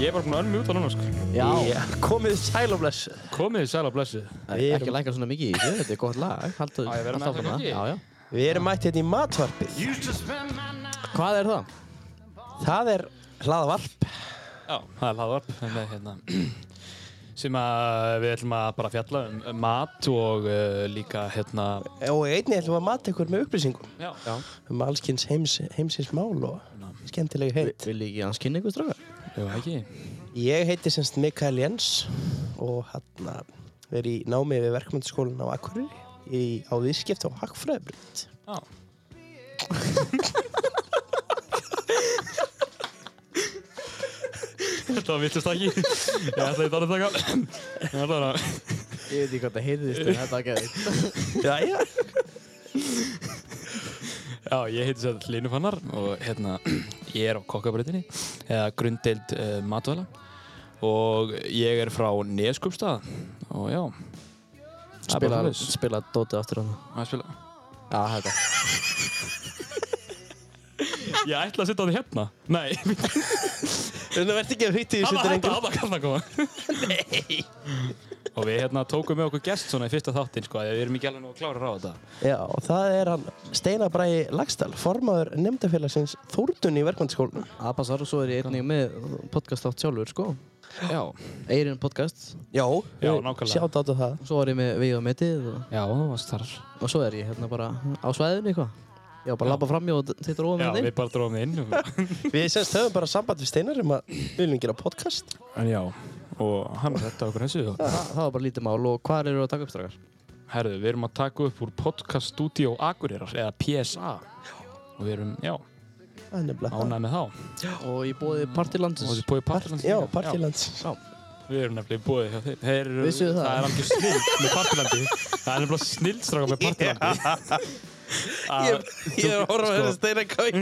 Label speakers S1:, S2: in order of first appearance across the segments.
S1: Ég er bara búin að önnu út á núna, sko.
S2: Já,
S3: Komið sæl og bless
S1: Komið þið sæla blessið.
S2: við erum ekki lækað svona mikið í þessu, þetta er gott lag.
S1: Á,
S2: Haldu
S1: ég verð að
S2: haltu
S1: nefna
S2: áfram
S1: það ekki?
S2: Já, já.
S3: Við erum mætt hérna í matvarpið
S2: Hvað er það?
S3: Það er hlaðavarp
S1: Já, það er hlaðvarp. þannig að, Hérna, sem að við ætlum að bara fjalla um um mat og uh, líka, hérna,
S3: og einnig ætlum við að mata ykkur með upplýsingum
S1: já,
S3: um allskyns heims, heimsins mál og skemmtilegu heit
S2: Vil ég ekki hans kynna ykkur strákar?
S1: já, ekki.
S3: Ég heiti semst Mikael Jens og hann er í námi við verkmyndaskólan á Akureyri í, á viðskipt á Hagfræðabrönd
S1: Já. Þetta var vittist ekki. Ég ætla ekki að taka. Ég ætla að
S2: Ég veit ekki hvað það heyrðist en þetta ekki
S3: Jæja
S1: Já, ég heiti Sæll Línufannar og hérna, ég er á kokkabreytinni eða grunddeild uh, matvæla og ég er frá Neskupstað og já Það er bara
S2: Spila,
S1: svoleiðis.
S2: spila dótið aftur hérna. hann
S1: að spila
S2: Já, þetta
S1: Ég ætla að setja það hérna Nei,
S3: Þannig verður ekki að hýtti þessu
S1: þetta er
S3: drengur
S1: Þetta kann að koma Nei Og við hérna tókum með okkur gest svona í fyrsta þáttinn sko að við erum ekki alveg nú að klára á þetta
S3: Já, og það er hann Steinar Bræi Lagstall, formaður nefndafélagsins Þórdun í verkmyndaskólan
S2: Abba Saru, svo er ég einnig með podcast átt sjálfur, sko
S1: Já,
S2: Eirinn podcast,
S3: Já,
S1: Já, nákvæmlega.
S3: Sjátt á það
S2: svo var ég með Vegið og Metið og,
S1: já, það var starf
S2: og svo er ég hérna bara á svæðinu eitthvað Ég var bara að labba fram í og þið dróðum
S1: Já,
S2: hérna
S1: við bara dróðum inn og-
S3: Við semst höfum bara samband við Steinar um að við viljum gera podcast
S1: En já, og hann þetta okkur þessu og
S2: Þa, Það var bara lítið mál og hvað eru að taka upp strákar?
S1: Herðu, við erum að taka upp úr Podcast Studio Akureyrar, eða PSA og við erum, já,
S3: Það er nefnilega það.
S1: ánæg með þá og
S2: Og ég bóði partilandsins
S1: þessi bóði Partilands
S3: Já,
S1: líka.
S3: partilands
S1: Já, Við erum nefnilega bóði hjá þeim Þeir eru,
S2: Vissuð þið það?
S1: er algjör snild með Partilandi Það er nefnilega snildstráka með Partilandi Að-
S3: Ég er að horfa
S1: Sko.
S3: að Steinar kvæk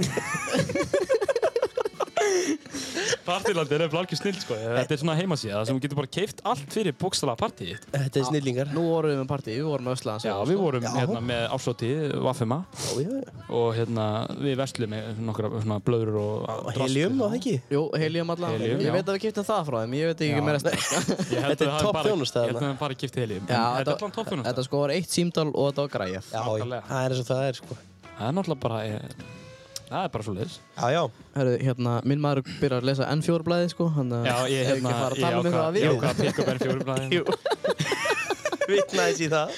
S1: Partilandi er nefnilega algjör snild, sko Þetta er svona heimasíða þar sem þú getur bara keift allt fyrir bókstala partíið
S3: Þetta er snillingar
S2: Nú vorum við með partí, við vorum að ösla hans
S1: Já, við vorum
S3: Já.
S1: hérna með áslótið, Vafema
S3: Já, já,
S1: og hérna, við verslum með nokkra svona blöður og
S3: og helium og það ekki
S2: Jú, helium allan
S1: Helium,
S2: Ég
S1: já.
S2: veit að við kiptum það frá þeim, ég veit ekki
S1: Já.
S2: meira stærk
S1: Ég held
S3: Þetta
S1: að
S3: er
S1: það
S3: topp
S1: bara-
S3: þjónusta
S1: Ég held að
S3: þarna.
S1: það bara kipti helium
S2: Já,
S1: Þetta er
S2: þetta-
S1: allan topp þjónusta
S2: Þetta sko var eitt símdal og þetta var græjað
S3: Já, já,
S1: Nákvæmlega.
S3: það er eins og það er sko
S1: Það er náttúrulega bara, ég, það er bara svo leiðis.
S3: Já, já,
S2: Herru, hérna, minn maður byrjar að lesa N4 blæði, sko hann,
S1: Já, ég hérna,
S2: hef ekki að fara að tala um eitthvað að
S1: Ég
S2: við
S1: ákvað að pikka benn fjórum blæðin.
S3: vitnaðis í það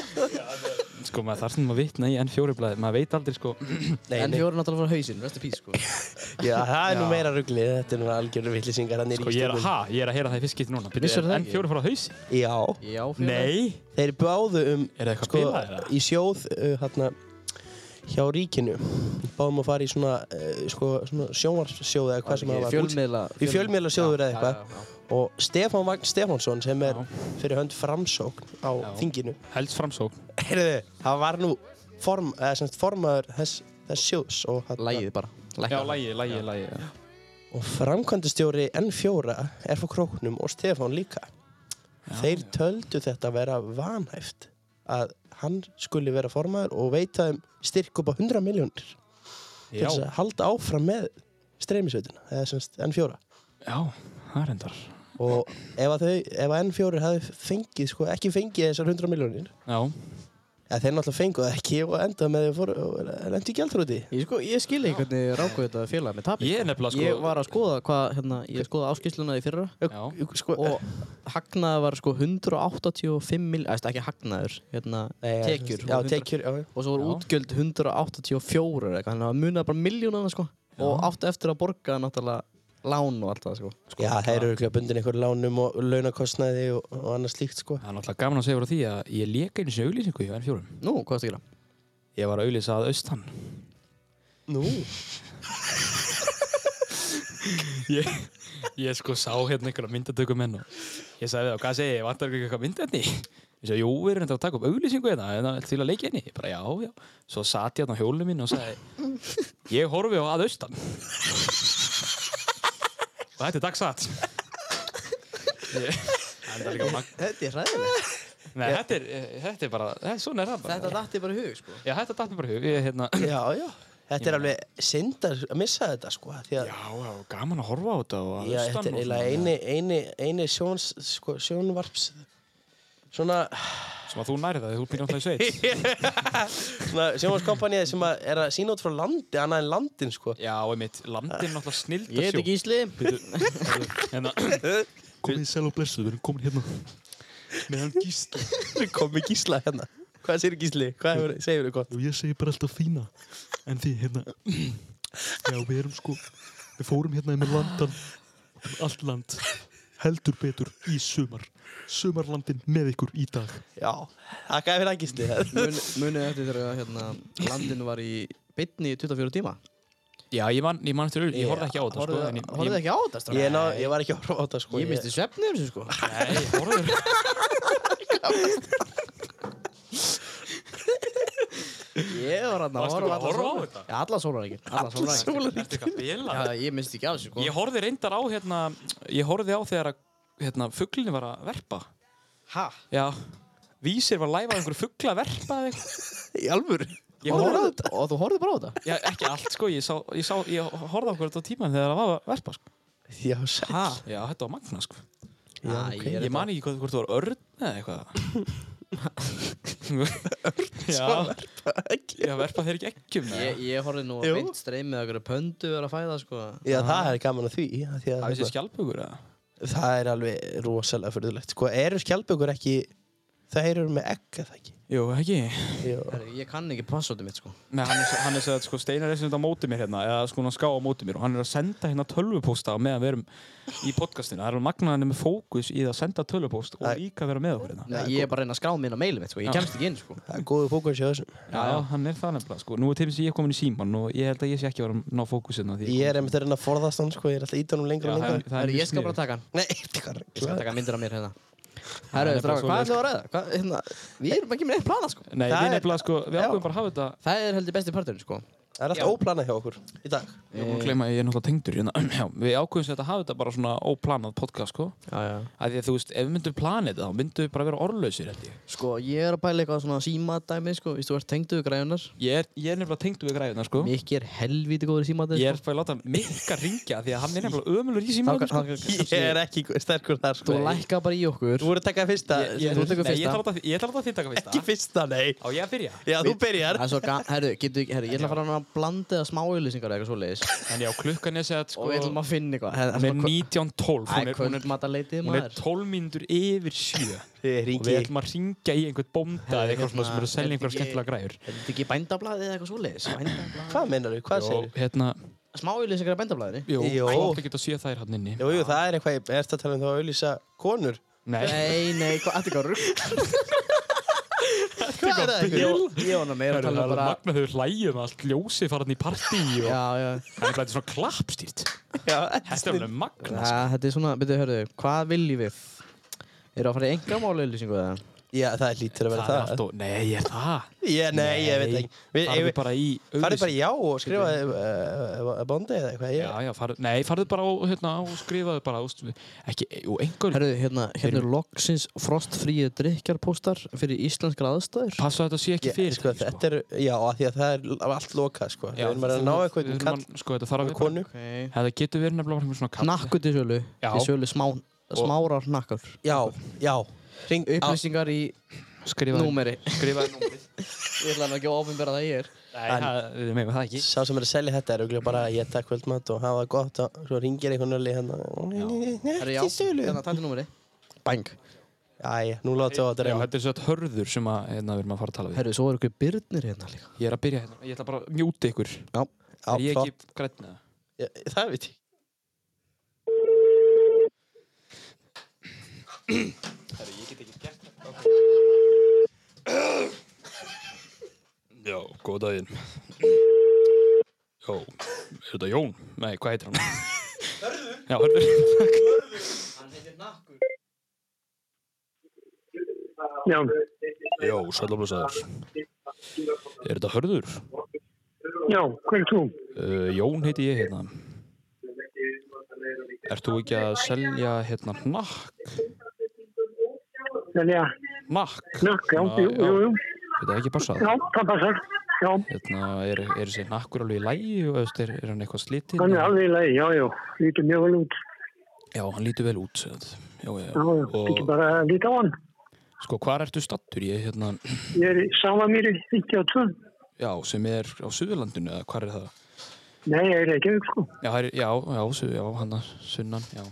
S1: Sko, maður þarf svona að vitna í enn fjórum blæðin. Maður veit aldrei, sko,
S3: Nei, nei,
S2: N4 er náttúrulega frá hausinn, rest in peace, sko
S3: já, það er nú
S1: Já.
S3: meira ruglið Þetta er nú algjörðu vitlisingar hann er
S1: sko ég er, ha, ég er að heyra það í fyrst skipti núna.
S2: Vissirðu það
S1: Enn
S2: ekki?
S1: fjórum frá haus?
S3: Já,
S2: Já, fyrir
S1: Nei.
S3: þeir báðu um
S1: Er það eitthvað
S3: sko,
S1: bilað eða?
S3: í sjóð uh, hana, hjá ríkinu báðum að fara í svona, uh, sko, svona sjónvarsjóð eða hvað sem það var
S2: Fjölmiðla
S3: í fjölmiðlasjóður eða
S2: Já,
S3: eitthvað
S2: já, já.
S3: og Stefán Vagn Stefánsson sem er
S1: Já.
S3: fyrir hönd framsókn á
S1: Já.
S3: þinginu
S1: Helst framsókn.
S3: heyrðu, það var nú form, eða, semst, formaður þess, þess sjóðs og, þarna-
S2: Lægið bara
S1: Já,
S2: Lækka.
S1: lægi, lægi, lægi.
S3: og framkvæmdastjóri N4 er frá króknum og Stefán líka þeir töldu þetta að vera vanhæft að hann skuli vera formaður og veita um styrk upp á 100 miljónir til
S1: Já,
S3: þess að halda áfram með streymisveitina, eða semst N4
S1: já, það er endar.
S3: og ef, að þau, ef að N4 hefði fengið, sko, ekki fengið þessar 100 miljónir
S1: Já,
S3: að þeir náttúrulega fengu það ekki og endaði með því að fóru og lendi í gjaldrúti
S2: Ég, sko, ég skil ekki hvernig ráku þetta félag með tapi
S1: ég er nefnilega, sko.
S2: Ég var að skoða hvað, hérna, ég skoða áskýsluna í fyrra
S1: Já,
S3: sko,
S2: og hagnaði var sko 185 mil, eða ekki hagnaður hérna,
S3: Nei,
S2: tekjur
S3: já,
S2: og 100
S3: tekjur, já,
S2: og svo var
S1: Já.
S2: útgjöld 184 eða eitthvað, þannig að munaði bara miljónana sko og átti eftir að borga náttúrulega lán og allt það sko
S3: sko, já þeir eru ekki bundin einhver lánum og launakostnaði og, og annars slíkt sko.
S1: það er náttúrulega gaman að segja frá því að ég léka einu sinni auglýsingu hjá enn fjórum.
S2: Nú, hvað varstu að gera?
S1: Ég var að auglýsa að austan.
S3: Nú,
S1: Ég, ég sko sá hérna einhverja myndatöku menn og ég sagði það og hvað segi ég, vantar ekki eitthvað myndefni? Ég sagði, jú, við erum þetta að taka upp auglýsingu hérna, hérna til að leikja henni. Ég bara, já, já. Svo sat ég hérna á hjólinu mín og sagði, ég horfi á að austan. og þetta er dagsatt. Ég- Það er líka magna.
S2: Þetta er hræðileg
S1: Nei, þetta er, eh, þetta er bara, þetta, svona er það bara.
S2: Þetta datti bara í hug sko
S1: Já, þetta datt mér bara í hug. Ég, hérna,
S3: já, já Þetta
S1: Ég
S3: er
S1: meina-
S3: alveg synd að að missa þetta sko því að
S1: Já, já, gaman að horfa á þetta og að
S3: já,
S1: hlusta
S3: þetta er
S1: nú
S3: eiginlega
S1: svona,
S3: eini, eini, eini sjóns, sko, sjónvarps svona,
S1: Sem að þú nærið það, þú býr náttúrulega í sveit
S3: svona sjónvarpskompanið sem að er að sína út frá landi, annað en landin sko
S1: Já, einmitt, landin náttúrulega snild
S2: Ég heiti Gísli
S1: Hérna Komin sæl og blessuð, við erum komin hérna Með hann Gísli
S3: Komið gísla hérna Hvað segir gísli? Hvað hefur, segir þú gott?
S1: Og ég segi bara alltaf fína En því hérna Já, við erum sko Við fórum hérna með landan Allt land Heldur betur í sumar Sumarlandin með ykkur í dag
S3: Já, þakka þér fyrir að gísli
S2: Mun- Munið eftir þegar að, hérna, landinu var í beinni í 24 tíma
S1: Já, ég man, ég man eftir auðvitað, ég horfði ekki á þetta sko, en ég-
S2: Horfðu
S1: ég-
S2: ekki á þetta strákar?
S3: Ég, ná, ég var ekki að horfa á þetta sko
S2: Ég misti svefnir þessu sko
S1: Nei, ég horfði
S2: Ég var hann að
S1: Varstu
S2: horfa
S1: bara að horfa á
S2: sólar-
S1: þetta?
S2: Já, alla sólarækinn Alla sólarækinn
S1: Ertu eitthvað bila?
S2: Já, ég misti ekki á þessu sko
S1: Ég horfði reyndar á hérna Ég horfði á þegar að hérna, fuglinni var að verpa
S2: Hæ?
S1: Já Vísir var að læfa einhver fugla að verpa eða eitthvað
S3: Í alvöru?
S1: Ég
S2: Horfðu
S1: horfði
S2: á þetta Og þú horfðu bara á þetta?
S1: Já, ekki allt sko Ég, sá, ég, sá, ég horfði á hverju þetta á tíman þegar það var að verpa sko
S3: Já, sæl
S1: Hæ? Já, þetta var magna sko
S2: Já,
S3: ok.
S1: Ég, man ekki hvort hvort það var örn eða eitthvað Örn Já,
S3: Ekki.
S1: já verpa þeir ekki ekkjum eða?
S2: Ég, ég horfði nú
S3: Jú.
S2: beint streymið að hverju pöndu er að fæða sko
S3: Já, það er gaman að því, af því að,
S1: Það er þessi skjálpugur eða
S3: Það er alveg rosalega fyrirlegt Sko, eru skjálpökur ekki Það eru með egg, er það ekki?
S1: Jú, ekki
S3: Jó.
S2: Herri, Ég kann ekki passóti mitt sko
S1: Nei, hann er, hann er að sko, Steinar er sem þetta á móti mér hérna eða sko hann ská á móti mér og hann er að senda hérna tölvupósta á meðan við erum í podcastinu það er magnaðinni með fókus í það að senda tölvupóst og
S3: Æ.
S1: líka vera með okkur hérna
S2: Nei, Ég er bara að reyna að skrá mér inn á meilum mitt sko Ég
S1: Já.
S2: kemst ekki inn sko
S3: Það er góðu fókus í þessum
S1: Já, já, hann er það nefnilega sko Nú er til þess að ég er komin í síman og ég held að ég sé ekki að vera að ná fókusinu því sko.
S3: Ég er einmitt að reyna að forðast hann, sko Ég er alltaf ítunum lengur
S1: Já,
S3: og
S1: það er-
S3: lengur
S1: það er
S2: Herri,
S1: mjög
S2: Ég skal
S1: sniðugt.
S2: bara taka hann
S3: Nei, þetta er
S2: Ég skal
S3: hvað
S2: taka myndir af mér hérna
S1: er
S2: Herru,
S1: bara
S2: strákar, hvað
S1: svoleiðis. sko.
S2: ætlum við að ræða? Hvað, hérna, við erum ekki með neitt plana sko
S1: Nei,
S3: Það
S1: við
S3: er-
S1: nefnilega sko, við
S3: Já.
S1: ákveðum bara að hafa þetta
S2: Það er heldur besti parturinn sko
S3: Það er alltaf óplanað hjá okkur í dag
S1: Ég er búin að gleyma að ég er náttúrulega tengdur hérna Já, við ákveðum sem þetta hafa þetta bara svona óplanað podcast sko
S2: Já, já
S1: að Því að þú veist, ef við myndum planið þetta þá myndum við bara vera orðlausir held ég
S2: Sko, ég er að pæla eitthvað svona símadæmi, sko, víst, þú ert tengduð græðunar.
S1: Ég er, ég er nefnilega tengdur við græðuna sko
S2: Mikki er helvíti góður í símadæmi,
S1: Ég er bara að láta Mikka ringja því að hann er nefnilega ömulur í
S2: sko.
S1: símanum sko.
S3: Ég er ekki sterkur þar,
S2: Þú
S3: sko
S2: lækka bara í okkur.
S3: Þú voru að taka fyrsta
S1: Ég- ég-
S2: þú tekur
S1: Nei, ég ætla að
S2: fyrsta.
S1: láta- Ég ætla að láta þið taka
S3: Ekki
S1: fyrsta
S3: fyrsta, nei
S1: Á ég að byrja
S3: Já, þú byrjar
S2: Það er svo ga... Herru, getur ekki... Herru, ég ætla að fara hann að blanda eða smá auðlýsingar eða eitthvað svoleiðis.
S1: En já, klukkan er sett sko
S2: Og við ætlum að finna eitthvað. Herru,
S1: Hún er 19.12 Hún er-
S2: Æ,
S1: Hún er-
S2: kvöldmataleitið
S1: hún er
S2: maður.
S1: 12 mínútur yfir 7
S3: Ég
S1: Og við
S3: ringi
S1: ætlum að ringja í einhvern bónda eða eitthvað svona sem eru að selja einhverja
S2: Hérna,
S1: skemmtilega græður
S2: Þetta ekki bændablaðið eða eitthvað svoleiðis. Bændablaðið.
S3: Hvað meinar þú? Hvað
S1: Jó,
S3: segir
S1: hérna
S2: Smá auðlýsingar af bændablaðinu.
S1: Jó,
S3: Jó.
S1: þú ætla ekki að sé þær hann inni
S3: Jú, jú, það er eitthvað, ég erst að tala um þá að auðlýsa konur
S1: Nei,
S2: Nei, nei, hvað, þetta er eitthvað rugg.
S3: Hvað er það?
S2: Ég var- ég var nú meira
S1: það
S2: að
S1: er
S2: tala um bara...
S1: magna þau hlæjum allt ljósi farin í partí og
S2: Já, já.
S1: það er bara þetta svona klappstýrt
S3: Já,
S1: Þetta er alveg sko. magna
S2: Ja, þetta er svona, byrju, hörðu, hvað viljum við? Eru að fara í engamála auðlýsingu eða?
S3: já, það hlýtur að vera
S1: Það er
S3: það
S1: allt og, nei, er það
S3: Ég, nei, ég veit ekki Við-
S1: Farðu
S3: við-
S1: bara í
S3: Farðu
S1: auglýs-
S3: bara í já og skrifa eh, uh, bondi eða eitthvað
S1: Já,
S3: ég,
S1: já, farðu, nei, farðu bara og, hérna, og skrifaðu bara, úst, ekki, jú, einhver
S2: Herru, hérna, hérna er loksins frostfríið drikjarpóstar fyrir íslenskar aðstæður.
S1: Passa að þetta sé ekki
S3: ég,
S1: fyrir
S3: sko, Þetta er, já, af því að það er allt lokað sko. Við erum að ná eitthvað um kall
S1: Sko, þetta þarf að
S3: og konu
S2: Okay.
S1: Þetta getur verið nefnilega bara einhver svona kall
S2: Hnakkur til sölu,
S1: Já.
S2: til sölu smá, smárar hnakkur.
S3: Já, já Ring, á,
S2: Upplýsingar í
S1: Skrifaðu
S2: númeri.
S1: Skrifaðu númerið
S2: Ég ætla nú ekki að ofinbera það ég er.
S1: Nei, það, við meðum það ekki
S3: Sá sem er að selja þetta er auðvitað bara að ég takk kvöldmatt og hafa það gott og svo ringir einhvern veginn hann
S2: Herru, já,
S3: Ekki sölu
S2: hérna, takk til númeri. Bang.
S3: Æ, nú látum við á þetta
S1: Já,
S3: reyna
S1: þetta er svo hörður sem að, hérna, við erum að fara að tala við
S2: Herru, svo eru ykkur byrnir hérna líka.
S1: Ég er að byrja hérna, ég ætla bara að mjúti ykkur
S2: Já.
S3: Já,
S1: Er ég
S3: flott.
S1: ekki grænna?
S3: Ég- Það veit ég
S1: Já, góð daginn Já, er þetta Jón? Nei, hvað heitir hann? Hörður Já, hörður
S4: Já,
S1: Já, sælumlesaður Er þetta hörður?
S4: já, hver þú?
S1: Uh, Jón heiti ég hérna Ert þú ekki að selja hérna nakk?
S4: Selja
S1: Nakk?
S4: nökk, já,
S1: Svona,
S4: jú, jú, jú.
S1: Þetta er ekki passað
S4: Já, það passar. já,
S1: hérna, er, er þessi nakkur alveg í lægi og þú veist, er, er hann eitthvað slitinn
S4: hann er alveg í lagi, já, já, lítið mjög vel út,
S1: já, hann lítur vel út sem sagt. já, já,
S4: já, já, ekki
S1: og
S4: bara að líta á hann.
S1: sko, hvar ertu stattur ég, hérna,
S4: Ég er í Sálamýri 52,
S1: já, sem er á Suðurlandinu, eða hvar er það
S4: nei, ég er ekki, sko,
S1: já, hær, já, já, suð, já, hann að sunnan já,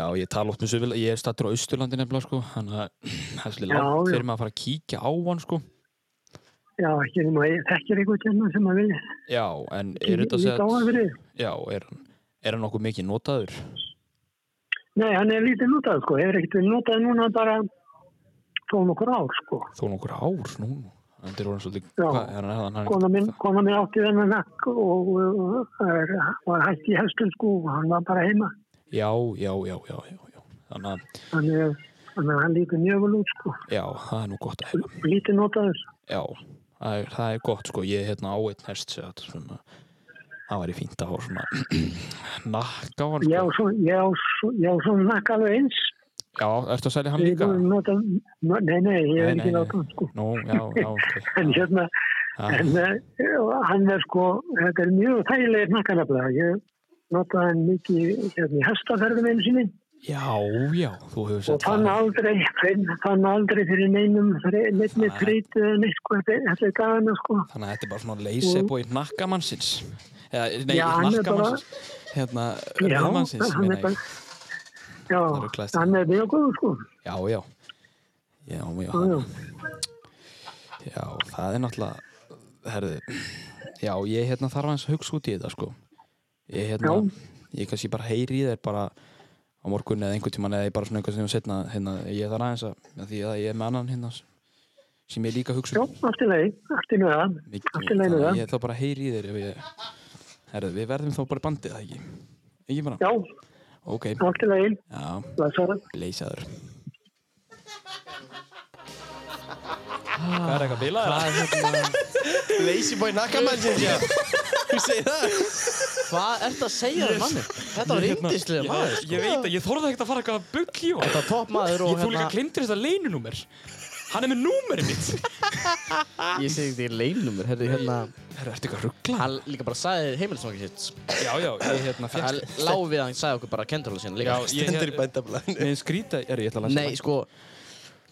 S1: já, ég tala oft með Suðurland ég er stattur á Austurlandinu nefnilega, sko hann að, það er svolítið
S4: Já,
S1: langt
S4: já.
S1: fyrir maður að fara að kíkja á hann, sko
S4: já, ekki nema, ég þekkir eitthvað tjörna sem að vilja.
S1: já, en er þetta
S4: Líta á hann
S1: sett
S4: fyrir,
S1: já, er hann er hann okkur mikið notaður
S4: nei, hann er lítið notað, sko, hefur ekkert verið notað núna bara þó nokkur ár, sko.
S1: þó nokkur ár nú hann er orðin svolítið
S4: Já.
S1: hvað, er hann, hann, hann,
S4: Kona minn, kona minn átti þennan nakk og uh, er, var hætt í hestum, sko, og hann var bara heima.
S1: já, já, já, já, já, já. þannig að
S4: Þannig að- þannig að hann lítur mjög vel út, sko,
S1: Já, það er nú gott að heyra.
S4: lítið notaður.
S1: Já, það er, það er gott sko. Ég er hérna á einn hest sem þetta svona, það væri fínt að hafa svona nakk á hann sko.
S4: Ég á svo- ég á svo- ég á svona nakk alveg eins.
S1: Já, ertu að selja hann
S4: Ég er
S1: líka?
S4: búin að nota, no- nei, nei, ég
S1: Nei, nei, Ah.
S4: er ekki
S1: nei.
S4: láta hann, sko.
S1: Nú, já, já, ok.
S4: En hérna,
S1: Já,
S4: en, eh, hann er sko, þetta er mjög þægilegir nakkanafla. Ég notaði hann mikið hérna, í hestaferðum einu sinni
S1: já, já, þú hefur
S4: og
S1: sett
S4: fann
S1: það.
S4: aldrei, fann, fann aldrei fyrir neinum, fyrir neinni
S1: Nei.
S4: frýt eða neitt, sko, þetta- þetta er dagana, sko.
S1: Þannig að þetta er bara svona leysebo í nakkamannsins. Eða, nei,
S4: Já, hann er
S1: nakkamannsins. Hérna,
S4: Já,
S1: rauðmannsins,
S4: hann er
S1: meina
S4: bara,
S1: ég.
S4: já,
S1: Það rugglaðist.
S4: hann er mjög góð, sko.
S1: Já, já. Já, já,
S4: Já, já.
S1: já, það er náttúrulega, herðu, já, ég hérna þarf aðeins að hugsa út í þetta, sko. Ég hérna, ég kannski bara heyri í þeir bara á morgun eða einhvern tímann eða ég bara svona einhvern tímann setna, hérna, ég þarf aðeins að, að því að ég er með annan hérna s- sem ég líka hugsa
S4: Já,
S1: um.
S4: allt í lagi, allt í með það,
S1: Mikið-
S4: allt í lagi með
S1: þannig að
S4: það.
S1: Ég þá bara heyri í þeir ef ég, herðu, við verðum þá bara í bandið, það ekki? Ekki bara?
S4: Já,
S1: Ok,
S4: allt í lagi,
S1: já,
S4: blessaður.
S1: leysaður. Hvað er eitthvað bilaður?
S3: Lazy boy nakkamannsins, já. Þú segir það?
S2: Hvað ert að segja þér manni? Þetta var yndislega maður sko. hérna-
S1: Ég veit að ég þorði ekkert að fara eitthvað að buggja í hann.
S2: Þetta var topp maður
S1: Ég
S2: og
S1: þú líka glindir þetta leinunúmer. Hann er með númerið mitt.
S2: Ég segi þetta í leinumur Herri, hérna
S1: Er þetta eitthvað ruggla?
S2: Hann líka bara sagði heimilisvangin sitt sko.
S1: Já, já, ég hérna
S2: Hann
S1: fjast.
S2: lág við að hann sagði okkur bara kendarlega sína
S1: Já,
S2: líka
S1: ég
S3: Stendur í
S1: hérna...
S3: bændablaðinu.
S1: Nei, skrýta, er ég ætla að lesa
S2: Nei, sko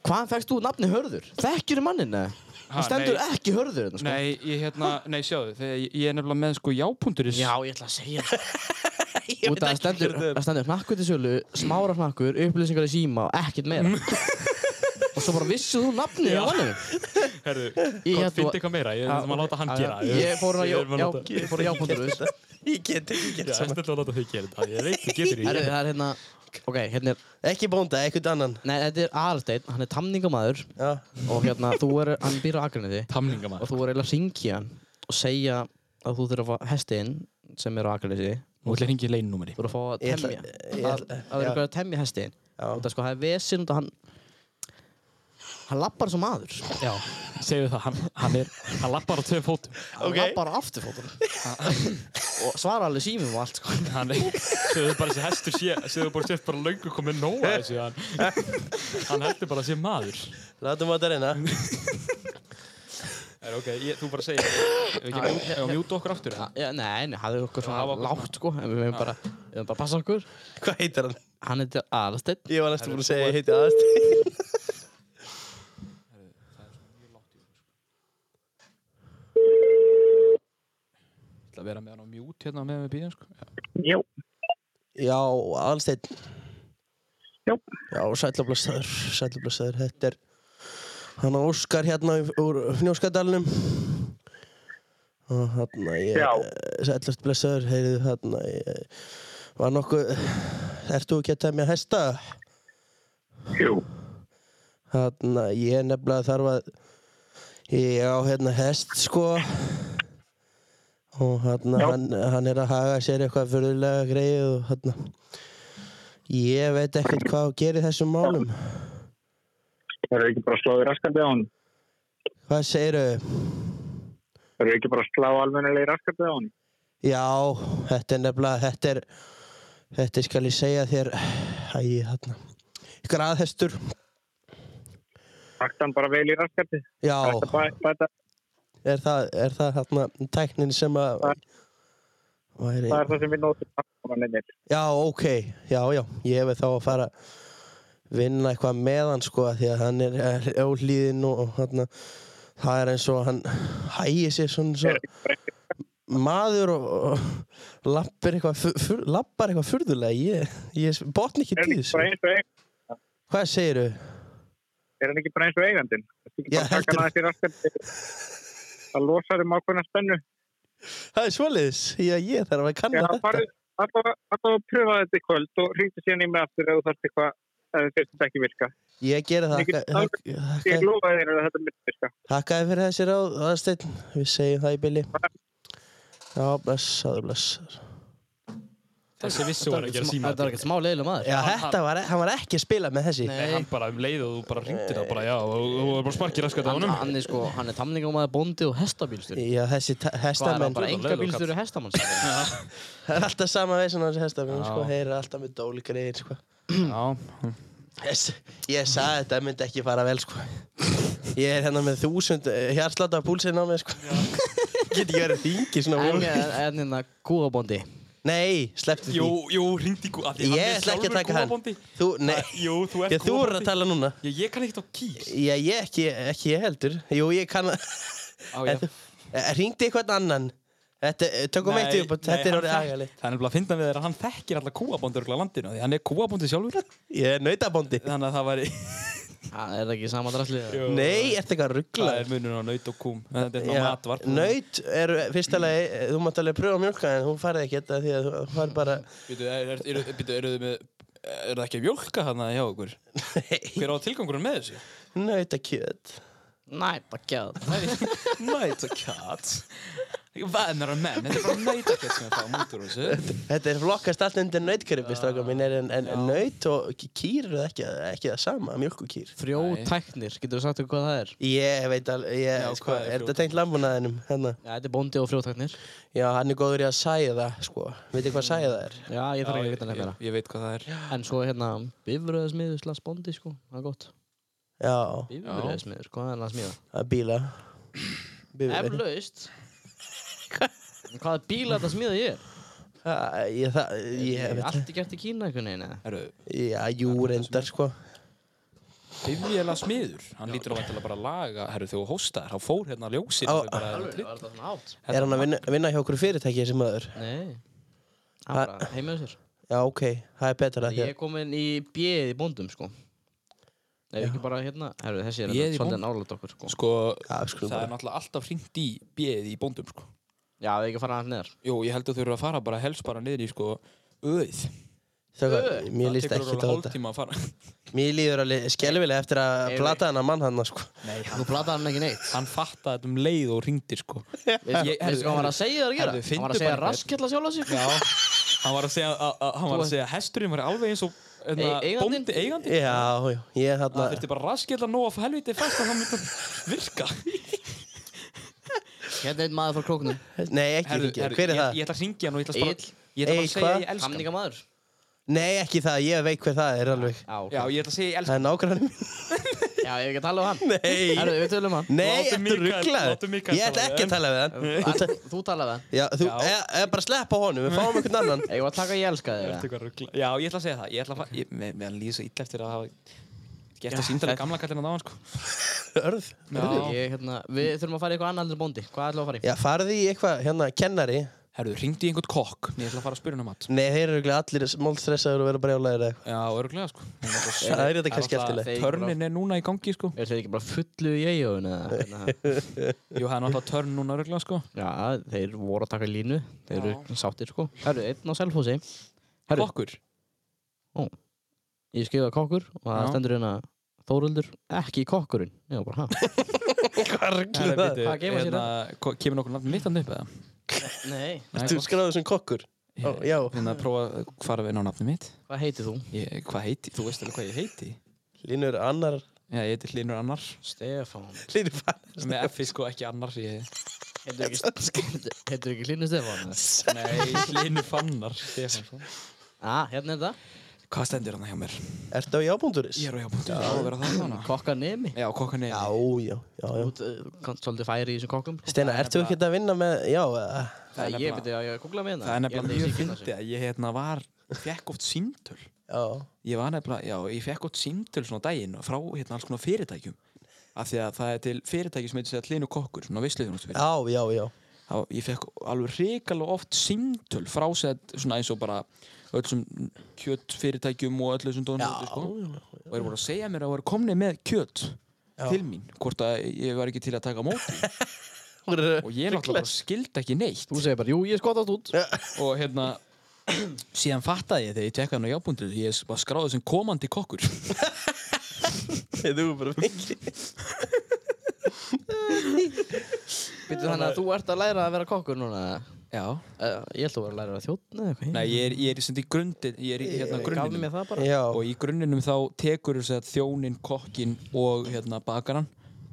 S2: Hvaðan fækst þú nafni Hörður? Þekkjur mannin eða?
S1: Ha,
S2: Hann stendur
S1: nei.
S2: ekki Hörður hérna, sko
S1: Nei, ég hérna, nei, sjáðu, þegar ég ég er nefnilega með sko jápunduris.
S2: Já, ég ætla að segja það Út að það stendur, það stendur hnakkur til sölu, smára hnakkur, upplýsingar í síma og ekkert meira Og svo bara vissið þú nafnið
S1: Mm. Já.
S2: á mannum
S1: Herðu,
S2: Ég
S1: hvað
S2: hérna-
S1: finnst eitthvað meira? Ég þarf að láta hann
S2: Já,
S1: gera.
S2: já. Ég fór að já,
S1: verðum að
S2: já,
S1: láta-
S2: ég fór að jápundur þess
S3: Ég get ekki
S1: Já,
S3: gert
S1: ég
S3: saman.
S1: ætla að láta þau gera þetta. Ég veit, þú getur
S2: Það
S1: því.
S2: er hérna, ok, hérna er
S3: Ekki bónda, eitthvað annan.
S2: Nei, þetta er Aðalsteinn, hann er tamningamæður
S3: Já.
S2: og hérna, þú er, hann býr á Akranesi
S1: Tamninga
S2: og
S1: maður.
S2: þú er eiginlega að ringja hann og segja að þú þurf að fá hestinn sem er á Akranesi
S1: Nú ætla ég að ringa í leinunúmeri.
S2: þú þurf að fá að
S3: Ég ætla-
S2: temja
S3: ég
S2: að
S3: ætla-
S2: það er
S3: já.
S2: eitthvað að temja hestinn
S3: Já.
S2: og það sko, það er vesinn og hann hann lappar sem maður
S1: Já, segðu það, hann, hann er, hann lappar á tveim fótum.
S2: hann
S3: Ok.
S2: lappar á afturfótunum og svara alveg símum og allt sko
S1: hann er, segðu bara þessi hestur sé, segðu bara sért bara löngu komið nóa þessu, hann, hann heldur bara að sé maður.
S3: Látum að þetta reyna.
S1: Er, ok, ég, þú bara segir, ef við ekki mjú- ef við mjúta okkur aftur, eða?
S2: Já, nei, nei, hann er okkur
S1: hafa
S2: svona
S1: okkur
S2: lágt sko en við meðum bara, við meðum bara passa okkur
S3: Hvað heitir hann?
S2: hann heitir Aðalsteinn
S3: Ég var næstu búin að segja, ég heiti aðast.
S1: Það vera með hann á mjút hérna með með bíðan, sko. Já.
S4: Já,
S3: Já, Alsteinn.
S4: já,
S3: Já, sællablastaður, sællablastaður, þetta er hann Óskar hérna í- úr Fnjóskadalunum og hann að
S4: Já.
S3: ég sællast blessaður, heyrðu hann að ég var nokkuð ert þú ekki að temja hesta?
S4: jú,
S3: Hann að ég nefnilega þarf að ég á hérna hest sko og hann,
S4: Já.
S3: hann, hann er að haga sér eitthvað fyrirlega greið og hann ég veit ekkert hvað þú gerir í þessum málum
S5: Það eru ekki bara að slá í raskandi á hann.
S3: Hvað segirðu?
S5: Það eru ekki bara að slá almennilega í raskandi á hann.
S3: Já, þetta er nefnilega, þetta er, þetta skal ég segja þér, æ, þarna, graðhestur,
S5: Takta hann bara vel í raskandi.
S3: já,
S5: Þetta bæ, bæta,
S3: Er það, er það þarna tæknin sem að væri...
S5: Það er það sem við nótum samkominninir.
S3: Já, ok, já, já, ég hef þá að fara að vinna eitthvað með hann sko af því að hann er, er ólíðinn og, og þarna, það er eins og hann hægir sér svona svo maður og, og lappar eitthvað, fu- fu- lappar eitthvað furðulega, ég, ég botn ekki
S5: Er hann
S3: tíð
S5: ekki bara
S3: þessu.
S5: eins og eigandinn?
S3: Hvað segiru?
S5: Er hann ekki bara eins og eigandinn? Það er ekki
S3: Já,
S5: bara að taka hann aðeins í raskandi. Það losar um ákveðna spennu.
S3: Það er svoleiðis, já, ég þarf að
S5: Já,
S3: kanna þetta.
S5: farðu- allavega allavega pröfa þetta í kvöld og hringdu síðan í mig aftur ef þú þarft eitthvað, ef þú finnst þetta ekki virka.
S3: Ég gera það,
S5: Ég get
S3: þakka-
S5: Ég
S3: þakka-
S5: lofa þér að þetta myndi virka.
S3: þakkaði fyrir þessi ráð, aðsteinn, við segjum það í bylli. Já, blessaður, blessaður.
S1: Þessi vissu var ekki að síma
S2: Þetta var ekkert smá leiðilega maður.
S3: Já,
S1: hann-
S3: þetta var, e- hann var ekki að spila með þessi.
S1: Nei, hann bara um leið og þú bara ringdir það bara, já, og þú var bara sparkið raskat á
S2: Hann,
S1: honum.
S2: hann er sko, hann er tamningamæður, bóndi og hestabílstur.
S3: Já, þessi ta-
S2: Hvað er hann
S3: hestamenn,
S2: bara
S1: leiðilegur
S2: engabílstur og hestamann? sko?
S3: það er alltaf sama veginn hans hestamenn,
S1: Já.
S3: sko, þeir eru alltaf með dóli greiðir, sko.
S1: Já,
S3: Yes, ég sagði þetta myndi ekki fara vel, sko. Ég er hérna með þúsund hjartslata púlsinn á mig, sko. Get ég verið þingi svona
S2: En-
S3: voru.
S2: En en hérna, kúabóndi.
S3: Nei, slepptu því.
S1: jú, jú, ringdi gú, að því hann
S3: Ég
S1: er
S3: ætla ekki að
S1: sjálfur
S3: taka hann.
S1: kúabóndi.
S3: Þú, nei,
S1: Jú, þú ert
S3: ég, þú eru að tala núna.
S1: Ég, ég kann ekkert á kýr.
S3: Já, ég ekki, ekki ég heldur. Jú, ég kann að...
S2: Á, já.
S3: Ringdi eitthvað annan. Þetta, eh, tökum eitt upp og þetta er orðið agalegt.
S1: Það er nefnilega að finna við þeir að hann þekkir alla kúabóndi örgulega landinu, því hann er kúabóndi sjálfur.
S3: Ég er nautabondi.
S1: Þannig að það væri...
S2: Það er það ekki sama draslið.
S3: Nei, ertu eitthvað
S1: Það
S3: rugglaður?
S1: er munur á naut og kúm. En Þetta er
S3: Já,
S1: svona matvarp.
S3: Naut er fyrsta lagi, þú mátt alveg pröfa að mjölka en hún farið ekki þetta því að þú farið bara
S1: Býtu, er, er, er, býtu, eru þið með... Er það ekki að mjólka þarna hjá okkur? Hver á tilgangurinn með þessu?
S3: nautakjöt.
S2: Næ, bara gæð.
S1: Nautakjöt. Vanar að menn, þetta er bara nautakjöt sem er fáum út úr þessu.
S3: Þetta er flokkast allt undir
S1: Ah.
S3: nautgripi, stráka mín, en, en naut og k- kýr eru ekki, ekki það sama, mjölkukýr.
S2: Frjótæknir, getur þú sagt okkur hvað það er?
S3: Ég veit alveg, ég,
S1: Já,
S3: sko,
S1: hvað er
S3: er þetta
S1: frjókorn?
S3: tengt lambunæðinum? Hérna.
S2: Já, þetta er bóndi og frjótæknir.
S3: Já, hann er góður í að sæða, sko. Veitir hvað sæða er?
S2: Já, ég þarf ekki að
S1: ég,
S2: vita nefna
S1: ég,
S2: það.
S1: ég veit hvað það er.
S2: En svo hérna, bifröðasmiður slags bóndi, sko. Það er gott.
S3: Já,
S2: Bifröðasmiður, sko, hvað er hann að smíða?
S3: það er bíla. Bifur.
S2: Eflaust. Hvaða bíla þetta smíða ég er?
S3: Ég, það, ég
S2: Er
S3: veit það.
S2: Allt er gert í Kína einhvern veginn, eða?
S1: Herru,
S3: Já, jú, reyndar, sko.
S1: bifjala smiður, hann lítur að vantala bara að laga, herru þegar þú hóstar, hann fór hérna ljósin.
S3: Á-
S1: og bara-
S2: var þetta svona átt?
S3: Er hann að vinna, vinna hjá okkur fyrirtæki sem öður?
S2: Nei. Það er bara heima hjá sér.
S3: Já, ok, það er betra því
S2: Ég er komin í bjöð í bóndum, sko. Nei, ekki bara hérna. Herru, þessi er
S1: Béð í
S2: hérna svolítið
S1: bónd-
S2: nálægt okkur, sko.
S1: Sko,
S3: Já, við skulum
S1: það er
S3: bara-
S1: náttúrulega alltaf hringt í bjöð í bóndum, sko.
S2: Já, við ekki að fara hann neðar.
S1: Jú, ég held að þau eru að fara bara helst bara niður í sko öð.
S3: Þjóka, mér líst ekki á þetta
S1: Tíma að fara.
S3: Mér líður alveg skelvilega eftir að
S2: Nei,
S3: plata hann að mann hann sko.
S1: Nei, hann,
S2: Þú plataði hann ekki neitt.
S1: hann fattaði þetta um leið og hringdi sko. Já,
S2: Veistu veistu hvað hann var að segja það að gera?
S1: Herru,
S2: Hann var að
S1: finndu
S2: segja
S1: bara einhvern.
S2: raskella sjálf á sig.
S1: hann var að segja að, að, hann var að segja að hesturinn var alveg eins og hérna,
S2: Ei- eigandinn?
S1: bóndi eigandi.
S3: Já, já, ég
S1: Það
S3: þarna
S1: þurfti bara raskilla nóg af helviti fast að hann myndi virka.
S2: Hérna er einn maður frá króknum.
S3: Nei, ekki
S1: Herru,
S3: hringja,
S1: herru,
S3: hver er
S1: ég,
S3: það?
S1: ég ætla að hringja hann og ég ætla að
S2: Egill.
S1: bara, ég ætla bara að
S3: Egill,
S1: segja
S3: hvað?
S1: að ég elska hann.
S2: Hamninga maður.
S3: Nei, ekki það, ég veit hver það er alveg
S2: Já, ok.
S1: Já, ég ætla að segja að ég elska
S3: Það er nákvæmlega mín
S2: Já, ég hef ekki að tala um hann.
S3: Nei,
S2: Herru, við tölum um hann.
S3: nei,
S1: Látum
S3: ertu
S1: Mikael- látum
S3: rugglað
S1: Mikael
S3: Ég ætla
S1: tala
S3: ekki
S1: við
S3: að tala við hann
S2: Þú ta- Þú talaði það.
S3: Já, þú,
S1: Já.
S3: eða eða bara sleppa honum, við fáum einhvern annan
S2: Ég var að taka ég elska þig.
S1: hann.
S2: eða?
S1: Ertu eitthvað ruggla- Já, ég ætla að segja það. Ég ætla að fara, ég- mér- mér líður svo illa eftir að hafa gert það símtalið gamla kallina á hann sko.
S3: Örð
S1: Já.
S2: Ég, hérna, við þurfum að fara í eitthvað annað heldur en bóndi. Hvað ætlum við að fara í?
S3: Já, farði í eitthvað, hérna, kennari
S1: Herru, ringdi einhvern kokk, ég ætla að fara að spyrja hann um mat.
S3: Nei, þeir eru örugglega allir málstressaður og vera brjálæðir eða eitthvað
S1: Já, öruglega sko. Hún er alltaf-
S3: Það er þetta kannski eftirlega
S2: Þeir-
S1: Törnin er núna í gangi sko.
S2: Er þeir ekki bara fullu í eigun eða? Hérna,
S1: Jú, það er náttúrulega törn núna öruglega sko.
S2: já, þeir voru að taka línu. Þeir eru sáttir sko. Herru, einn á selfhósi. Herru,
S1: Kokkur.
S2: ég skrifa kokkur og það
S1: Já.
S2: stendur hérna Þóruldur, ekki kokkurinn. Já, bara hæ.
S3: Hvað rugglu
S1: Herra,
S3: það?
S1: bíddu,
S2: Hvað gefa sér
S1: hérna, ko- Kemur nokkur nafn mitt hann upp eða?
S2: Nei.
S3: Þú skráðu sem kokkur Ó, Já,
S1: Finna að prófa að fara við inn á nafni mitt.
S2: Hvað heitir þú?
S1: Ég, hvað heiti? Þú veist alveg hvað ég heiti?
S3: línur annar
S1: Já, ég heiti Hlynur Annar.
S2: Stefán.
S3: Línur fann
S1: Með F sko ekki Annar. Ég...
S2: Heitir ekki, heitir ekki Hlynur Stefán? eða?
S1: Nei, Hlynur Fannar. Stefánsson.
S2: Ah, hérna er það.
S1: Hvað stendur hann hjá mér?
S3: Ertu á jábúnduris?
S1: Ég er á jábúndur. Já, að vera það hana.
S2: Kokka nemi
S1: Já, kokkan er.
S3: Já, já, já, já.
S2: Út, uh, kannst svolítið færi í þessum kokkum sko.
S3: Steina, ertu ekki að vinna með, já, eh, eða?
S1: það er
S2: Ég
S1: nefnilega-
S2: veit að ég googla með
S1: Það er nefnilega mjög fyndið að ég hérna var, fekk oft símtöl.
S3: já,
S1: Ég var nefnilega, já, ég fekk oft símtöl svona á daginn frá hérna alls konar fyrirtækjum. Af því að það er til fyrirtæki sem heitir sér Hlinu Kokkur, svona vissluðjónustfyrirtæki.
S3: já, já, já.
S1: þá ég fekk alveg reikalega oft símtöl frá sér svona eins og bara öllum kjötfyrirtækjum og öllu þessum dóðum sko. og þeir voru að segja mér að voru komni með kjöt
S3: Já.
S1: til mín, hvort að ég var ekki til að taka á móti og ég náttúrulega bara skildi ekki neitt
S2: Þú segir bara, jú, ég er skotast út
S1: og hérna síðan fattaði ég þegar ég tekkaði hann á jábúndið ég var skráðið sem komandi kokkur
S3: Þú er bara mikið.
S2: Býttu þannig að þú ert að læra að vera kokkur núna
S1: já,
S2: uh, Ég held að þú var að læra að þjóna eða
S1: nei ég er, ég er, sem sagt í grundin ég er í hérna
S2: eitthvað Gaf
S1: grunninn
S2: mér það bara
S3: Já,
S1: og í grunninum þá tekur þess að þjónin, kokkin og hérna bakaran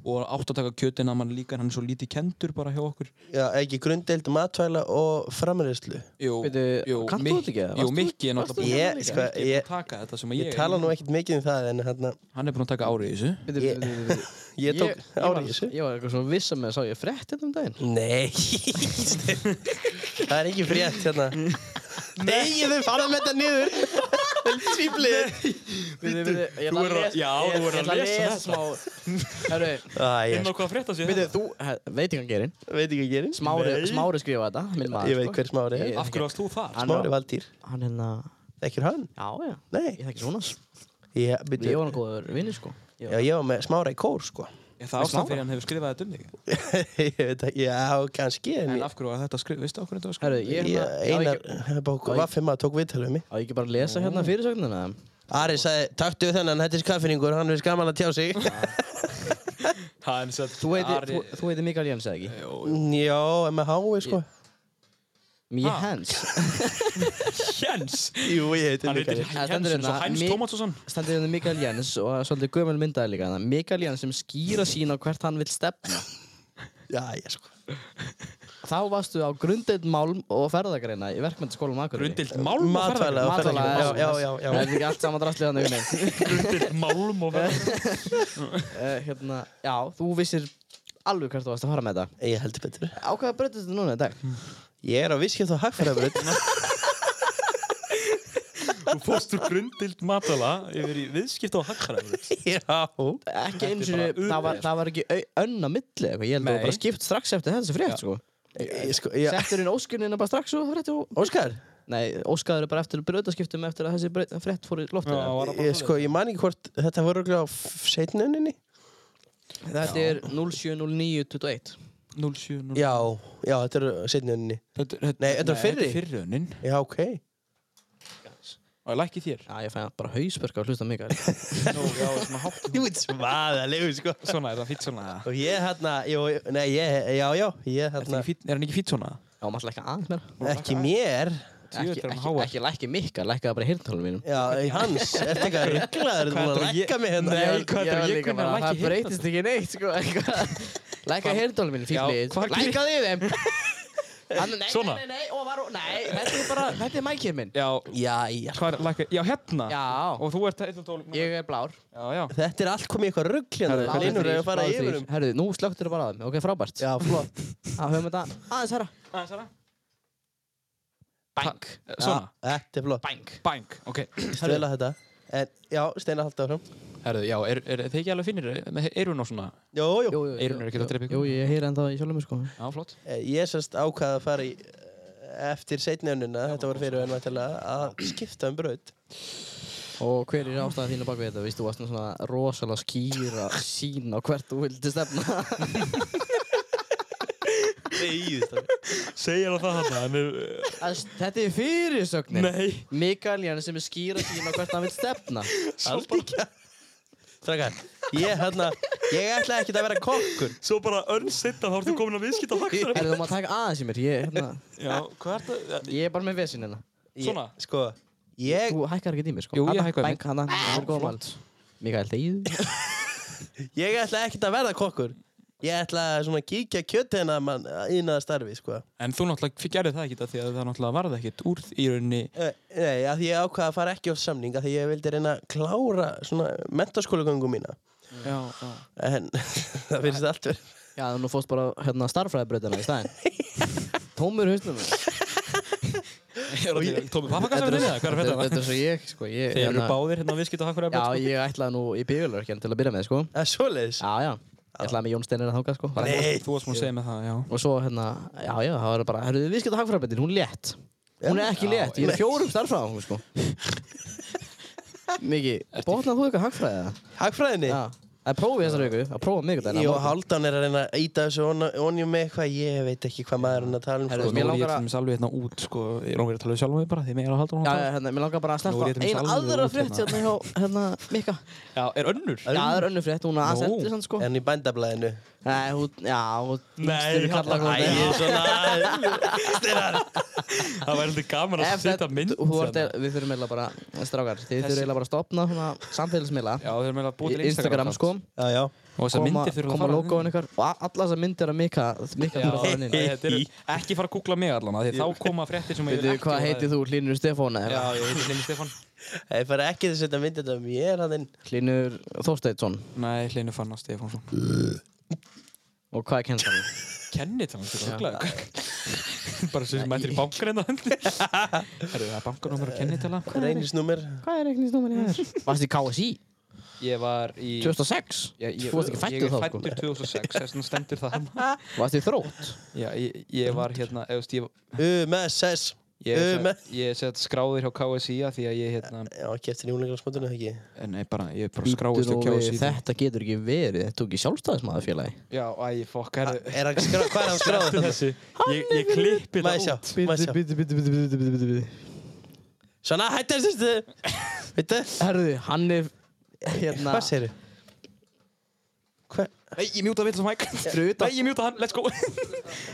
S1: og átt að taka kjötin að mann líka hann er svo lítið kendur bara hjá okkur
S3: já, ekki grunddeild matvæla og framræðslu.
S1: Jú,
S2: Bíddu, kannt
S1: Mik-
S2: þú þetta ekki eða?
S1: Jú,
S2: Varst þú-
S1: Mikki er
S2: varst þú
S1: náttúrulega
S3: Ég,
S1: Mikki
S3: sko,
S1: er búinn
S3: ég,
S1: að taka þetta sem ég,
S3: ég tala nú ekkert mikið um það, en hérna,
S1: Hann er búinn að taka árið í þessu
S2: Bíddu,
S3: Ég-
S2: bíddu, bíddu, bíddu.
S3: ég tók
S2: ég var-
S3: árið í þessu.
S2: Ég var eitthvað svona vissa með að sá ég frétt hérna um daginn
S3: Nei, Steinn. það er ekki frétt hérna. Nei, þau fara með þetta niður. Svíblið.
S2: Bíddu, bíddu, ég ætla
S1: þú er að-
S2: les-
S1: já,
S2: ég-
S1: þú er
S2: ég
S1: að
S2: ætla
S1: lesa þetta.
S2: smá- Herru,
S3: Æ, ég
S1: Inn á hvað frétta sér
S2: bíddu, þú he- veit ekki hvað gerir
S3: veit ekki hvað gerir.
S2: Smári, smári skrifa þetta, minn maður
S3: Ég veit hver smári er.
S2: Ég-
S1: Af hverju varst þú þar?
S2: Hann-
S3: Smári Valdýr.
S2: Hann hérna,
S3: Þekkir hann?
S2: já, já
S3: Nei.
S2: Ég þekki svona
S3: Ég,
S2: Ég
S3: byrju,
S2: var hann góður vinni sko Ég
S3: já, ég var með smára í kór, sko.
S1: Er það ástæðan fyrir hann hefur skrifað þetta um þig?
S3: ég veit ekki, já, kannski. En
S1: En
S3: ég,
S1: af hverju var þetta skrif, veistu af hverju þetta var
S2: Herru,
S1: skrifað?
S2: ég
S3: ég,
S2: hérna, já,
S3: einar,
S2: ég,
S3: bóku, vaffið maður tók viðtalið um mig.
S2: á ég ekki bara að lesa hérna fyrirsögnina?
S3: Ari sagði, taktu þennan, þetta er skaffinningur, hann er skaman að tjá sig.
S1: Hann satt
S2: Þú heitir,
S1: Ari-
S2: þú, þú heitir Mikael Jens, eða ekki?
S3: já, með hái, sko.
S2: Mikael Jens.
S1: Jens
S3: Jú, ég heiti
S1: Hann heitir
S3: Mikael.
S2: Það stendur
S1: Jens eins og
S2: hérna,
S1: Heinz
S2: Mi-
S1: Tómasson
S2: Stendur hérna Mikael Jens og það er svolítið gömul myndaði líka hérna. Mikael Jens sem skýra sín á hvert hann vil stefna.
S3: Já, ég, sko.
S2: Þá varstu á grundild málm og ferðagreina í verkmyndaskólum Akureyri.
S1: Grundild Málm og
S3: Matvæla og
S2: Matvæla,
S3: ferðagreina. Já, já, já, já.
S2: Það er ekki allt saman drastlið hann einhvern veginn.
S1: ferðagjöf. Grundild Málm og ferðagjöf.
S2: Eh, hérna, já, þú vissir alveg hvert þú varst að fara með þetta.
S3: Ég heldur betur.
S2: Á hvaða breytist þetta núna í dag?
S3: Ég er á visskjöld og hagfærabröð.
S1: Þú fórst úr grundild matala yfir í viðskipt og hagfræði
S3: Já.
S2: Ekki eins og
S1: bara
S2: það var, það var ekki au- önn á milli eitthvað. Ég held að það
S1: Nei.
S2: var bara skipt strax eftir þessi frétt, sko.
S3: Ég, sko, já.
S2: Settur inn óskunina bara strax og frétt og
S3: Óskar,
S2: Nei, óskaður er bara eftir brautaskiptum eftir að þessi braut- frétt fór í loftinu.
S3: ég, sko, ég man ekki hvort þetta voru örugglega á seitinunni.
S2: Þetta er 070921.
S1: 07
S3: Já, já, þetta eru seitinunni.
S1: Þetta, þetta,
S3: Nei, þetta er fyrri.
S1: fyrrunin
S3: Já, ok.
S1: Og ég lækki þér
S2: Já, ég fæði bara hausverk að hlusta mikið.
S1: Nú, já, svona hátt
S3: Þú ert svaðalegu, sko.
S1: Svona, er hann fýtt svona
S3: Og ég hérna, jú, nei, ég, já, já, ég
S1: Er,
S3: hérna,
S1: fýt, er hann ekki fýtt svona?
S2: Já, maður lækka aðeins mér.
S3: ekki mér.
S1: Djöfull er
S2: Ekki,
S1: hann
S2: ekki,
S1: háar.
S2: ekki lækka mikka, lækka það bara í hirtálum mínum.
S3: Já, í hans, eftir eitthvað rugglaður, þú búin að
S1: Hvað,
S3: lækka mig hérna.
S1: Nei,
S2: Ég-
S1: hvað
S2: ég
S1: þetta er
S2: var
S1: ég
S2: líka
S1: kunni að
S2: bara,
S1: lækka í
S2: Það breytist ekki neitt, sko. eitthvað. Lækka hirtálum mínum,
S1: Já,
S2: fíflið.
S1: hvað gerir-
S2: Lækka þið þeim. Hann, nei,
S1: Svona.
S2: nei, nei, nei, og var, nei, þetta er bara, þetta er mækið minn.
S1: Já,
S3: Já, já.
S1: hvað er lækki? Já, hérna
S2: Já,
S1: Og þú ert 112
S2: ég er blár.
S1: Já, já
S3: Þetta er allt komið í eitthvað rugg hérna.
S2: Blár
S3: Linur
S2: þrír,
S3: eru að fara
S2: blár
S3: yfir
S2: þrír.
S3: um.
S2: Herðu, nú slökktur bara á þeim, ok, frábært.
S3: Já, flott.
S2: Það höfum þetta aðeins herra.
S1: Aðeins aðra
S2: Bang.
S1: Svona,
S3: Já, Þetta er flott.
S2: Bang.
S1: bang, ok
S3: Stela þetta. En, já, Steinar halda áfram.
S1: Herðu, já, er, er þið ekki alveg finnir með eyrun og svona?
S3: Jú, jú.
S2: Jú, jú,
S1: Eyrun
S2: jú,
S1: er ekkert að
S2: jú,
S1: drepa ykkur.
S2: Jú, ég heyri ennþá í sjálfum mér sko.
S1: Já, flott
S3: Eh, Ég sérst ákvaði að fara í eh, eftir seinniununa, þetta var fyrir enn væntalega, að skipta um braut.
S2: Og hver er ástæðan þínu bak við þetta? Veistu, þú varst nú svona rosalega skýra sín á hvert þú vildi stefna.
S3: Nei, þetta
S1: Segir hann það hann, hann er
S2: Þess- þetta er fyrirsögnin.
S1: Nei.
S2: Mikael Jani sem er skýra sín á hvert hann vil stefna.
S3: allt ekki að... Strakar, ég hérna, ég ætla ekkert að vera kokkur.
S1: Svo bara örn sitta, þá ertu komin að viðskita
S2: Herðu, þú maður taka aðeins í mér. Ég, hérna,
S1: Já, hvað er það?
S2: ég er bara með vesinn hérna.
S3: Ég,
S1: Svona.
S3: Sko, ég,
S2: Þú hækkar ekki í mér sko.
S1: Jú, ég
S2: Hanna,
S1: hækkaði
S2: Bang, hann, hann er góð mál. Mikael, þegið.
S3: ég ætla ekkert að verða kokkur. Ég ætla að svona kíkja kjötina mann inn að starfi, sko.
S1: En þú náttúrulega gerði það ekki því að það náttúrulega varði ekkit úr í rauninni
S3: Eh, Nei, að því ég ákvaða að fara ekki á samning að því ég vildi reyna að klára svona mentaskólagöngu mína.
S1: Já, já
S3: En það finnst allt verið.
S2: Já, nú fórst bara hérna starffræðibrautina í staðinn. Tómur hausnum.
S1: Tómi pappakassa við það, hvað er að fæta
S2: þetta? Þetta
S1: það?
S2: er svo ég, sko. Ég,
S1: Þeir eru
S2: hérna-
S1: báðir hérna á viðskipt og hakkur
S2: Já, ég ætlaði nú í bílurkjan til að byrja með, sko.
S3: Það er Eh, svoleiðis.
S2: Já, já. Ég ætlaði með Jón Steinar að þáka, sko. Bara-
S3: Nei,
S1: Þú varst múin að segja með það, já
S2: Og svo hérna, já, já, það var bara, herruðu, viðskipt og hagfræðibrautin, hún er létt. Hún er ekki létt, ég er fjórum starffræðum, sko. Miki, botnaðu þú eitthvað hagfræðið það?
S3: hagfræðinni.
S2: Já. Það er prófið þessar viku, það er prófið miðvikudaginn.
S3: Ég og Háldan er að reyna að íta þessu onni- onjum með eitthvað, ég veit ekki hvað maður er að tala um.
S2: Herru,
S3: Sko.
S1: Sko,
S2: mér
S1: nú er ég
S2: langar
S1: til
S2: að-
S1: dæmis alveg hérna út, sko, ég er alveg að tala um sjálfum mig bara, því mig er að halda hún
S2: Já,
S1: á
S2: já, hérna, mér langar bara að
S1: Nú er ég
S2: sleppa
S1: til dæmis
S2: eina
S1: alveg
S2: aðra
S1: út
S2: frétt
S1: hérna.
S2: hérna hjá, hérna, Mikka.
S1: Já, er önnur?
S2: Já, það er önnur frétt, hún er aðeins
S1: Nú.
S2: eldri samt sko.
S3: En í bændablaðinu.
S2: Nei, hún, já, hún...
S1: Nei, hérna,
S2: kalla
S1: Halla,
S2: hún
S3: Æ, svona...
S1: Það væri þetta gaman að
S2: Ef
S1: setja
S2: þetta,
S1: mynd
S2: þú vart,
S1: hérna.
S2: við þurfum eiginlega bara, eh, strákar, þið þurfum eiginlega bara að stopna svona samfélagsmiðla,
S1: Já, þeir eru meðlega búið til
S2: Instagram
S1: account.
S2: sko,
S3: Já, já.
S1: Og þessar
S2: koma,
S1: myndir þurfa að
S2: koma
S1: fara
S2: logoinn ykkar og a- allar þessar myndir að Mikka, Mikka
S1: Já,
S2: þurfa að fara hann inn.
S1: þetta eru- ekki fara að googla mig allan af því þá koma fréttir sem ég
S2: Veitu, hvað heitir þú, Hlynur Stefón
S1: Já,
S2: eða?
S1: ég heiti Hlynur Stefán
S3: Ég fara ekki að setja myndið þetta mér að þinn.
S2: Hlynur Þorsteinsson,
S1: Nei, Hlynur Fannar Stefánsson
S2: og hvað er kennslan?
S1: Kennit hann, þetta er glæður Bara sem sem mættir í bankarinn á hendi Herru, það er bankarnúmer og kennitala
S3: Reynisnúmer.
S2: Hvað er reikningsnúmerið hér? Varst í KSI?
S1: Ég var í
S2: 2006?
S1: Ég, ég,
S2: Þú varst ekki
S1: ég
S2: fættur
S1: er
S2: þá sko.
S1: fættur 2006, þess vegna stendur það hann
S2: Varst í þrótt?
S1: Já, ég, ég var hérna, eða þú veist, ég
S3: UMSS.
S1: Ég er
S3: Um,
S1: sett- ég er sett skráður hjá KSI að því að ég hérna,
S3: Já, keftir nýjungleikarsmótinu, ekki?
S1: en Eh, nei bara, ég er bara skráður
S2: Býttu
S1: hjá
S2: nú við,
S1: KSI.
S2: Þetta getur ekki verið, þetta er ekki sjálfstæðismæður félagi
S1: Já, æ, fokk, herðu,
S3: Er hann skráð? Hvað er hann skráð?
S1: skráður þessu, ég, ég klippi
S3: Má ég
S1: það
S3: sjá,
S1: út.
S3: má ég sjá.
S2: Býttu, býttu, býttu, býttu, býttu, býttu, býttu
S3: Svona, hættu þessu. Veitu?
S2: Herðu, hann er hérna
S3: Hvað segir þau? Hvað?
S1: Nei, ég mjúta vitlega mæk.
S2: Fyrir utan-
S1: Nei, ég mjúta hann, let's go.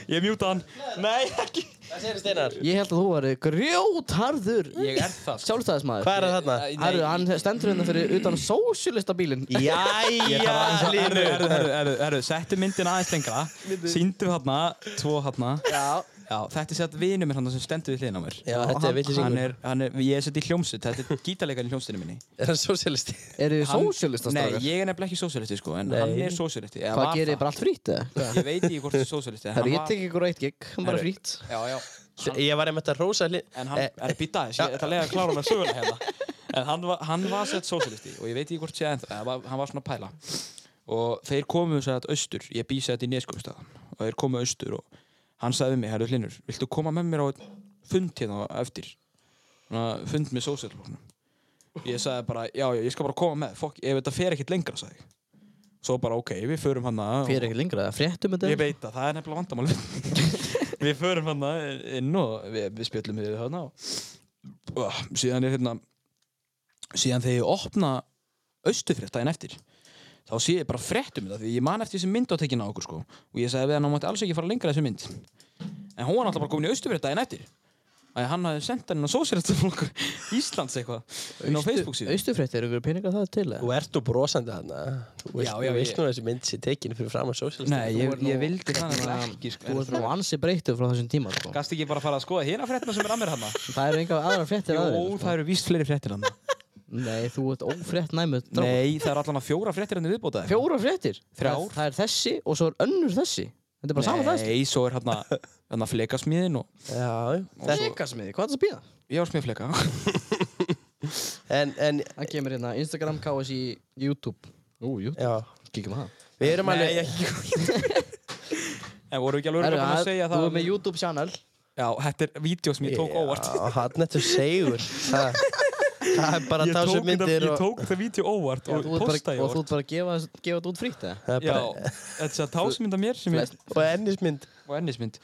S1: ég mjúta hann. Nei, ekki.
S3: Hvað segir þau, Steinar?
S2: Ég held að þú væri grjótharður
S1: Ég er það.
S2: Sjálfstæðismæður
S3: Hvað er það þarna?
S2: Herðu, hann stendur hérna fyrir utan sósjölista bílinn
S3: Jæja,
S1: Herru,
S3: Línur.
S1: herru, herru, herru, herru, settu myndin aðeins lengra, síndu hérna, tvo hérna,
S2: Já
S1: já, þetta er sett vinur mér hérna sem stendur við hliðin á mér.
S3: Já, þetta er
S1: Hann
S3: villisingur.
S1: er, hann er, ég er sett í hljómsut, þetta er gítarleikarinn í hljómsutinu minni.
S3: Er hann sósialisti?
S2: Eru þið
S1: Hann-
S2: sósjölista
S1: Nei,
S2: strákar?
S1: ég er nefnilega ekki sósialisti sko, en
S3: Nei.
S1: hann er sósialisti. eða
S2: Hvað
S1: var
S2: gerir
S1: það.
S2: þið bara allt frýtt eða?
S1: Ég veit ekki hvort það er sósialisti. en
S2: Herru,
S1: hann
S2: ég
S1: var-
S2: tek ykkur eitt gig, hann bara
S1: Herru.
S2: frýtt
S1: Já, já. Hann,
S3: Ég var einmitt að rósa lí-
S1: en hann,
S3: Eh,
S1: er býta þess, ég ætla að lega að klára hann að sögulega hérna. En hann var, hann var sett sósialisti og ég veit ekki hvort sé ennþá, eða var- hann var svona að pæla. Og þeir komu sér að austur, ég býði sér þetta í Neskjöpstaðan og þeir komu austur og hann sagði við mig, herru Hlinur, viltu koma með mér á einn fund hérna á eftir? Svona fund með sósialflokknum. Ég sagði bara, já, já, ég skal bara koma með, fokk, ef þetta fer ekkert lengra, sagði ég. Svo bara, ok, við förum hann
S2: Fyrir ekki lengra, það fréttum
S1: Ég
S2: þetta
S1: veit að það er nefnilega vandamál Við förum hann inn og við, við spjöllum við hann og og síðan er hérna síðan þegar ég opna austufrétt daginn eftir þá sé ég bara fréttum þetta því ég man eftir þessi mynd átekin á okkur sko og ég sagði við hann að hann mátti alls ekki fara lengra í þessu mynd en hún var náttúrulega bara komin í austufrétt daginn eftir að hann hafði sendt hann inn á sósérastaflokk Íslands eitthvað inn á Facebook síðan
S2: Austufrétt, eru ykkur peningar það til eða?
S3: Þú ert nú brosandi þarna. Þú veist-
S1: Já, já,
S3: þú veist
S1: ég-
S3: nú að þessi mynd sé tekin fyrir fram að sósialisti.
S1: Nei, ég, ég vildi það nefnilega ekki
S2: Þú
S1: sko.
S2: ert nú ansi breyttur frá þessum tíma sko.
S1: Gast ekki bara að fara að skoða hérna fréttina sem er að mér hann
S2: Það eru enga aðra fréttir aðra
S1: Jó, það eru víst fleiri fréttir hann
S2: Nei, þú ert ófrétt næmið
S1: Nei, það eru allan að fjóra fréttir hérna hann viðbóta eða eitthvað.
S2: Fjóra fréttir?
S1: Þrjár.
S2: Það, það er þessi og svo er önnur þessi Þetta er bara saman þessi
S1: Nei, svo er hann að, hann að flekasmiðin og
S3: Já, já. Þetta-
S2: Frekasmiði, hvað er það að býða?
S1: ég var smið fleka
S3: En, en,
S2: Það kemur hérna Instagram, KSI, YouTube Ú, YouTube,
S3: já.
S2: kíkjum að það
S3: Við erum alveg...
S1: En voru ekki alveg
S2: Herru,
S1: örugglega búin að segja
S2: Þú
S1: það
S2: er með YouTube channel
S1: Já, þetta er vídeo sem ég tók óvart
S3: Já, hann eftir segur það, það er bara að
S1: Ég
S3: tá
S1: tók,
S3: sem
S1: þetta,
S3: myndir
S1: ég
S3: og
S1: tók það vídeo óvart
S2: Já,
S1: og
S2: þú ert bara,
S1: postaði
S2: Og þú
S1: óvart
S2: ert bara að gefa, gefa þetta út frítt eða?
S3: það er
S1: Já,
S3: bara-
S1: þetta er tásmynda mér sem ég
S2: Flest-
S3: og ennismynd
S1: og ennismynd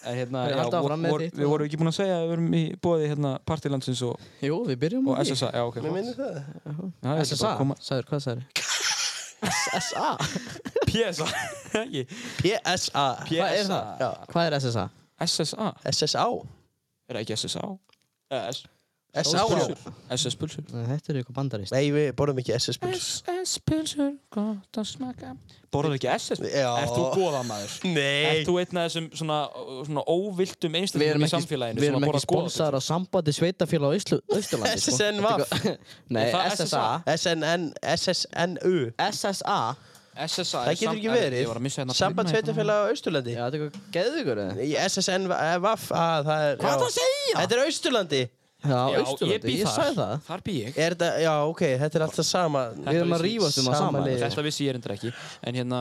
S1: En hérna,
S2: Herru,
S1: já,
S2: haltu áfram með
S1: vor,
S2: þitt.
S1: við vorum ekki búin að segja að við vorum í bóði hérna partilandsins og,
S2: Jú, við byrjum
S1: og
S2: á því.
S1: SSA Já, ok,
S3: Mér
S1: flott.
S3: minnir það
S1: Já, ég ætla bara
S2: SSA,
S1: að koma-
S2: sagður, hvað sagður? SSA?
S1: PSA ekki,
S3: PSA
S2: Hvað er
S1: PSA
S2: það? Hvað er SSA?
S1: SSA,
S3: SSA
S1: er það ekki SSA? Eh, S-
S3: SS pulsur
S1: SS pulsur
S2: Nei, Þetta eru eitthvað bandarist
S3: Nei, við borðum ekki SS pulsur
S1: SS pulsur, gott að smaka Borðar ekki SS?
S3: Já.
S1: Ert þú góða maður?
S3: Nei
S1: Ert þú einn af þessum svona, svona óviltum
S2: Við erum
S1: einstaklingum í
S2: ekki,
S1: samfélaginu
S2: við
S1: sem
S2: erum
S1: að
S2: ekki
S1: borða
S2: sponsar af sambandi sveitafélag á Íslu- Austurlandi sko.
S3: SSNV.
S2: Þetta er eitthvað- Nei,
S1: Er það
S2: SSA
S3: SNN SSNU
S2: SSA
S1: góðabit? SSA
S3: Það getur ekki
S1: Ég var að missa
S3: verið
S1: hérna
S3: Samband sveitafélag á Austurlandi
S2: Já, þetta er eitthvað geðugur eða?
S3: Í SSNV að eh, ah, það er
S2: Hvað
S3: já.
S2: ertu að segja?
S3: Þetta er Austurlandi
S2: Já,
S1: Já, ég
S2: Austurlandi,
S1: býð
S2: ég sagði það
S1: Þar býð ég
S3: Er þetta, já ok, þetta er alltaf sama
S1: Þetta
S2: Við erum að
S1: vissi-
S2: rífast um að
S3: sama
S2: saman
S3: lið.
S2: lið.
S1: Þetta vissi ég reyndar ekki En hérna,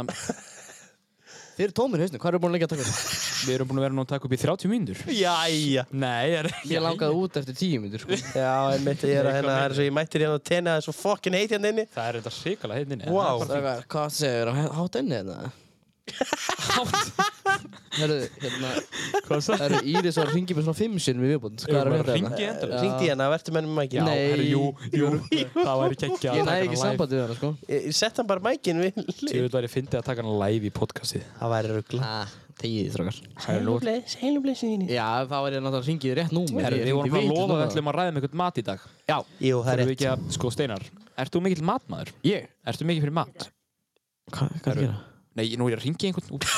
S2: Þið eru tómir í hausnum, hvað eru búin að leggja að taka þetta?
S1: við erum búin að vera nú að taka upp í 30 mínútur
S3: Jæja
S1: Nei, er ekki
S2: Ég langaði út eftir tíu myndir sko.
S3: Já, ég mitt, ég er að hérna, það er svo ég mættir hérna og tena það er svo fokkin heitt hérna inni
S1: Það er þetta hrikalega heitinni
S3: Wow.
S2: Það er eitthvað, Hvað segir það? Hátt enni þetta? Hörru, hérna
S1: Hvað
S2: Það eru Íris og ringið mér svona fimm sinnum í viðbúnd Hvað er að
S1: Eigum við að hringi
S2: hérna hérna?
S1: í endalaust?
S2: Já.
S3: Ringdi hérna, verður mennum mækin
S2: Nei.
S1: Herru, jú, jú, það væri geggja
S2: Ég næði ekki sambandi við hana sko
S3: Ég sett hann bara mækin við
S1: Þú veit að ég fyndi að taka hana live í podcastið
S3: Það væri ruggla
S2: Tegið þrókar
S3: Heilum blessinginni
S2: Já, þá var ég náttúrulega ringið í rétt númer
S1: Herru,
S2: Ég
S1: við vorum
S2: hringi
S1: bara að lofa að við
S2: vitlaust núna.
S1: ætlum að ræða með einhvern mat í dag Já,
S3: Jú, það
S1: þurfum
S3: er
S1: við
S3: rétt
S1: ekki að, sko Steinar Ert þú mikill matmaður?
S2: Ég?
S1: Ertu mikið fyrir mat?
S2: Hvað hvað er að
S1: Herru,
S2: gera?
S1: Nei, nú er ég að ringja einhvern Úps.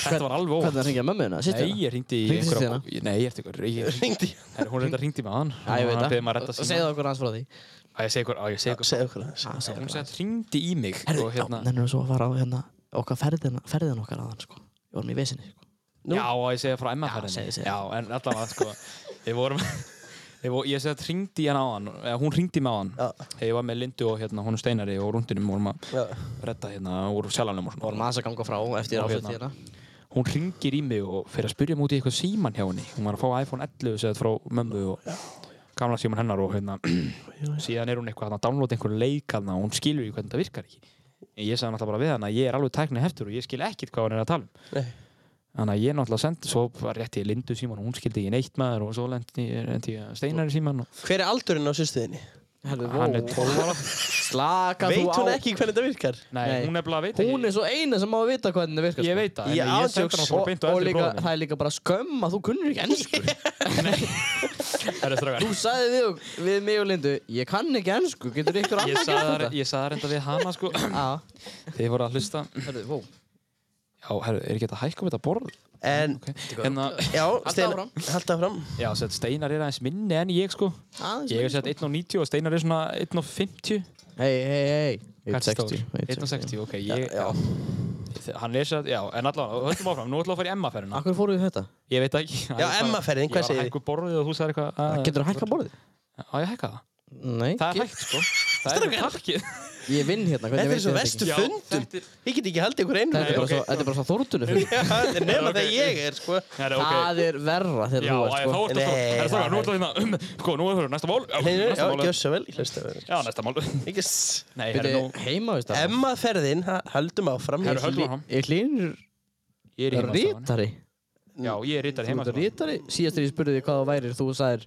S1: Þetta var alveg
S2: Hvernig
S1: óvart
S2: er að ringja mömmu hérna? Sýttu
S1: Nei,
S2: hérna?
S1: ég ringdi í
S2: Hringdi
S1: einhverja Nei, ég ertu ykkur
S3: Ringdi
S1: Herru, hún reynda ringdi með hann
S2: Já, ég veit
S1: Hann
S2: það
S1: beðið maður að redda
S2: Og
S1: síma
S2: Segðu okkur hans frá því
S1: Á, ég segi ykkur, á, ég segi ykkur
S3: Segðu okkur það
S2: Segðu
S1: Hún
S2: okkur
S1: sagði, ringdi í mig
S2: Herru,
S1: og
S2: já,
S1: hérna
S2: nennir svo að fara á hérna okkar ferðina, ferðina okkar aðan sko Við vorum í vesinni sko
S3: Nú?
S1: Já, og ég segja frá
S2: Já, segðu,
S1: MF-ferðinni
S2: segðu.
S1: Já, en allavega, sko Við vorum Ég, vor, ég segði að hringdi í hann á hann, eða hún hringdi mig á hann
S3: Já.
S1: Ég var með Lindu og hérna, hún Steinari og rundinum vorum að
S3: Já.
S1: redda hérna úr sjalanum og svona
S2: Vorum aðeins að ganga frá eftir
S1: Og
S2: áfætt
S1: hérna.
S2: hérna
S1: hún ringir í mig og fyrir að spyrja mútið eitthvað síman hjá henni hún var að fá iPhone 11 segðið frá mömmu og gamla síman hennar og hérna síðan er hún eitthvað að downloada einhver leik hana og hún skilur í hvernig þetta virkar ekki en ég sagði náttúrulega bara við hana ég er alveg tæknið heftur og ég skil ekkit hvað hún er að tala um
S3: Nei.
S1: þannig að ég náttúrulega sendi svo var rétti ég lindu síman og hún skildi ég neitt maður og svo lendi lendi ég steinar í síman og
S3: Hver er aldurinn á sýstuðinni?
S2: Herru,
S1: hann er
S2: vó.
S1: 12 ára
S2: Slaka þú
S3: Veit
S2: á
S3: hún ekki hvernig þetta virkar?
S1: nei,
S2: Nei.
S1: hún er bara að veit
S2: Hún er svo eina sem má að vita hvernig það virkar
S1: ég veit það en
S3: Ég
S1: ég sendi
S3: ándjóks.
S1: hana
S2: sko.
S1: bara beint á
S2: og
S1: eldri
S2: líka,
S1: bróður
S2: það er líka bara skömm að þú kunnir ekki ennsku
S1: minn Herru, strákar.
S2: Þú sagði við, ok- við mig og Lindu Ég kann ekki ennsku, getur ykkur
S1: Ég
S2: annar
S1: sagði það re- ég sagði það reynda við hana sko
S2: Já,
S1: Þið voru að hlusta
S2: hörru, vó
S1: Já, herru, er ekki hægt að hækka um þetta borð?
S3: En,
S1: Okay. Hérna,
S3: já, Steinar
S2: áfram.
S3: Halda áfram
S1: já, sett, Steinar er aðeins minni en ég sko Ég er sett 1.90 og Steinar er svona 1.50
S2: Hei, hei, hei
S1: Hvað er stór?
S2: 160,
S1: 1.60, ok ég, já, Hann er sett, já, en allavega, höldum áfram Nú ætlum við að fara í Emma-ferðina
S2: Akkur fóruðu þetta?
S1: Ég veit það ekki hann
S3: Já,
S1: er bara-
S3: Emma-ferðin,
S1: Ég
S3: hvað
S1: var
S3: segir
S1: að hækka upp borðið og þú sagði eitthvað að-
S2: Ah, Getur þú hækka borðið?
S1: Á, ég að hækka það
S2: Nei
S1: Það er hægt sko Það er takkið
S2: Ég vinn hérna,
S3: Þetta
S2: hvernig
S3: er svo
S2: þið
S3: vestu
S2: ekki?
S1: Já,
S3: fundum
S1: þetta er-
S3: Ég get ekki haldið ykkur einu
S2: Þetta er bara
S1: Nei,
S2: svo,
S1: ok.
S2: þetta er bara svo þórtunum
S3: Þetta er nema
S1: Ok.
S3: þegar ég er, sko
S1: Herru, ok
S2: Það er verra
S1: Já,
S2: þegar þú
S1: æ, þá
S2: ert sko
S1: ertu að
S3: Nei,
S1: Herru, strákar, nú
S3: það
S1: ætlum við hérna Sko, nú erum við næsta mál Já,
S3: Nei, já,
S1: næsta mál er-
S3: gjössu vel, ég hlusta vel
S1: Já, næsta mál
S3: Ekki s-
S1: Nei, herru,
S2: Byrju,
S1: nú
S2: Heima, veist það
S3: Emma ferðin, ha- höldum áfram
S1: Herru, höldum áfram.
S2: Ég hlýnur
S1: Ég er í heimastofunni.
S2: rítari
S1: Já, ég er rítar
S2: Þú ert
S1: heima
S2: rítari Síðast þegar ég spurði þig hvað þú værir Þú sagðir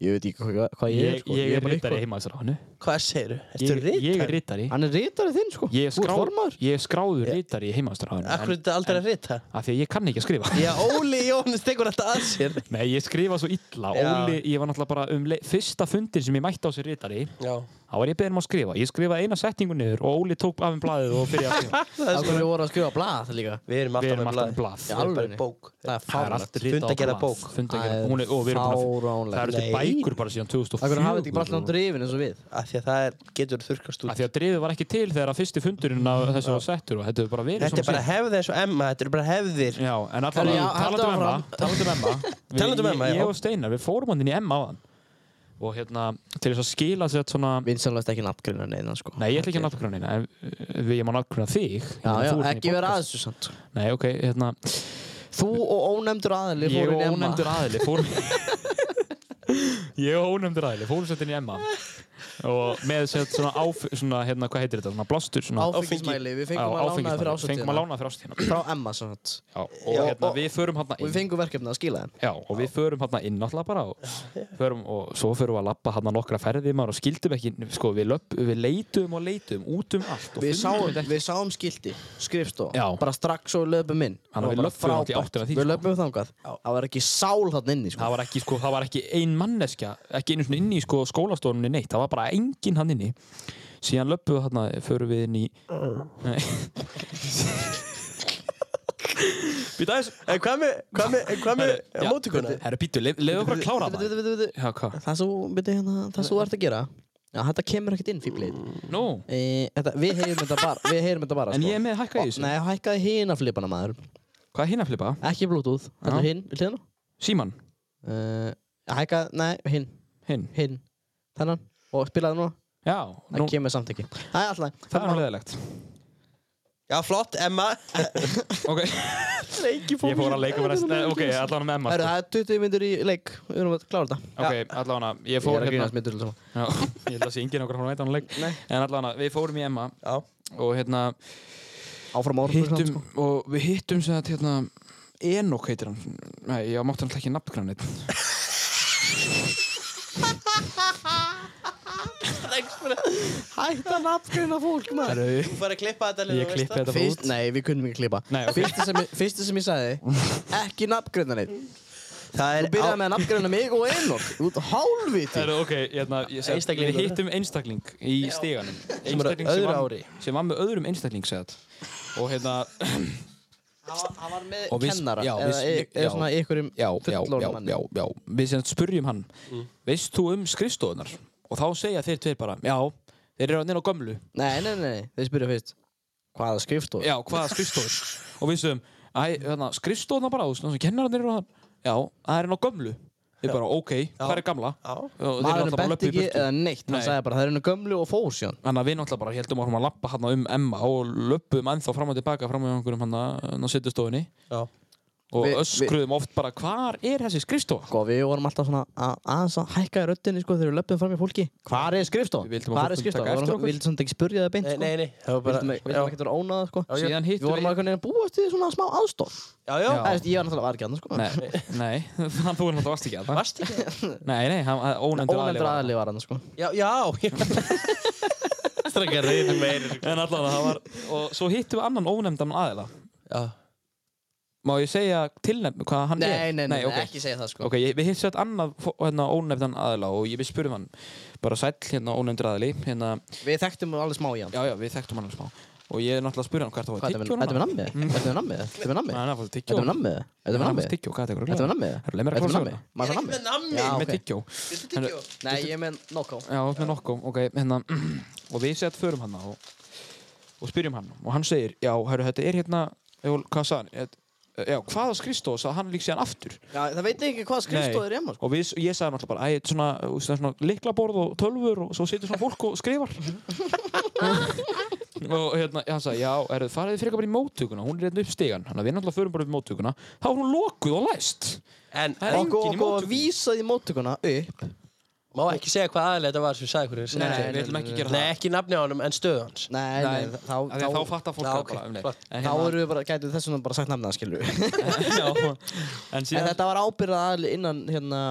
S2: Ég veit ekki hvað, hvað ég er
S1: Ég,
S2: sko
S1: ég er
S2: bara
S1: rítari
S2: eitthvað."
S1: heima þessar hannu
S3: Hvað segirðu? Ertu
S1: ég,
S3: ritari?
S1: ég er rítari
S2: Hann er rítari þinn sko
S1: Ég er,
S2: Þú ert
S1: skráð,
S2: formaður
S1: ég er skráður rítari í heimastrafinu
S3: Akkur er þetta aldrei að rita?
S1: Af því að ég kann ekki að skrifa
S3: Já, Óli Jóhannes tekur þetta að sér
S1: Nei, ég skrifa svo illa
S3: Já.
S1: Óli, ég var náttúrulega bara um le- fyrsta fundin sem ég mætti á sér rítari
S3: Já
S1: Þá var ég beðin um að skrifa Ég skrifaði eina setningu niður og Óli tók af um blaðið og fyrir að skrifa
S3: Það er
S2: Af
S3: sko
S2: hverju voru að skrifa blað líka
S3: Við
S1: Við
S3: erum alltaf
S1: erum
S3: með
S1: alltaf með
S3: blað
S1: blað
S2: Já,
S3: Við erum bara
S2: alveg.
S3: í bók
S2: Það er
S1: Það er
S2: fáránlegt
S1: allt ritað á
S3: Fundagerða
S1: blað.
S3: bók.
S1: Fundagerða- hún er- og við erum búin að- Það
S2: Fáránlegt
S1: eru til
S3: Nei.
S1: bækur bara síðan
S2: Af hverju hafið þið ekki
S1: 2004
S2: bara alltaf drifin eins og við
S3: Af því að það er, getur þurrkast
S1: Af
S3: út
S1: því að drifið var ekki til þegar að fyrsti fundurinn af þessu var settur og þetta hefur bara verið
S3: Þetta
S1: svona
S3: er bara
S1: síðan.
S3: hefð eins og Emma, þetta eru bara hefðir
S1: Já, en
S2: Herru, já,
S1: allavega,
S2: haltu
S1: talandum um Emma Talandum
S2: áfram.
S1: Emma við-
S3: Talandi um Emma,
S1: ég-
S3: já.
S1: Ég og Steinar, við fórum hann inn í Emma á Og hérna, til þess að skila sér svona
S2: Vinsanlegast ekki nafngrunna neina sko
S1: Nei, ég ætla ekki að náttúrulega neina, en uh, við ég má náttúrulega þig. Ég
S2: Já,
S1: meina,
S2: já,
S1: þú ert inn í
S2: ekki vera
S1: podcast.
S2: aðeins þú sant
S1: Nei, ok, hérna,
S2: sko. Þú og ónefndur aðli
S1: ég
S2: fóru
S1: og
S2: nema
S1: ónefndur aðili fórum... ég og ónefndur aðili fórum sett inn í Emma. og með sett svona, áf, svona hérna, hvað heitir þetta, svona blástur svona,
S2: Áfengismæli, við fengum
S1: Já,
S2: að lána það fyrir
S1: áfengismæli. fengum að
S2: ásatíðina.
S1: lána það fyrir ástíðina
S2: Frá Emma, sem sagt.
S1: Já, og
S3: Já,
S1: hérna,
S3: og-
S1: við förum hérna
S2: Og við
S1: inn
S2: fengum verkefni að skila þeim.
S1: Já, og við förum hérna inn náttúrulega bara og, förum, og svo förum við að labba hérna nokkra ferðir maður og skildum ekki, sko, við, löp, við leitum og leitum út um allt og
S2: Við
S1: fundum
S2: sáum,
S1: þetta ekki.
S2: við sáum skildi, skrifstof,
S1: Já.
S2: bara strax og við löpum inn.
S1: Þannig að
S2: Það
S1: við löbbuðum allt í áttina að
S2: var frábært.
S1: því,
S2: Við
S1: sko.
S2: löpum þangað. Það var ekki sál þarna inni, sko.
S1: það var ekki, sko, það var ekki ein manneskja ekki einu svona inn í sko, skólastofunni neitt það var bara enginn hann inni síðan löppuðu þarna, förum við inn í
S2: Mm.
S1: Nei Býta aðeins
S3: En Eh, hvað með, hvað með, en hvað með
S1: Já,
S3: mótíkuna?
S1: Herru, býtu, leiðu bara að klára
S2: Bíddu,
S1: það
S2: bíddu, bíddu, bíddu.
S1: Já, hvað?
S2: Það sem þú- bíddu, hérna, það sem þú ert að gera, já, þetta kemur ekkert inn, fíblið.
S1: Nú,
S2: E, þetta, við heyrum þetta bara, við heyrum þetta bara,
S1: Mm.
S2: sko.
S1: en ég er með að hækka í þessu
S2: Nei, hækkaði hina flipana, maður.
S1: Hvað er hinn að flipa?
S2: Ekki bluetooth,
S1: Já.
S2: þetta er hinn, við hliðina.
S1: Síman,
S2: Uh, hækkaði, nei, hinn,
S1: hinn
S2: hinn, þennan. Og spilaði núna,
S1: Já,
S2: það
S1: nú,
S2: kemur samt ekki. Það er alltaf,
S1: það er nú leðilegt
S3: Já, flott, Emma.
S1: Ok,
S2: leiki
S1: ég fór að leika með það Ok, allan með Emma
S2: Herru,
S1: sko.
S2: það er 20 myndir í leik, við erum að klára þetta.
S1: Ok, allan ég
S2: Ég
S1: fór
S2: er að
S1: hérna
S2: grínast myndir til saman.
S1: Já, Ég held að sé enginn okkur frá mætan leik
S2: Nei.
S1: En allan við fórum í Emma
S3: Já.
S1: og hérna
S2: Áfram ára
S1: hittum, og við hittum sem að hérna, Enok heitir hann Nei, ég mátti hann ekki nafngrann neitt
S2: Hætt að nafngreina fólk maður
S1: Ég
S3: Þú fær að klippa þetta Lilja,
S1: Ég klippi þetta bara
S2: Fyrst,
S1: út
S2: nei, við kunnum ekki klippa
S1: Nei, ok.
S2: Fyrsta sem, ég- fyrsta sem ég sagði Ekki nafngreina neitt
S3: Það
S2: Þú
S3: er
S2: byrjaði með að nafngreina mig og Enok Þú ert hálfviti
S1: Heru, ok, hérna, ég seg,
S3: Einstaklingur.
S1: við hittum einstakling í stíganum
S3: Sem er á
S1: Einstakling
S3: öðru
S1: var-
S3: ári.
S1: sem var með öðrum einstakling segðat. og hérna
S2: Hann var með
S1: Og við-
S2: kennara
S1: já,
S2: Eða
S1: við-
S2: e- eða
S1: já.
S2: svona ykkurum
S1: já, já, já,
S2: fullorðum manni
S1: já, já, við sem sagt spurjum hann veist þú um skrifstofunar og þá segja þeir tveir bara já, þeir eru hann á gömlu
S2: Nei, nei, nei, nei, þeir spyrja fyrst Hvaða skrifstof?
S1: já, hvaða skrifstofur og við sem, æ, hérna, skrifstofunar bara þú veist, kennararnir eru hann já, það er hann á gömlu þeir bara, ok, hvað er gamla
S3: Já.
S1: Og þeir eru
S2: Maðurinn
S1: náttúrulega bara
S2: bent
S1: löbbuðu í
S2: ekki
S1: burtu.
S2: eða neitt Hann
S1: Nei.
S2: sagði bara, það er hennu gömlu og fór síðan
S1: Þannig að við náttúrulega bara heldum áfram að lappa hann um Emma og löpum ennþá fram og tilbaka fram með einhverjum hann á setjastofunni
S3: Já.
S1: og
S2: Við-
S1: öskruðum oft bara hvar er þessi skrifstofa?
S2: Sko, við vorum alltaf svona að aðeins að hækka í röddinni sko þegar við löpum fram í fólki. Hvar er skrifstofan?
S1: Við vildum að
S2: Hvar
S1: fólk
S2: er
S1: myndi taka
S2: skrifstofan? Við
S1: eftir okkur.
S2: vorum- við vildum samt ekki spyrja það beint
S3: Nei,
S2: sko.
S3: nei, nei. Það var bara...
S2: Vildum ekki
S3: já.
S2: vera ónáða sko.
S1: já. Síðan hittum
S2: Við vorum
S1: við-
S2: að kunna búast við svona smá aðstof.
S3: Já, já.
S1: Já.
S2: Það er ég var náttúrulega var ekki annars sko.
S1: Nei, nei, hann þú er náttúrulega varst ekki að það
S3: Varst ekki?
S1: Nei, nei, hann ónefndur aðli
S2: Ónefndur
S1: var
S2: aðli var annars sko.
S3: Já, já. Strengar reyðum meir.
S1: En allan það var, og svo hittum við annan ónefndan aðila
S3: Já.
S1: Má ég segja tilnefn hvað hann er?
S2: Nei, nei, nei,
S1: ok.
S2: ekki segja það sko.
S1: Ok, ég, við hittum þetta annað fó- hérna, ónefndan aðila og ég, við spurum hann bara sæll hérna ónefndur aðili hérna,
S2: Við þekktum alveg smá í hann.
S1: já, já, við þekktum hann alveg smá og ég er náttúrulega að spura hann hvert það
S2: Hvað,
S1: var
S2: þetta er með- þetta er með nammið? Þetta er með nammið? Þetta er með nammið?
S1: Nei, hann er fólk tyggjó.
S2: Þetta er með nammið? Þetta
S1: Hann er fólk tyggjó, hvað er þetta? Herru, leið mér
S2: er með nammið? Þetta er með nammið?
S1: að klára
S2: Þetta er með
S1: söguna.
S2: nammið? Maður er
S3: Ekki
S2: með
S3: með nammi.
S2: Já.
S1: Ég er með
S2: ok.
S1: tyggjó.
S3: Viltu tyggjó?
S2: Nei, ég er með Nokko.
S1: Já, með nokku. Ok, hérna. Og við sett förum hann og, og spyrjum hann. Og hann segir, já, herru, þetta er hérna, jú, hvað sagði hann? Eh, Já, hvaða skrifstof, sagði hann líka síðan aftur.
S2: Já, það veit ekki hvað skrifstofa er hjá sko.
S1: Og við, ég sagði náttúrulega bara, æ, þetta er svona, þú veist, það er svona liklaborð og tölfur og svo situr svona fólk og skrifar. og hérna, hann sagði, já, herru, farið þið frekar bara í móttökuna, hún er hérna upp stigan. Þannig að við náttúrulega förum bara upp í móttökuna. Þá er hún lokuð og læst.
S3: En,
S1: Það er
S3: en,
S1: engin í
S2: Okkur okkur var
S1: móttökunni.
S2: vísað í móttökuna upp.
S3: má ekki segja hvað aðlega þetta var sem við sagði hverju.
S1: Nei,
S2: nei,
S1: við ætlum
S2: nei,
S1: ekki
S2: nei,
S1: að gera
S3: Nei,
S1: það.
S3: ekki nafni á honum, en stöðu hans.
S2: Nei, nei,
S1: Nei,
S2: þá,
S1: Af því að þá fattar fólk
S3: Já,
S1: það
S3: ok,
S1: bara um leið.
S3: flott.
S1: En
S2: Þá
S1: hérna-
S2: erum við bara, gætum við þess vegna bara sagt nafna, skilur við.
S1: Já, en
S2: En
S1: síðan,
S2: þetta var ábyrðað aðli innan hérna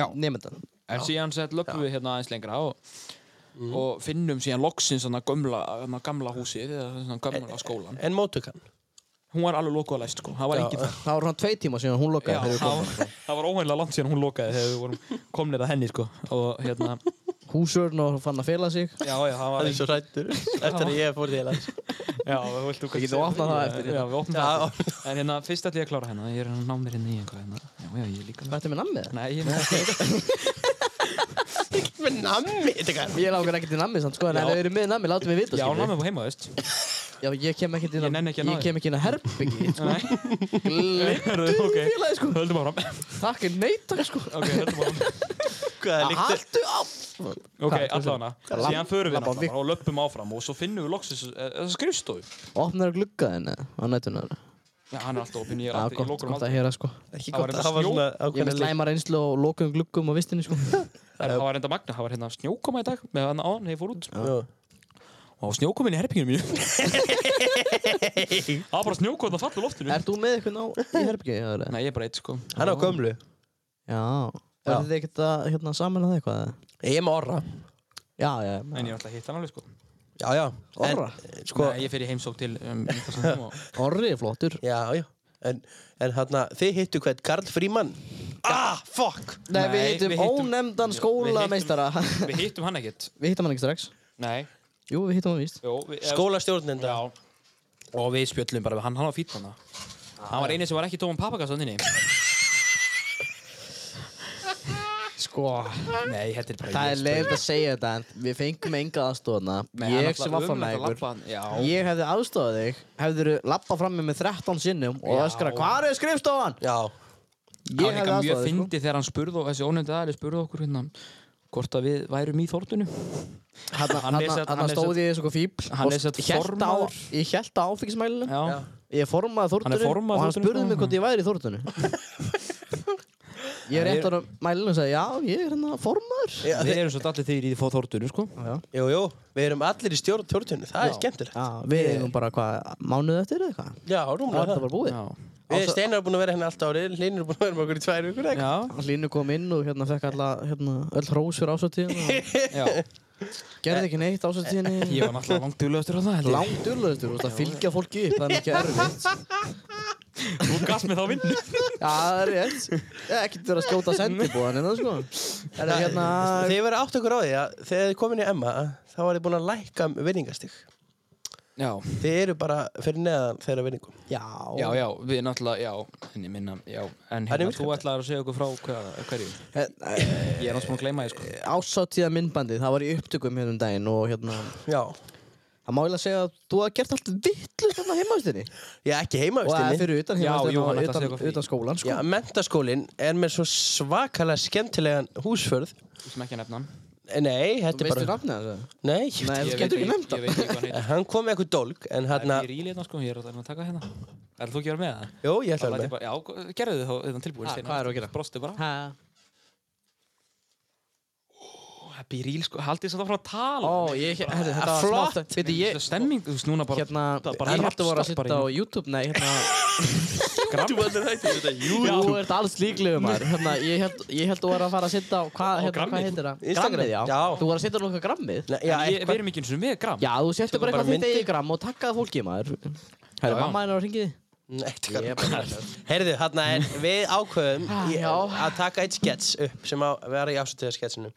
S1: Já.
S2: nefndan.
S1: en síðan sett löpum við hérna aðeins lengra og, og finnum síðan loksins svona gömla, hana gamla húsið eða svona gamla skólan.
S3: En móttökan.
S1: Hún var alveg lokuð að læst, sko. Það var enginn þar.
S2: Það var svona tvei tíma síðan hún
S1: Já,
S2: lokaði þegar við
S1: það
S2: komum.
S1: var, það var óhænlega langt síðan hún lokaði þegar við vorum komnir að henni, sko. Og hérna,
S2: Húsvörn og fann að fela sig.
S1: já, já, það
S3: Það
S1: var
S3: er svo rættur. Eftir að ég fór til hans.
S1: Já, við viltum kannski...
S2: getum opnað það eftir,
S1: Já,
S2: hérna.
S1: við opnum það eftir. En hérna, fyrst ætlum ég að klára hérna. Ég er að ná mér hérna í einhvað hérna. Já, já, ég er líka með.
S2: Þetta er með nammið.
S1: Nei, ég er með.
S3: Með nammi. Þetta er hvað?
S2: Ég lágar ekkert í nammið samt sko, en
S1: Já.
S2: ef við erum með nammið, látum við vita
S1: Já,
S2: skilur
S1: ná
S2: við.
S1: mér heima, veist.
S2: Já, ég kem ekkert
S1: Ég
S2: inn
S1: nenni
S2: á-
S1: ekki að ná
S2: ég
S1: þér.
S2: kem ekki inn á herbyggi.
S1: Nei,
S2: Glimtu
S1: ok.
S2: félagi sko.
S1: höldum áfram.
S2: Takk er neitt sko.
S1: Ok, höldum áfram.
S3: Það er líkt.
S2: Haldu á.
S1: Ok,
S2: Hvað, hvað
S1: allavega
S2: er það?
S1: Síðan förum við
S2: Labba á
S1: náttúrulega bara og löpum áfram og svo finnum við loksins eh, þessa skrifstofu.
S2: Opnar að glugga þenni á nætunar.
S1: Já, hann er alltaf opinn, ég er
S2: Já,
S1: alltaf, ég
S2: gott,
S1: lókur hann
S2: gott að
S1: aldrei.
S2: heyra sko.
S3: Ekki
S1: Það var
S3: gott
S1: reyndar
S3: að hafa
S1: snjó.
S3: svona
S2: Ég er
S3: ákveðna
S2: með
S3: slíkt.
S2: slæma reynslu og lokum gluggum á vistinni sko.
S1: Það það var enda magna, það var hérna snjókoma í dag með hann án, þegar ég fór út
S3: Já.
S1: og það var snjókomin í herpinginu mínu Það var bara snjókoma að falla úr loftinu
S2: Er þú með eitthvað ná í herbyggju? Já, eða?
S1: Nei, ég er bara eitt sko
S3: Hann á gömlu
S2: já. Er þið ekkert að hérna, samanlega það eitthvað? eða?
S3: Ég er með orra
S2: Já, já.
S1: En ég er alltaf að hitta hann alveg sko
S3: Já, já En-
S2: Orra?
S3: Sko,
S1: Nei, ég fer í heimsók til um, Niklas Andróm og-
S2: Orri er flottur.
S3: já, já En, en hérna, þið hittu hvern Karl Frímann Ah, fuck
S2: Nei, við
S1: Nei,
S2: hittum
S1: við hittum-
S2: ónefndan
S1: við hittum-
S2: skólameistara. Við
S1: Við hittum hann ekkert
S2: hittum hann ekki strax.
S1: Nei,
S2: Jú, við hittum hann víst.
S1: jó við,
S3: Skólastjórnenda
S1: Já Og við spjöllum bara við hann, hann var fýtt hann Hann var eini sem var ekki tóman papakassaninni
S2: Sko,
S1: Nei, þetta er bara ég
S2: það er
S1: spurði.
S2: leiðilegt að segja þetta en við fengum enga aðstofna.
S1: Nei, hann
S2: Ég
S1: alltaf
S2: sem var fram með
S1: ömurlegt að
S2: ykkur.
S1: labba hann- Já,
S2: Ég hefði aðstofað þig, hefðir þú lappað fram með mig 13 sinnum og
S1: Já.
S2: öskra Hvar er skrifstofan?
S3: Já,
S1: það var
S2: Ég hefði
S1: líka mjög
S2: aðstofað þig, sko.
S1: fyndi þegar hann spurði og þessi ónefndi aðri spurði okkur hérna hvort að við værum í þórtunum
S2: sko. Hanna,
S1: Hann er
S2: hanna,
S1: satt-
S2: hanna
S1: hann er
S2: stóð ég eins og fíbl
S1: hann er satt
S2: og hélt á,
S1: formaður.
S2: ég hélt á áfengismælunum.
S1: Já,
S2: Ég formaði
S1: Hann er
S2: þórtunum
S1: formaður
S2: og hann
S1: Þórunnar,
S2: spurði
S1: sko.
S2: mig hvort ég væri í þórtunum. ég er rétt ára mælunum og sagði, já, ég er hérna formaður.
S3: já
S1: við
S3: þið,
S1: erum svolítið allir þeir í þórtunum sko
S2: Já,
S3: jú, jú, við erum allir í stjórn tjórnunni, það er skemmtilegt
S2: já, við eigum bara hvað, mánuð eftir eða eitthvað?
S3: Já,
S2: Það
S3: rúmlega
S2: er þetta
S3: það
S2: bara búið.
S1: Já,
S3: Við Steinar er búin að vera henni alltaf árið, Linur er búin að vera með okkur í tvær vikur ekki?
S1: já,
S2: Línu kom inn og hérna fekk alla, hérna, öll hrós fyrir ásatíðinu og
S1: já
S2: gerði ekki neitt ásatíðinu.
S1: Ég var náttúrulega langt duglegastur á það
S2: Langt urlaðistur, þú veist að fylgja fólki upp, það er mikið erfitt.
S1: Þú gafst mig þá vinnu
S2: Já, það er rétt. Ég er ekkert verið að skjóta sendibúðan hérna, sko. Er það hérna...
S3: Þið verið átt okkur á því að þegar þið komin í Emma þá var þið búin að lækka vinningastig
S1: Já,
S3: Þið eru bara fyrir neðan þeirra vinningum
S2: Já.
S1: já, já, við náttúrulega, já En ég minna, já En
S3: er
S1: hérna,
S3: virkilegt.
S1: þú ætlaðir að segja okkur frá hvað, hverju Ég er náttúrulega búin að gleyma því sko
S2: Eh, Ásatíða myndbandið, það var í upptökum hérna um daginn og hérna...
S3: Já,
S2: Það má eiginlega segja að þú hafði gert allt vittlust hérna heimavistinni.
S3: ég er ekki
S2: Og það er
S3: heimavistinni
S2: fyrir utan
S1: Já, jú,
S2: heimavistinni
S1: hann
S2: og
S1: ætlaði að segja
S2: utan,
S1: eitthvað frí.
S2: utan skólan,
S3: Já,
S2: sko.
S3: mentaskólinn er með svo svakalega skemmtilegan húsförð
S1: Þú sem ekki að nefna hann
S3: Nei, þetta er
S2: Veistu
S3: bara
S2: nafnið þessu?
S3: Nei,
S2: Nei,
S3: ég veit
S2: þú
S1: Ég
S2: getur
S1: veit
S2: ekki nefnt
S1: Ég veit ekki hvað hann heitir
S3: ekki Hann kom með eitthvað dólk en
S1: Það
S3: hérna
S1: er fyrir í liðna sko, ég er að reyna að taka hérna Er þú ekki að vera með það?
S3: Jó, ég
S1: Það
S3: ætla
S1: læt
S3: að
S1: ég
S3: vera með
S1: bara, já, gerðu þið þá þetta tilbúin
S2: Ha,
S1: Steinar.
S2: hvað erum við að gera?
S1: Brostu bara
S2: Ha.
S1: Ó, Það býr íl sko, haldið þess að það frá að tala
S2: Ó, ég, herri, þetta var
S3: Flott.
S2: smátt Viti, ég,
S1: Þessi stemming, þú veist, núna bara
S2: hérna,
S1: það er
S2: ég
S1: bara
S2: hætti voru að
S1: rapstar bara
S2: sitta á YouTube Nei, hérna,
S1: Þú verður hægt þetta
S2: þú ert alls líklegur maður Hérna, ég held, ég held þú voru að fara að sitta á, hvað, hérna,
S1: Grammið.
S2: hvað heitir það?
S3: Instagram.
S2: Grammið, já.
S3: Já.
S2: Þú voru að sitta á nokkað grammið
S3: Nei, já,
S1: Já, ég,
S3: eitthvað-
S1: við erum ekki eins og með gram
S2: Já, þú settu bara
S3: bara
S2: eitthvað þitt
S3: myndir.
S2: eigið gramm og takkaði fólki maður
S1: Já,
S2: Herri,
S1: já.
S2: mamma hennar ringiði
S3: Nei, þetta
S2: Ég
S3: er
S2: er bara,
S3: Heyrðu, hérna er við ákveðum
S2: Ah,
S3: í,
S2: já.
S3: að taka eitt skets upp sem að vera í ásatíðasketsinu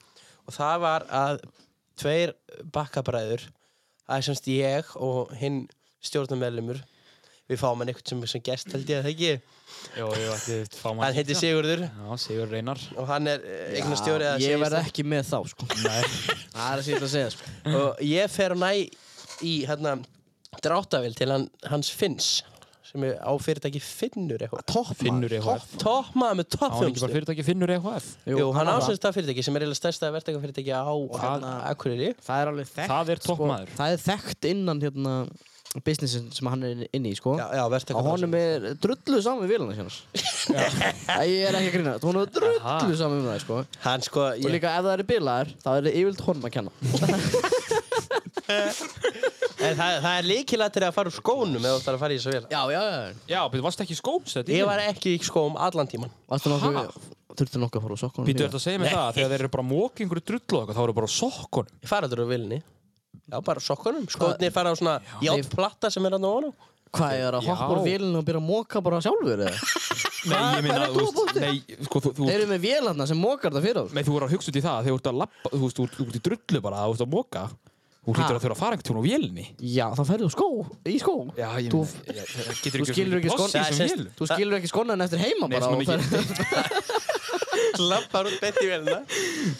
S3: og það var að tveir bakkabræður það er semst ég og hinn stjórnumellumur við fáum hann eitthvað sem, sem gest held ég að það ekki
S1: Jó, ég ætti þetta fá
S3: hann heiti Sigurður
S1: Já, Sigur Reynar
S3: og hann er eitthvað stjóri
S2: Já,
S3: að
S2: ég verð
S3: segja
S2: ekki með þá, sko Það er að sýta að segja, sko
S3: og ég fer og næ í hérna dráttavél til hann, hans Finns sem er á fyrirtæki Finnur eitthvað
S2: Topp,
S1: Finnur EHF
S3: toppmaður
S1: Á hann
S3: með
S1: ekki bara
S3: toppþjónustu
S1: fyrirtæki Finnur E EHF
S3: Jú, hann
S2: á það.
S3: ásynst það fyrirtæki sem er eiginlega stærsta verktakafyrirtæki á hérna, Akureyri
S2: Það er alveg þekkt sko.
S1: Það er toppmaður
S2: Það er þekkt innan hérna businessin sem hann er inn í, sko
S3: Já, já,
S2: Og honum
S3: verktakafyrirtæki
S2: er drullu saman við vélana hérna. Ég er ekki að grína. Honum er drullu
S1: Aha.
S2: saman við það, sko.
S3: Hann sko,
S2: Og
S3: ég,
S2: líka ef það eru bilaðar, þá er það yfirlt honum að kenna.
S3: en það, það er líkilættir að fara úr skónum ef þú ætlar að fara í þessu vel
S2: Já, já, já.
S1: Já, betur, varstu ekki í skóm?
S3: Ég var ekki í skóm allan tíman
S2: Varstu nokkuð,
S1: Ha?
S2: þurftu nokkuð að fara úr sokkunum?
S1: Býtu, ertu að segja mér það að Þegar þeir eru bara mókingur drullu og eitthvað Þá eru bara á sokkunum
S3: Ég fara aldrei úr vilni Já, bara sokkunum Skótnir fara á svona játplata sem er hann á honum
S2: Hvað, ég er að hoppa
S1: Já.
S2: úr vélina og byrja að móka bara sjálfur, eða?
S1: Nei, ég minna,
S2: er
S1: þú
S2: þú
S1: veist Nei, sko, þú- þú
S2: Þeir eru með vélarna sem mókar það fyrir þú.
S1: Nei, þú voru að hugsa út í það að þegar þú ert að lappa, þú veist, þú ert- þú ert í drullu bara, þú ert að moka Þú
S2: Ha.
S1: hlýtur að þurfa að fara einhvern tún á vélni
S2: Já, þá ferðu skó, í skó.
S1: Já, ég
S2: Þú-
S1: meina, ég- það getur
S2: Þú skilur
S1: pláss
S2: ekki
S1: í
S2: skonan,
S1: þessum vélum.
S2: þú skilur ekki skonan eftir heima
S1: Nei,
S2: bara
S1: svona
S2: og ferð-
S3: Lappar út bett í velina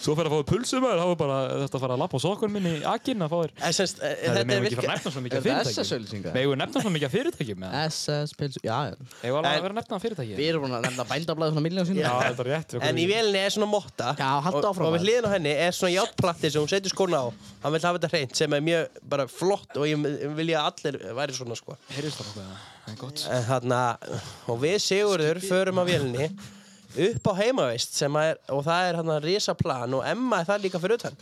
S1: Svo fer að fá pulsum og þá er bara þetta að fara að lappa á sokkunum minni í akinn að fá þér
S3: En semst, eh,
S1: Það er
S3: þetta er
S1: meðum ekki fara að
S3: virka
S1: nefna svo mikið að
S2: Er það
S1: fyrirtækjum
S2: SS-auðlýsingar?
S1: Meðum við nefna svo mikið að fyrirtækjum eða?
S2: SS, pilsu, já, já.
S1: Ég var alveg
S3: En-
S1: að vera að nefna fyrirtækjum
S2: Við erum búin að nefna bændablaði svona miljón sinni.
S1: Já, þetta er rétt við
S3: En í
S1: okkur-
S3: vélinni er svona motta
S2: Já, haltu
S3: og-
S2: áfram,
S3: Og við
S2: maður.
S3: hliðin á henni er svona játplati sem hún setur skóna á Hann vil hafa þetta hreint sem er mjög bara flott og ég vilja að allir væri svona sko Eh,
S1: Heyrðist það nokkuð eða? Það er gott
S3: En þarna, og við Sigurður förum á vélinni upp á heimaveist sem að er, og það er hann að risa plan og Emma er það líka fyrir utan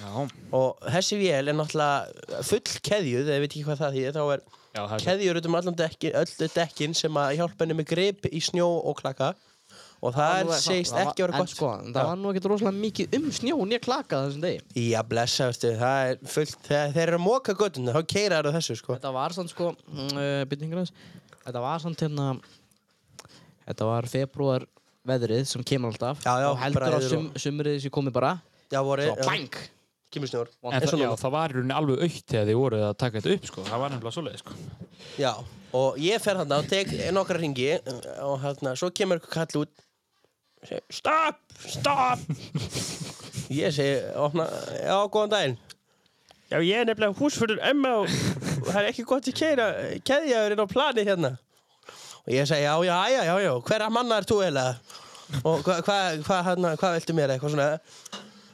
S1: Já,
S3: og þessi vél er náttúrulega full keðjuð, eða ég veit ekki hvað það þýðir þá er
S1: já það er
S3: keðjur út um allan dekkin, öllu dekkin sem að hjálpa henni með grip í snjó og klaka og það
S2: var nú-
S3: er segist
S2: það var-
S3: ekki að vera
S2: en
S3: gott
S2: sko, það var nú ekkert rosalega mikið um snjón ég klakað þessum degi
S3: Já, blessa, veistu, það er fullt þegar þeir eru að móka göttuna, þá keira þær á þessu sko.
S2: Þetta var sann sko, uh, byrningur aðeins Þetta var sann hérna Þetta var februar veðrið sem kemur alltaf
S3: Já, já,
S2: og heldur á
S3: bræður
S2: sum,
S3: og-
S2: sumrið sem komið bara
S3: Já, voru,
S2: Svo bang!
S3: kemur snjór
S1: En
S3: eins og
S1: það, já,
S3: núna.
S1: það var í rauninni alveg aukt þegar þið voruð að taka þetta upp, sko. Það var nefnilega svoleiði, sko.
S3: Já, og ég fer þarna og tek nokkra ringi og hérna, svo kemur eitthvað kall út segir, Stopp, stopp Ég segi, opna, já, góðan daginn Já, ég er nefnilega húsfurður Emma og og það er ekki gott í keira keðjaður inn á planið hérna og ég segi, já, já, já, já, já hverra manna er þú eiginlega og hvað, hvað, hvað, hérna, hvað viltu mér eitthvað svona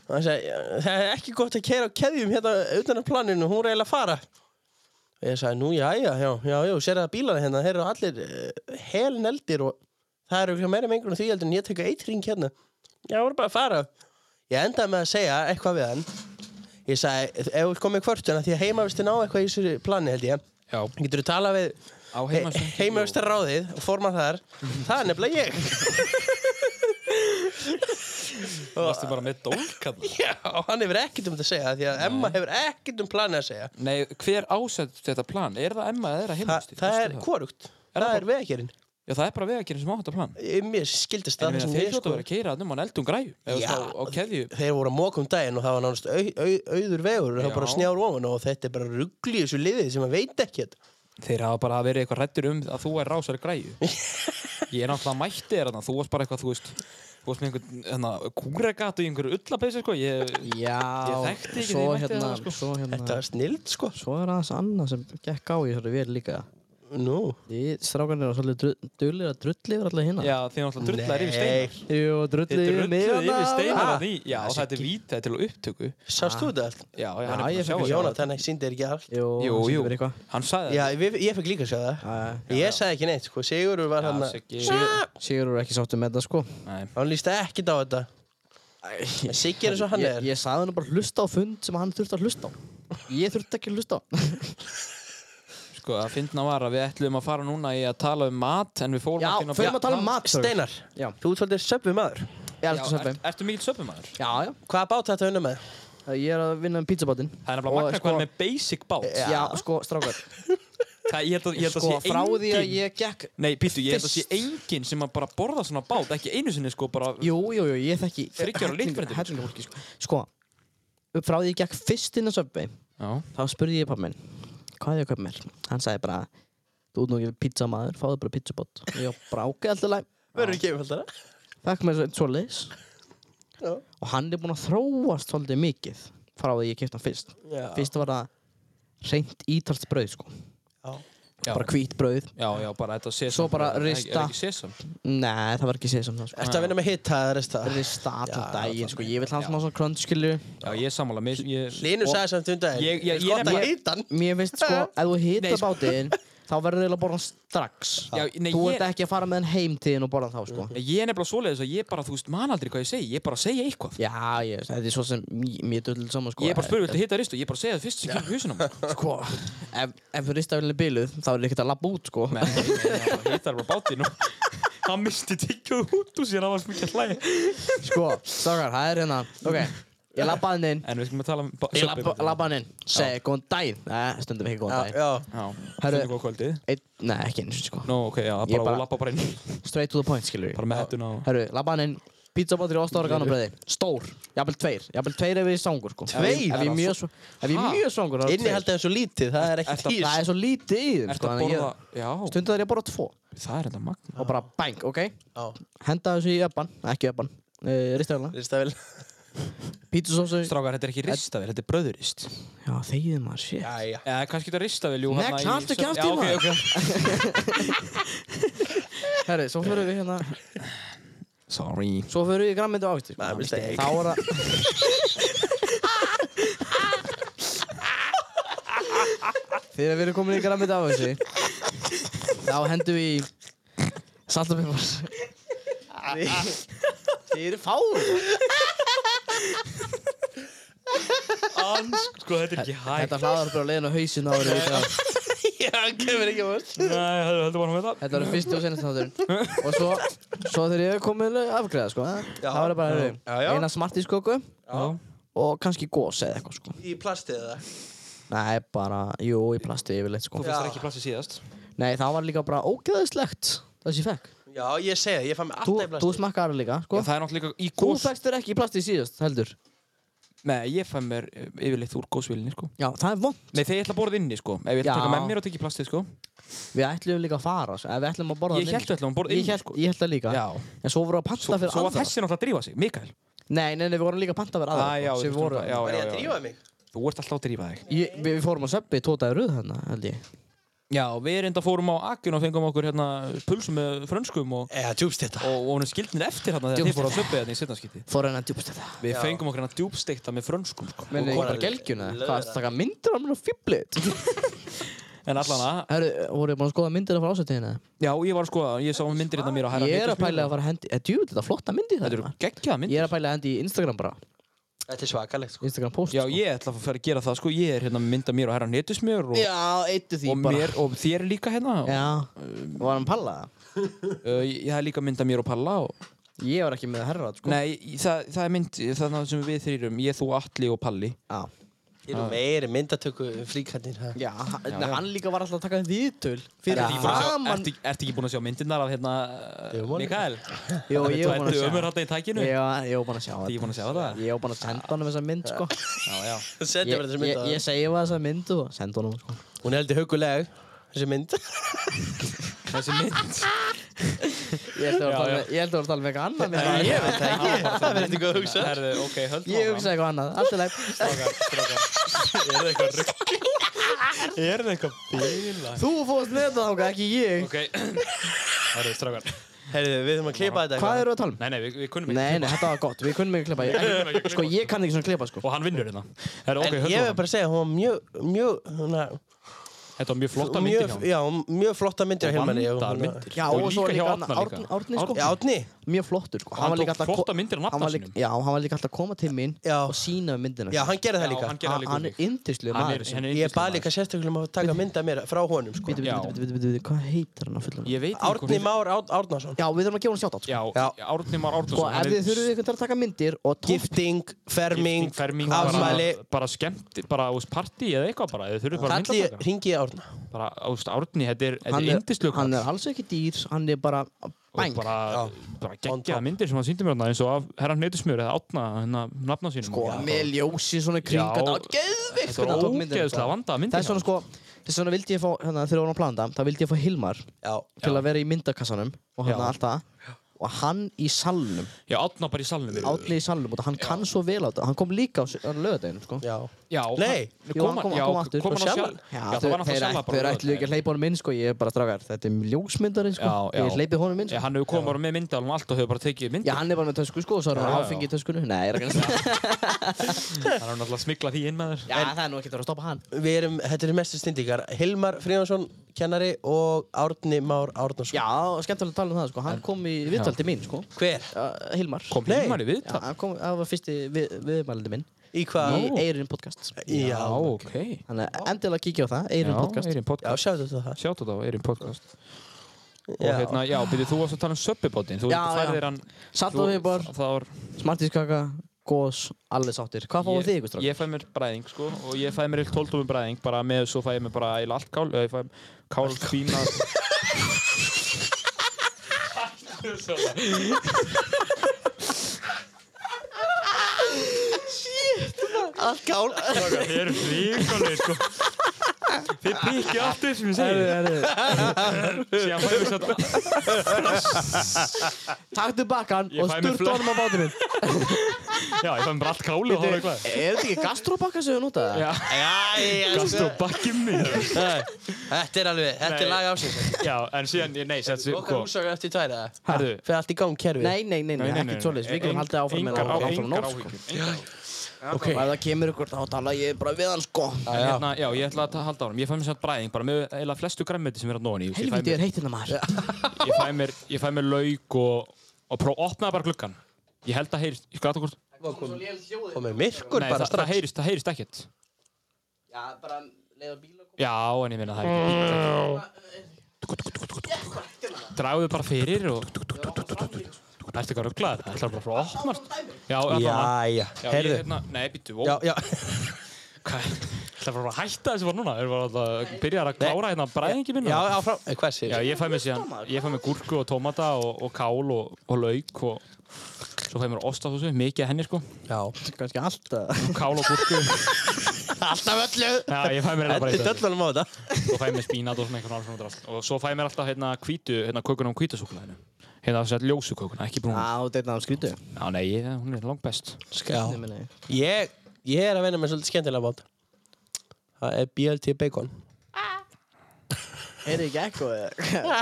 S3: og hann segi, það er ekki gott að keira á keðjum hérna utan á planinu, hún er eiginlega að fara Og Ég sagði, nú, já, já, já, já, já, sér það bílana hérna, þeir eru allir uh, helneldir og það eru ekki meira mengur en því heldur en ég tek eitring hérna. Já, það voru bara að fara. Ég endaði með að segja eitthvað við hann. Ég sagði, ef þú komið kvörtuna, því að heimavistin á eitthvað í þessu plani, held ég.
S1: Já.
S3: Getur þú talað við
S1: Á heimasíðu.
S3: heimavistar ráðið og forma þar? Það er nefnilega ég.
S1: Þú varstu bara með dólkall.
S3: Já, hann hefur ekkert um þetta að segja, því að Emma hefur ekkert um planið að segja.
S1: Nei, hver ásett þetta plan? Er það Emma eða er það
S3: Þa,
S1: heimastíð?
S3: það er korugt. Það er vegagerinn.
S1: Já, það er bara vegakerinn sem á þetta plan.
S3: Mér skildist
S1: En
S3: það
S1: ég meina,
S3: sem
S1: þeir
S3: ég
S1: hljóta að
S3: sko.
S1: vera að keira um hann eldum græju. eða
S3: Já.
S1: þú veist, á- á keðju.
S3: þeir voru að móka um daginn og það var nánast au, au, auður vegur og það var bara
S1: Já.
S3: snjár ofan og þetta er bara ruggli í þessu liði sem að veit ekkert
S1: Þeir hafa bara verið eitthvað rættur um að þú er rásari græju. Ég er náttúrulega mætti þér þarna. Þú varst bara eitthvað, þú veist, þú varst með einhvern hérna, kúregatu í einhverju ullapeysi, sko. Ég,
S2: Já,
S1: Ég þekkti ekki
S2: svo
S1: þegar ég mætti
S2: hérna,
S1: þarna, sko.
S2: svo
S3: Þetta
S2: hérna
S3: var snild sko
S2: Svo er aðeins annað sem gekk á í þessari vél líka
S3: Nú
S2: Því strákarnir eru svolítið dullir að drulli yfir alltaf hérna
S1: já, þið náttúrulega drullar yfir steinar.
S2: Jú, drulli
S1: Þið
S2: yfir mig
S1: drulluðu yfir
S2: þarna.
S1: steinar
S2: Ah.
S1: að því. Já, þetta er vít, þetta er til upptöku.
S3: Sástu þetta allt?
S1: Já, já, hann er búinn
S2: Já, ég
S1: að sjá
S2: fekk að
S1: þetta.
S2: sjá
S3: Jónatan, ekki síndi er ekki allt
S2: Jú,
S1: Jú,
S2: sýndi
S1: jú,
S2: mér eitthvað.
S1: hann sagði
S3: Já,
S1: það.
S3: ég, ég fekk líka að sjá það
S2: Já, já.
S3: Ég sagði ekki neitt sko, Sigurur var hann að
S1: Siggi-
S2: Sigur eru ekki sáttum með þetta sko
S1: Nei.
S3: Hann líst ekkert á þetta En Siggi er eins og hann
S2: ég,
S3: er
S2: ég sagði hann bara hlusta á fund sem hann þurfti að hlusta á Ég þurfti ekki að hlusta á
S1: Sko, að fyndna var að við ætlum að fara núna í að tala um mat en við fórum
S2: Já,
S1: að finna
S2: förum að tala um
S1: Já,
S2: mat
S3: Steinar,
S2: Já.
S3: þú útvöldir söpvi maður
S2: Ég elsku
S1: er,
S2: söpvi
S1: Ertu mikill söpumæður?
S2: Já, já
S3: Hvaða bát þetta unna með?
S2: Ég er að vinna um pizzabátinn
S1: Það er nefnilega
S2: Og,
S1: magna sko, hvað er með basic bát
S2: Já, sko, strákar
S1: Það, Ég held að, ég held að
S2: Sko,
S1: sé
S2: frá því að
S1: enginn-
S2: ég gekk
S1: Nei, býttu, ég held að sé
S2: Fyrst-
S1: enginn sem að bara borða svona bát ekki einu sinni sko bara
S2: Jú, jú, jú, ég þekki
S1: Þriggja ára litblindur.
S2: Hellinga fólki, sko Sko, frá því ég gekk fyrst inn á söpvi
S1: Já,
S2: Þá spurði ég pappa minn Hvað er ég að köpa mér? Hann sagði bara Þú út nú ekki pizzamaður, fáðu bara pizzabát Og ég bara ákveði alltaf læg
S3: Verður ekki yfirfaldara?
S2: Þekk mér svo leis
S3: Já.
S2: Og hann er búinn að þróast svolítið mikið Frá því ég kipta hann fyrst
S3: Já.
S2: Fyrst var það reynt ítalst brauð sko
S3: Já.
S1: Já.
S2: Bara hvít brauð
S1: já, já, bara þetta sesam
S2: Svo bara
S1: Er- Er
S2: rista.
S1: ekki sesam?
S2: Nei, það var ekki séð sem það sko
S3: Ertu að vinna með hitta eða resta?
S2: Rista allan
S3: Já,
S2: daginn sko Ég vil hann smá svona crunch skilju
S1: Já, ég er sammála mér- ég-
S3: Linur
S1: og-
S3: sagði samt um daginn
S1: Ég- ég- ég
S3: Skotta
S1: nefnilega-
S3: hittan
S2: Mér finnst sko, ef þú
S1: Nei,
S2: hita
S1: sko.
S2: bátinn Þá verður það að borða hann strax
S1: Já, nei,
S2: Þú
S1: ég- Mhm.
S2: ert ekki að fara með hann heim til hann og borða hann þá sko
S1: Nei, Ég er nefnilega svoleiðis að ég bara, þú veist, man aldrei hvað ég segi Ég bara segja eitthvað
S2: Já, ég, þetta er svo sem mér- mér döllir saman sko
S1: Ég er bara spurði, viltu hitta ristu? Ég bara segja það fyrst sem kemur húsinum
S2: Sko, ef, ef ristavelin er biluð Þá er ekkert að labba út sko
S1: Nei, nei, nei, hann bara hittar bara bátinn og hann misti tyggjóð út úr sér, hann var svo mikið að hlæja.
S2: Sko, strákar, það er hérna Ok, ég labba hann inn
S1: En við skulum að tala um ba-
S2: Ég
S1: söppu.
S2: labba, labba hann inn Segði góðan daginn Nei, stundum ekki góðan
S3: Já,
S2: daginn
S3: já
S1: Já,
S2: Herru-
S1: stundum góð kvöldið.
S2: Einn, Nei, ekki eins og sko
S1: Nú, ok, já,
S2: Ég
S1: bara,
S2: bara-
S1: bara lappa bara inn,
S2: Straight to the point, skilur
S1: bara með hettuna og...
S2: Herru, labba hann inn Pizzabatri og ástára ganabröði Stór Jafnvel tveir Jafnvel tveir ef ég er svangur sko Ef ég-
S3: Tveir?
S2: Ef ég er mjög svo- ef ég er
S1: Ha?
S2: mjög svangur
S3: Innihaldið er svo lítið, það er ekki
S1: Ertu að
S3: tíst
S2: Það er svo lítið í þeim
S1: Ertu
S2: sko
S1: að
S2: þannig að
S1: borða...
S2: ég-
S1: Já,
S2: Stundum þar ég bara tvo
S1: það er enda magna.
S2: Og bara bang, ok
S3: Já,
S2: Henda þessu í öppan Ekki öppan uh, Ristavelina
S3: ristavel
S2: Pizzasósu
S1: Strákar, þetta er ekki ristavel, þetta er bröðurist.
S2: Já, þegið maður, shit
S3: Jæja
S1: Eða, kannski þetta er ristavel, jú,
S2: Nei,
S1: þarna í-
S2: kanntu ekki
S1: Já,
S2: aftur,
S1: ok,
S2: maður.
S1: ok.
S2: Herru, svo fyrir við hérna
S1: Sorry.
S2: Svo fyrir við í grammyndu áviti sko.
S3: Nei,
S2: Þá
S3: mistake.
S2: er það Þegar við erum komin í grammyndu áviti Þá hendum við í Salt og pipar Þið eru fáum.
S1: Ans, sko þetta er ekki hægt
S2: Þetta hlaðar bara leiðin á hausin árið í dag.
S3: Já, hann kemur ekki á oss.
S1: Nei, heldur heldur bara með það
S2: Þetta var fyrst og senast þátturinn. Og svo, svo þegar ég kom með afgreða, sko. Það var bara
S3: Já, já.
S2: heyrðu, eina smart í skoku
S1: Já,
S2: og kannski gós eða eitthvað, sko.
S3: Í plastið eða?
S2: Nei, bara, jú, í plasti yfirleitt, sko.
S1: þú finnst það ekki plassi síðast
S2: Nei, það var líka bara ógeðislegt það sem ég fekk.
S3: Já, ég segi það, ég fann mig
S2: Þú,
S3: alltaf í
S2: þú
S3: plastið.
S2: smakkaði það líka,
S1: Já,
S2: sko.
S1: það er náttúrulega í
S2: Þú
S1: gós
S2: fækst þér ekki í plasti síðast, heldur.
S1: Nei, ég fæ mér eh, yfirleitt úr gósvílinni, sko
S2: Já, það er vond.
S1: Nei, þegar ég ætla að borða inni, sko Ef ég ætla að taka
S2: Já.
S1: með mér og tekja plastið, sko
S2: Við ætlum líka að fara, sko. Ef Við ætlum að borða
S1: Ég
S2: þarna
S1: hélt við ætlum að borða
S2: inni.
S1: inni,
S2: Ég hélt-
S1: sko.
S2: Ég held það líka.
S1: Já
S2: En svo vorum við að panta
S1: Svo,
S2: fyrir
S1: svo var
S2: aðra.
S1: þessi náttúrulega að drífa sig, Mikael
S2: Nei, nei, nei, við vorum líka að panta fyrir aðra.
S1: Ah, já,
S2: sko, sem
S1: þú
S2: voru-
S1: veist, já,
S3: Var
S1: já,
S3: ég
S1: já.
S3: að drífa mig?
S1: Þú ert alltaf að drífa þig
S2: Ég, við, við fórum að söpbi tótaði röð hérna, held ég.
S1: Já, við reynda fórum á akkun og fengum okkur hérna pulsum með frönskum og,
S3: Já, djúbst þetta.
S1: og, og hún er skildnir eftir hérna þegar
S2: Djúpt.
S1: þið fóru að söpja hérna í setnarskipti
S2: Fór hérna djúpast þetta.
S1: Við
S3: Já.
S1: fengum okkur hérna djúbsteikta með frönskum sko.
S2: Menni, ég
S3: voru
S2: bara
S3: að
S2: gelgjuna.
S3: löðra.
S2: Hvað, ertu að taka myndir af mér og fýblit?
S1: En allan að,
S2: Herru, voru ég búin að skoða myndir af frá ásættiðina?
S1: já ég var að skoða, ég sá myndir hérna mér á herra
S2: Ég er að
S1: Hnetusmjöl.
S2: pæla að fara að hendi... Er djúvill þetta flotta myndir
S1: Þetta
S2: það?
S1: eru geggjaða myndir
S2: Ég er að pæla að hendi í Instagram bara.
S3: Þetta er svakalegt, sko.
S2: Instagram post,
S1: Já,
S2: sko.
S1: ég ætla að fara að gera það sko, ég er hérna mynda mér á herra netusmjör og,
S2: Já, eittu því
S1: og,
S2: bara.
S1: mér, og þér líka hérna og,
S2: Já, var hann palla það?
S1: uh, Ég ég er líka mynda mér og Palla og,
S2: Ég var ekki með herra, sko.
S1: Nei, í- það, það er mynd, það er sem við þrýrum, ég, þú, Atli og Palli
S2: Já.
S3: Ég er nú meiri myndatöku fríkarnir, ha?
S2: Já, ha- nei, hann líka var alltaf að taka viðtöl
S1: Ertu
S2: fyrir
S1: ekki búin að sjá-
S2: framan
S1: Ertu ertu ekki búin að sjá myndirnar af hérna
S3: Ég var
S1: Mikael?
S2: Jó, ég var búin að sjá.
S1: Ömur hérna í tækinu?
S2: Ég var- ég var búin að sjá
S1: Ertu ekki búin að sjá það?
S2: Ég var búin að senda honum þessa mynd, sko.
S1: Já, já.
S3: Sendi
S2: Ég,
S3: bara þessi
S2: ég,
S3: mynd á
S2: ég segi bara þessa mynd og senda honum, sko.
S3: það. Hún er heldur huguleg, þessi mynd.
S1: Þessi mynd.
S2: Ég held að
S1: Já,
S2: það
S1: já.
S2: var ég held að það var að tala um eitthvað annað með það.
S3: Ég veit það ekki. Það verður eitthvað að hugsa.
S1: Herðu, ok, höldum
S2: Ég hugsa eitthvað annað, allt er læg.
S1: Er það eitthvað rugg? Er það eitthvað bíla?
S2: Þú fórst með það ákvað, ekki ég.
S1: Ok. Herðu, strákar.
S3: Herðu, við þurfum að klippa þetta
S2: Hvað eru að tala um?
S1: Nei, nei, við, við kunnum ekki.
S2: Nei, nei, þetta var gott, við kunnum ekki klippa.
S1: kunnum ekki
S2: Ég-
S1: klippa,
S2: Sko, ég kann ekki svona klippa, sko.
S1: Og hann vinnur hérna. Herðu, ok,
S3: En
S1: höldum
S3: ég
S1: við
S3: vil bara segja, hún var mjög, mjög, húnna,
S1: Þetta var mjög flotta myndir hjá
S3: mjög,
S1: hann.
S3: já, mjög flotta myndir á
S1: Og
S3: Hilmari. og
S1: vandaðar
S3: hún-
S1: myndir.
S2: Já,
S1: Og
S2: og svo
S1: líka hjá
S2: líka
S1: Árna
S2: hann-
S1: líka.
S2: Árni- Árni, sko.
S3: Já, Árni,
S2: Mjög flottur, sko.
S1: Hann
S2: var líka
S1: tók
S2: alltaf að ko-
S1: flottar myndir af nafna
S2: hann var líka-
S1: sínum.
S2: Já, hann var líka alltaf að koma til mín
S3: Já.
S2: og sína um myndina.
S3: já, hann gerði
S1: Já,
S3: það líka.
S1: hann gerði það líka.
S2: Hann er
S1: Hann
S2: yndislu
S1: er-
S2: maður.
S1: hann er
S3: Ég
S1: yndislegur
S3: bað líka sérstaklega um að taka mynda mér frá honum, sko.
S2: Bítu,
S1: Já.
S2: bítu, bítu, bítu, bítu, hvað heitir hann á fullan?
S1: maður. Ég veit ekki
S3: Árni
S1: hvað-
S3: Már Árn- Árnason.
S2: Já, við þurfum að gefa hann sjátt átt.
S1: Já,
S3: Já.
S1: Árni Már
S2: Sko,
S1: Árnason.
S2: ef þið þurfum ykkur til að taka myndir og tótt
S3: Gifting, ferming,
S1: ferming,
S3: afmæli.
S1: bara, bara skemmt, bara úst, partí eða eitthvað bara, þið þurfum bara
S3: Kalli,
S1: myndatakar.
S3: ringi ég Árna.
S1: Bara, úst, Árni, þetta er, þetta
S2: hann
S1: er
S2: er,
S1: yndislöku.
S2: hann er alls ekki dýr, hann er bara
S1: og
S2: bæng.
S1: bara, bara
S3: On top.
S1: geggjaða myndir sem hann síndi mér þarna eins og af herran neytusmjör eða átna hérna nafna sínum
S2: Sko,
S1: Já.
S2: með ljósi svona kring,
S1: Já.
S2: þetta var geðvikt
S1: þetta er ógeðslega vandaða myndir
S2: Það er svona sko, þess vegna vildi ég fá, hérna þegar við vorum að plana þetta, það vildi ég fá Hilmar
S3: Já.
S2: til að vera í myndakassanum og
S1: Já.
S2: hérna allt það og hann í salnum,
S1: já, átna bara í salnum
S2: átli í salnum og hann kann svo vel á þetta, hann kom líka á lögadeginu sko.
S3: Já.
S1: já,
S3: Nei.
S1: hann,
S2: Jú, hann
S1: kom,
S2: kom-
S1: já,
S2: hann kom aftur.
S1: kom hann á
S3: Sjallan?
S1: sjálf
S2: Já,
S1: já, það
S2: þeir,
S1: var hann á
S2: þeir,
S1: sjálf
S2: ætl- þeir ætlu ekki að hleypa honum inn sko, ég er bara drafgar, þetta er ljósmyndari sko,
S1: Já, já.
S2: ég hleypi honum inn
S1: Já,
S2: sko.
S1: hann hefur komið bara með myndal og allt og hefur bara tekið mynd
S2: Já, hann er bara með tösku sko, og svo er
S1: Já,
S2: hann
S1: já.
S2: áfengi í töskunni, nei, ég er ekki að segja.
S1: hann hefur náttúrulega smiklað því inn með þér
S2: Já, það er nú ekki að vera að stoppa hann.
S3: Við erum, þetta eru mestu stindíkar. Hilmar Fríðansson, kennari og Árni Már Árnason.
S2: Já, skemmtilega að tala um það sko, hann kom í viðtal til mín sko,
S3: Hver?
S2: uh, Hilmar.
S1: kom
S3: Nei.
S1: Hilmar í
S2: Já,
S1: viðtal
S2: hann kom, það var fyrsti við, viðmælandi minn
S3: Í hvað?
S2: í Eirinn podcast.
S3: Já.
S1: ok
S2: Þannig að endilega kíkja á það, Eirinn podcast.
S1: Eirin
S3: Já,
S1: podcast
S3: sjáðu þetta það.
S1: sjáttu þetta á Eirin podcast og
S3: Já.
S1: hérna, já, byrju, þú varst að tala um söppibótin þú
S2: Já, já.
S1: færðir hann
S2: Salt
S1: þú-
S2: og pipar.
S1: það var
S2: Smartískaka, gós, allir sáttir. Hvað fáið
S1: Ég-
S2: þið ykkur strákar?
S1: Ég fæ mér bræðing sko og ég fæ mér eitt tóltómi bræðing bara með svo fæ ég mér bara eil allt kál eða ég fæ kál fína
S2: Allt kál.
S1: Þið eru fríkalið sko Þið píkja allt upp sem ég segi Síðan fæ ég mér satt
S2: Taktu bakkan
S1: Ég
S2: og
S1: fæ mér
S2: sturtu
S1: fle-
S2: honum á bátinn minn.
S1: Já, ég fæ mér bara allt kálið og hóra eitthvað
S2: Er þetta ekki gastrobakka sem við notaði?
S1: Já,
S3: Jæja,
S1: gast og bakkið mig
S3: Þetta er alveg, þetta er
S1: Nei. Sko-
S3: lag ásins.
S1: Já, en síðan, ég- nei, sett sér
S3: Okkar húsakar eftir tværa.
S1: Herðu
S3: Fyrir allt í gang kerfið.
S2: Nei, nei, nei, nei, ekkert svoleiðis. Við getum haldið áfram með
S1: Engar
S2: það áfram
S1: engar
S2: nóg. sko.
S1: áhyggjur engar áhyggjur.
S2: Og ef það kemur ykkur þá tala ég bara við hann sko.
S1: En hérna, já, ég ætla að ta- halda á hann Ég fæ mér satt bræðing bara með eila flestu græmmeti sem er að nóni
S2: Helviti er heitt hérna maður.
S1: ég fæ mér, ég fæ mér lauk og, og pró, opnaði bara gluggan ég held að heyrist, ég gata hvort
S3: kom, kom með myrkur
S1: nei,
S3: bara
S1: það, það
S3: strax
S1: heyrist, það heyrist ekkert
S2: Já, bara leið á bíl og
S1: já, en ég minna það er ekki dragðu bara fyrir og það ertu ekki að ruggla það ætlar bara að fara að opnast já, allavega. já,
S3: Jæja,
S1: ég,
S3: heyrðu
S1: hérna, nei, býttu, ó,
S3: Já, já,
S1: hvað ætlar bara að hætta þessu var núna við varum alltaf að byrja að klára hérna bræðingi minn
S3: já,
S1: og-
S3: áfram Eh, Hvað sér?
S1: Já, ég fæ mér síðan, ég fæ mér gúrku og tómata og, og kál og, og lauk og svo fæ ég mér ost á þessu, mikið af henni sko,
S3: já
S2: Kannski alltaf
S1: og kál og gúrku.
S3: Alltaf öllu
S1: Já, ég fæ mér hérna bara
S3: Þetta er
S1: eitthvað.
S3: öllum á þetta
S1: Svo fæ ég mér spínat og svona einhvern alls og alls. Og svo fæ ég mér alltaf hérna hvítu, hérna kökuna um hvítasúkulæðinu. Hérna þess að ljósu kökuna, ekki brúnu.
S2: Já, þetta er um náttúrulega skrýtu
S1: Já, nei, ég, hún er langt best.
S3: Já, ég, ég er að vinna með svolítið skemmtilega bát Það er BLT bacon
S2: Heyrðu ekki ekko eða?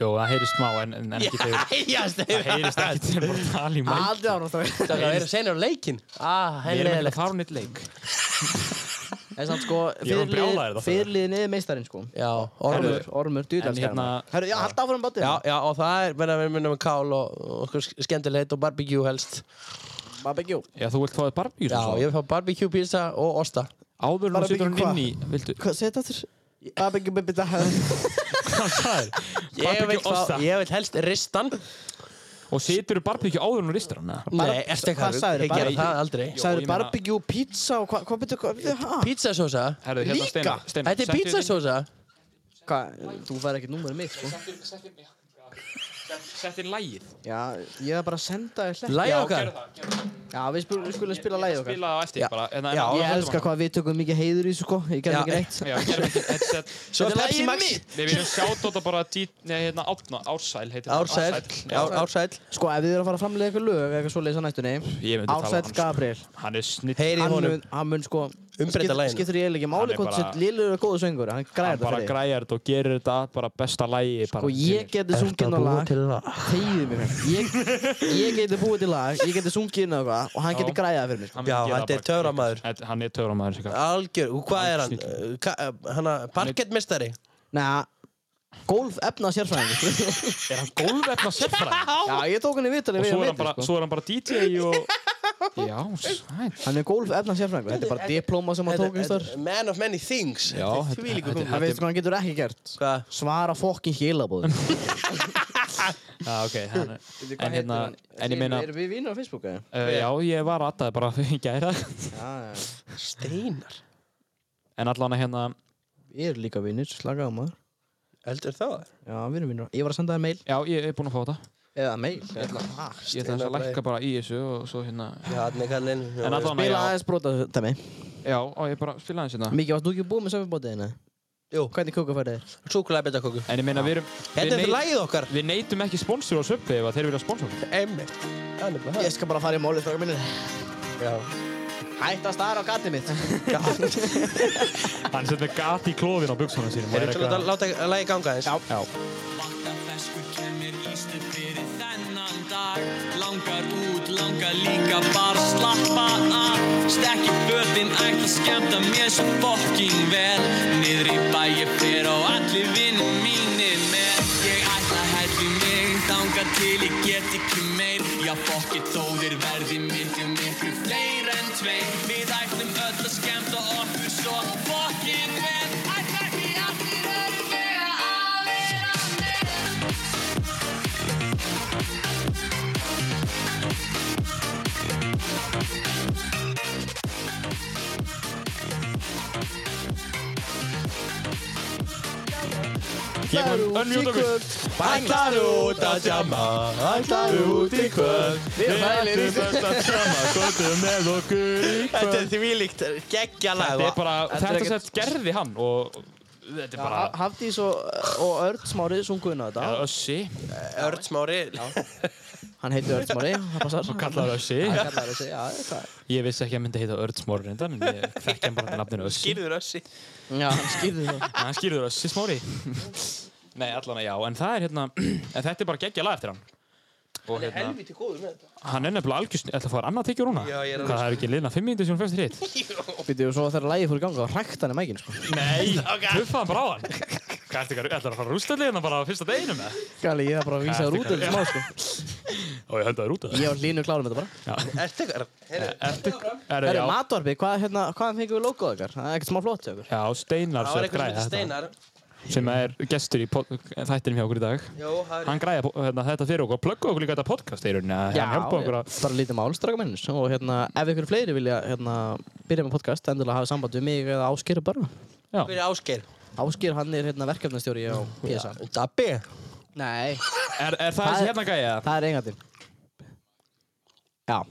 S1: Jó, það heyrist smá en, en en ekki þegar.
S3: Jæja,
S1: Það heyrist ekki þegar bara tali í mæk.
S2: Aldrei ára það
S3: Það er senur á leikin Ah,
S1: Við erum ekki
S3: heililegt
S1: að fara á nýtt leik.
S2: En samt sko
S1: Ég var brjálaður
S2: fyrirlið-
S1: þetta.
S2: Fyrirliðin er meistarinn sko
S3: Já,
S2: Ormur,
S3: orður
S1: En
S2: ormur,
S1: hérna-
S2: dýrdagsgæðan Herru, já, halda áfram bátið
S3: Já, já, og það er verið að við munum með kál og, og okkur sk- skemmtilegt og barbecue helst
S2: Barbecue
S1: Já, þú vilt fá þér barbíu
S3: Já,
S1: svo.
S3: ég vil fá barbecue pizza og osta
S1: Áður en þú
S2: Barbecue
S1: setur
S2: hvað?
S1: hann inn í, viltu,
S2: Hvað, segir þetta aftur? Barbecue baby dag
S1: hvað það er?
S3: Ég vil,
S1: Barbecue osta.
S3: fá, ég vil helst ristan
S1: Og setur þú barbíkju áður en hún ristar hana?
S3: Nei,
S2: Hvað
S3: ertu eitthvað
S2: sagðirðu?
S3: Ég gera
S2: Bar-
S3: það aldrei
S1: Jó,
S2: Sæður
S1: ég meina-
S2: barbecue, pizza og hvað, hvað betur, hvað betur, hæ?
S3: Pizzasósa
S1: Herðu, hérna
S2: Líka?
S1: Steinar, Steinar.
S3: Þetta er pizzasósa
S2: Hvað, þú fær ekkert númerið mitt, sko.
S1: Sett inn lægið.
S2: Já, ég er bara að senda þér hlætt.
S3: Læg okkar
S2: Já, við, spil, við skulum spila lægið okkar.
S1: Spila á eftir
S3: Já.
S1: bara. en- en-
S3: Já,
S1: en-
S2: Ég
S1: höldum
S2: elska
S1: hana.
S2: hvað við tökum mikið heiður í þessu, sko. Ég gerði
S3: Já.
S2: ekki neitt.
S1: Já, gerum ekki headset.
S3: Svo er
S2: Þetta er
S3: Pepsi
S2: lagið
S3: Max
S2: mitt.
S1: Við viljum sjá þetta bara dít, nei, hérna, Árna, Ársæl heitir hann.
S3: Ársæl
S1: Já,
S3: Ár- Ársæl
S2: Sko, ef við erum að fara að framlega eitthvað lög, eitthvað svoleiðis á nættunni,
S1: Ég myndi tala
S2: Ársæll
S1: hann, sko.
S2: Gabriel,
S1: Hann er snill.
S3: Heyri í
S2: hann
S3: honum
S2: mun, hann mun, sko,
S3: Umbreyta
S2: skip-
S3: laginu.
S2: skiptir ég eiginlega ekki
S1: Hann
S2: máli
S1: er
S2: hvort
S1: bara-
S2: sitt lillur og góðu söngur, hann
S1: Hann
S2: græðir það
S1: bara
S2: fyrir. þig.
S1: græjar þetta og gerir þetta bara besta lægi.
S2: Sko, ég geti sungið inn á lag, þegiðu mér, ég, ég geti búið til lag, ég geti sungið inn á eitthvað og hann geti
S1: Já.
S2: græðað fyrir mér, sko.
S3: Já, þetta er töframaður.
S1: Hann er töframaður, sér
S3: Algjör, og hvað er hann? Uh, ka- uh, Hanna, parkettmestari
S2: Næja, golf efna sérfræðingur.
S1: Er hann gólvefna sérfræði?
S2: Já, ég tók hann í vitalið
S1: Og
S2: við
S1: svo er
S2: hann
S1: hann bara,
S2: viti, sko.
S1: svo er hann bara DJ og... Já, sæl.
S2: Hann er golf efna sérfræðingur, þetta er bara diplóma sem hann tók
S3: Þetta-
S2: einstar.
S3: þetta- Man of many things
S1: Já,
S3: Þetta er
S1: þetta-
S3: þvílíkur
S1: þetta-
S3: kóngur.
S2: Hann veit hvað hann getur ekki gert.
S3: Hvað?
S2: Svara fokkin hélabóðum.
S1: Já, ok, hann er... En hérna, en ég meina...
S2: Erum við vinnur á Facebook, eða?
S1: Uh, já, ég var aðtaði bara í gæra
S2: Já, já.
S3: Steinar
S1: En allan að hérna
S2: Við erum líka vinnur, slakaðu maður.
S3: Eldur það?
S2: Já, við erum vinnur. Ég var að senda þér mail.
S1: Já, ég er búinn að fá þetta
S2: Eða mail. Ég ætla að hægt.
S1: Ég ætla þess að
S3: Steinar
S1: lækka bara í þessu og svo hérna
S3: Já, hann er kallinn
S1: En allan að
S2: Bila
S1: já,
S2: aðeins brota þetta mig.
S1: já, og ég bara spila aðeins hérna
S2: Mikið, varst þú ekki búið með söfubótiðina?
S3: Jú.
S2: Hvernig kóka færði þér?
S3: Súkulega betakóku
S1: En ég meina, við erum
S3: Þetta Hérna er
S1: við,
S3: lagið okkar
S1: við neytum ekki sponsor á Subway ef að þeir vilja sponsor okkur.
S3: Einmitt Það er nefnilega
S2: Ég skal bara fara í málið frá minnir.
S3: það Já
S2: Hætt að stara á gatið mitt.
S1: Hann setur gat í klófin á buksunum sínum og er
S3: Erum við til að
S1: eitthvað-
S3: láta lagið ganga eins?
S1: Já,
S6: Vantar feskur kemur íslut fyrir þennan dag Langar út, langar líka bara slappa af Stekki fötin, ætla að skemmta mér svo fokking vel Niðri bæ ég fer og allir vinnir mínir með Ég ætla að hætti mig, þanga til ég get ekki meir Já fokki þóðir verði miklu, miklu fleir en tveir Við ætlum öll að skemmta okkur svo fokking vel Ætla ekki allir öðru vera að vera með
S1: gefum önnmjút okkur
S3: Ætlar út að djama Ætlar út í kvöld
S2: Við erum hægir í þessu.
S1: best að sama kvöldu með okkur í
S3: Þetta
S1: kvöld
S3: er þvílíkt geggja lag
S1: Þetta er bara,
S2: Þetta er
S1: þetta
S2: ekkert-
S1: sett gerði hann og þetta er
S2: Já,
S1: bara
S2: Ha- Hafdís og, og Örn Smári sungu inn á þetta.
S1: Eða Össi,
S3: Örn Smári
S2: Hann heitir Örn Smári, hann passar. Hann
S1: kallar Össi
S2: kallar þessi, já, það.
S1: Ég vissi ekki að hann myndi heita Örn Smári reyndan en ég þekki hann bara með nafninu Össi
S3: Skýrður össi
S2: Já, hann skýrði það.
S1: En hann skýrður Össi Smári Nei, allan að já, en það er hérna en þetta er bara geggja lag eftir hann og hérna,
S3: Helviti góður með þetta
S1: hann er nefnilega algjörst Þetta fór annað tekið rúna
S3: Já, ég er alveg-
S1: Hvað, það er ekki liðna 5 mínútur sem hún fyrst hitt
S2: Býtu, og svo þegar lægið fór í ganga, hrækt hann í mækinn, sko.
S1: Nei, tuffaðan bara á hann Gæti ekki að ætlar að fara að rústa liðina bara á fyrsta deginum eða?
S2: Gali, ég þarf bara að vísa þér
S1: Ertu
S2: út af þessu
S1: klár?
S2: smá, sko.
S1: Ó, ég höndaði rúta
S2: Ég og Línu klárum þetta bara.
S3: Ertu eitthvað? Heyrðu,
S1: Ertu, er,
S2: Herru,
S1: já,
S2: matorfi, hvað, hérna, hvaðan fengum við logoð okkar? Það er ekkert smá flott hjá okkur.
S1: já, Steinar
S3: Það
S1: sem
S3: var eitthvað sem
S1: græja
S3: heitir
S1: þetta,
S3: Steinar.
S1: sem er gestur í pod- þættinum hjá okkur í dag.
S3: Jó, það er...
S1: Hann græja hérna, þetta fyrir okkur og plugga okkur líka þetta podcast í rauninni. að Hann hjálpa okkur að...
S2: bara lítið mál, straka minnus. Og hérna, ef ykkur fleiri vilja hérna, byrja með podcast, endilega hafa samband við mig eða Áskir bara.
S3: Hver er Ásgeir?
S2: Áskir, hann er hérna verkefnastjóri á PSA.
S3: Dabbi?
S2: Nei,
S1: Er, er það
S2: Það
S1: þessi
S2: er-
S1: hérna græja?
S2: það er eigandi. Já.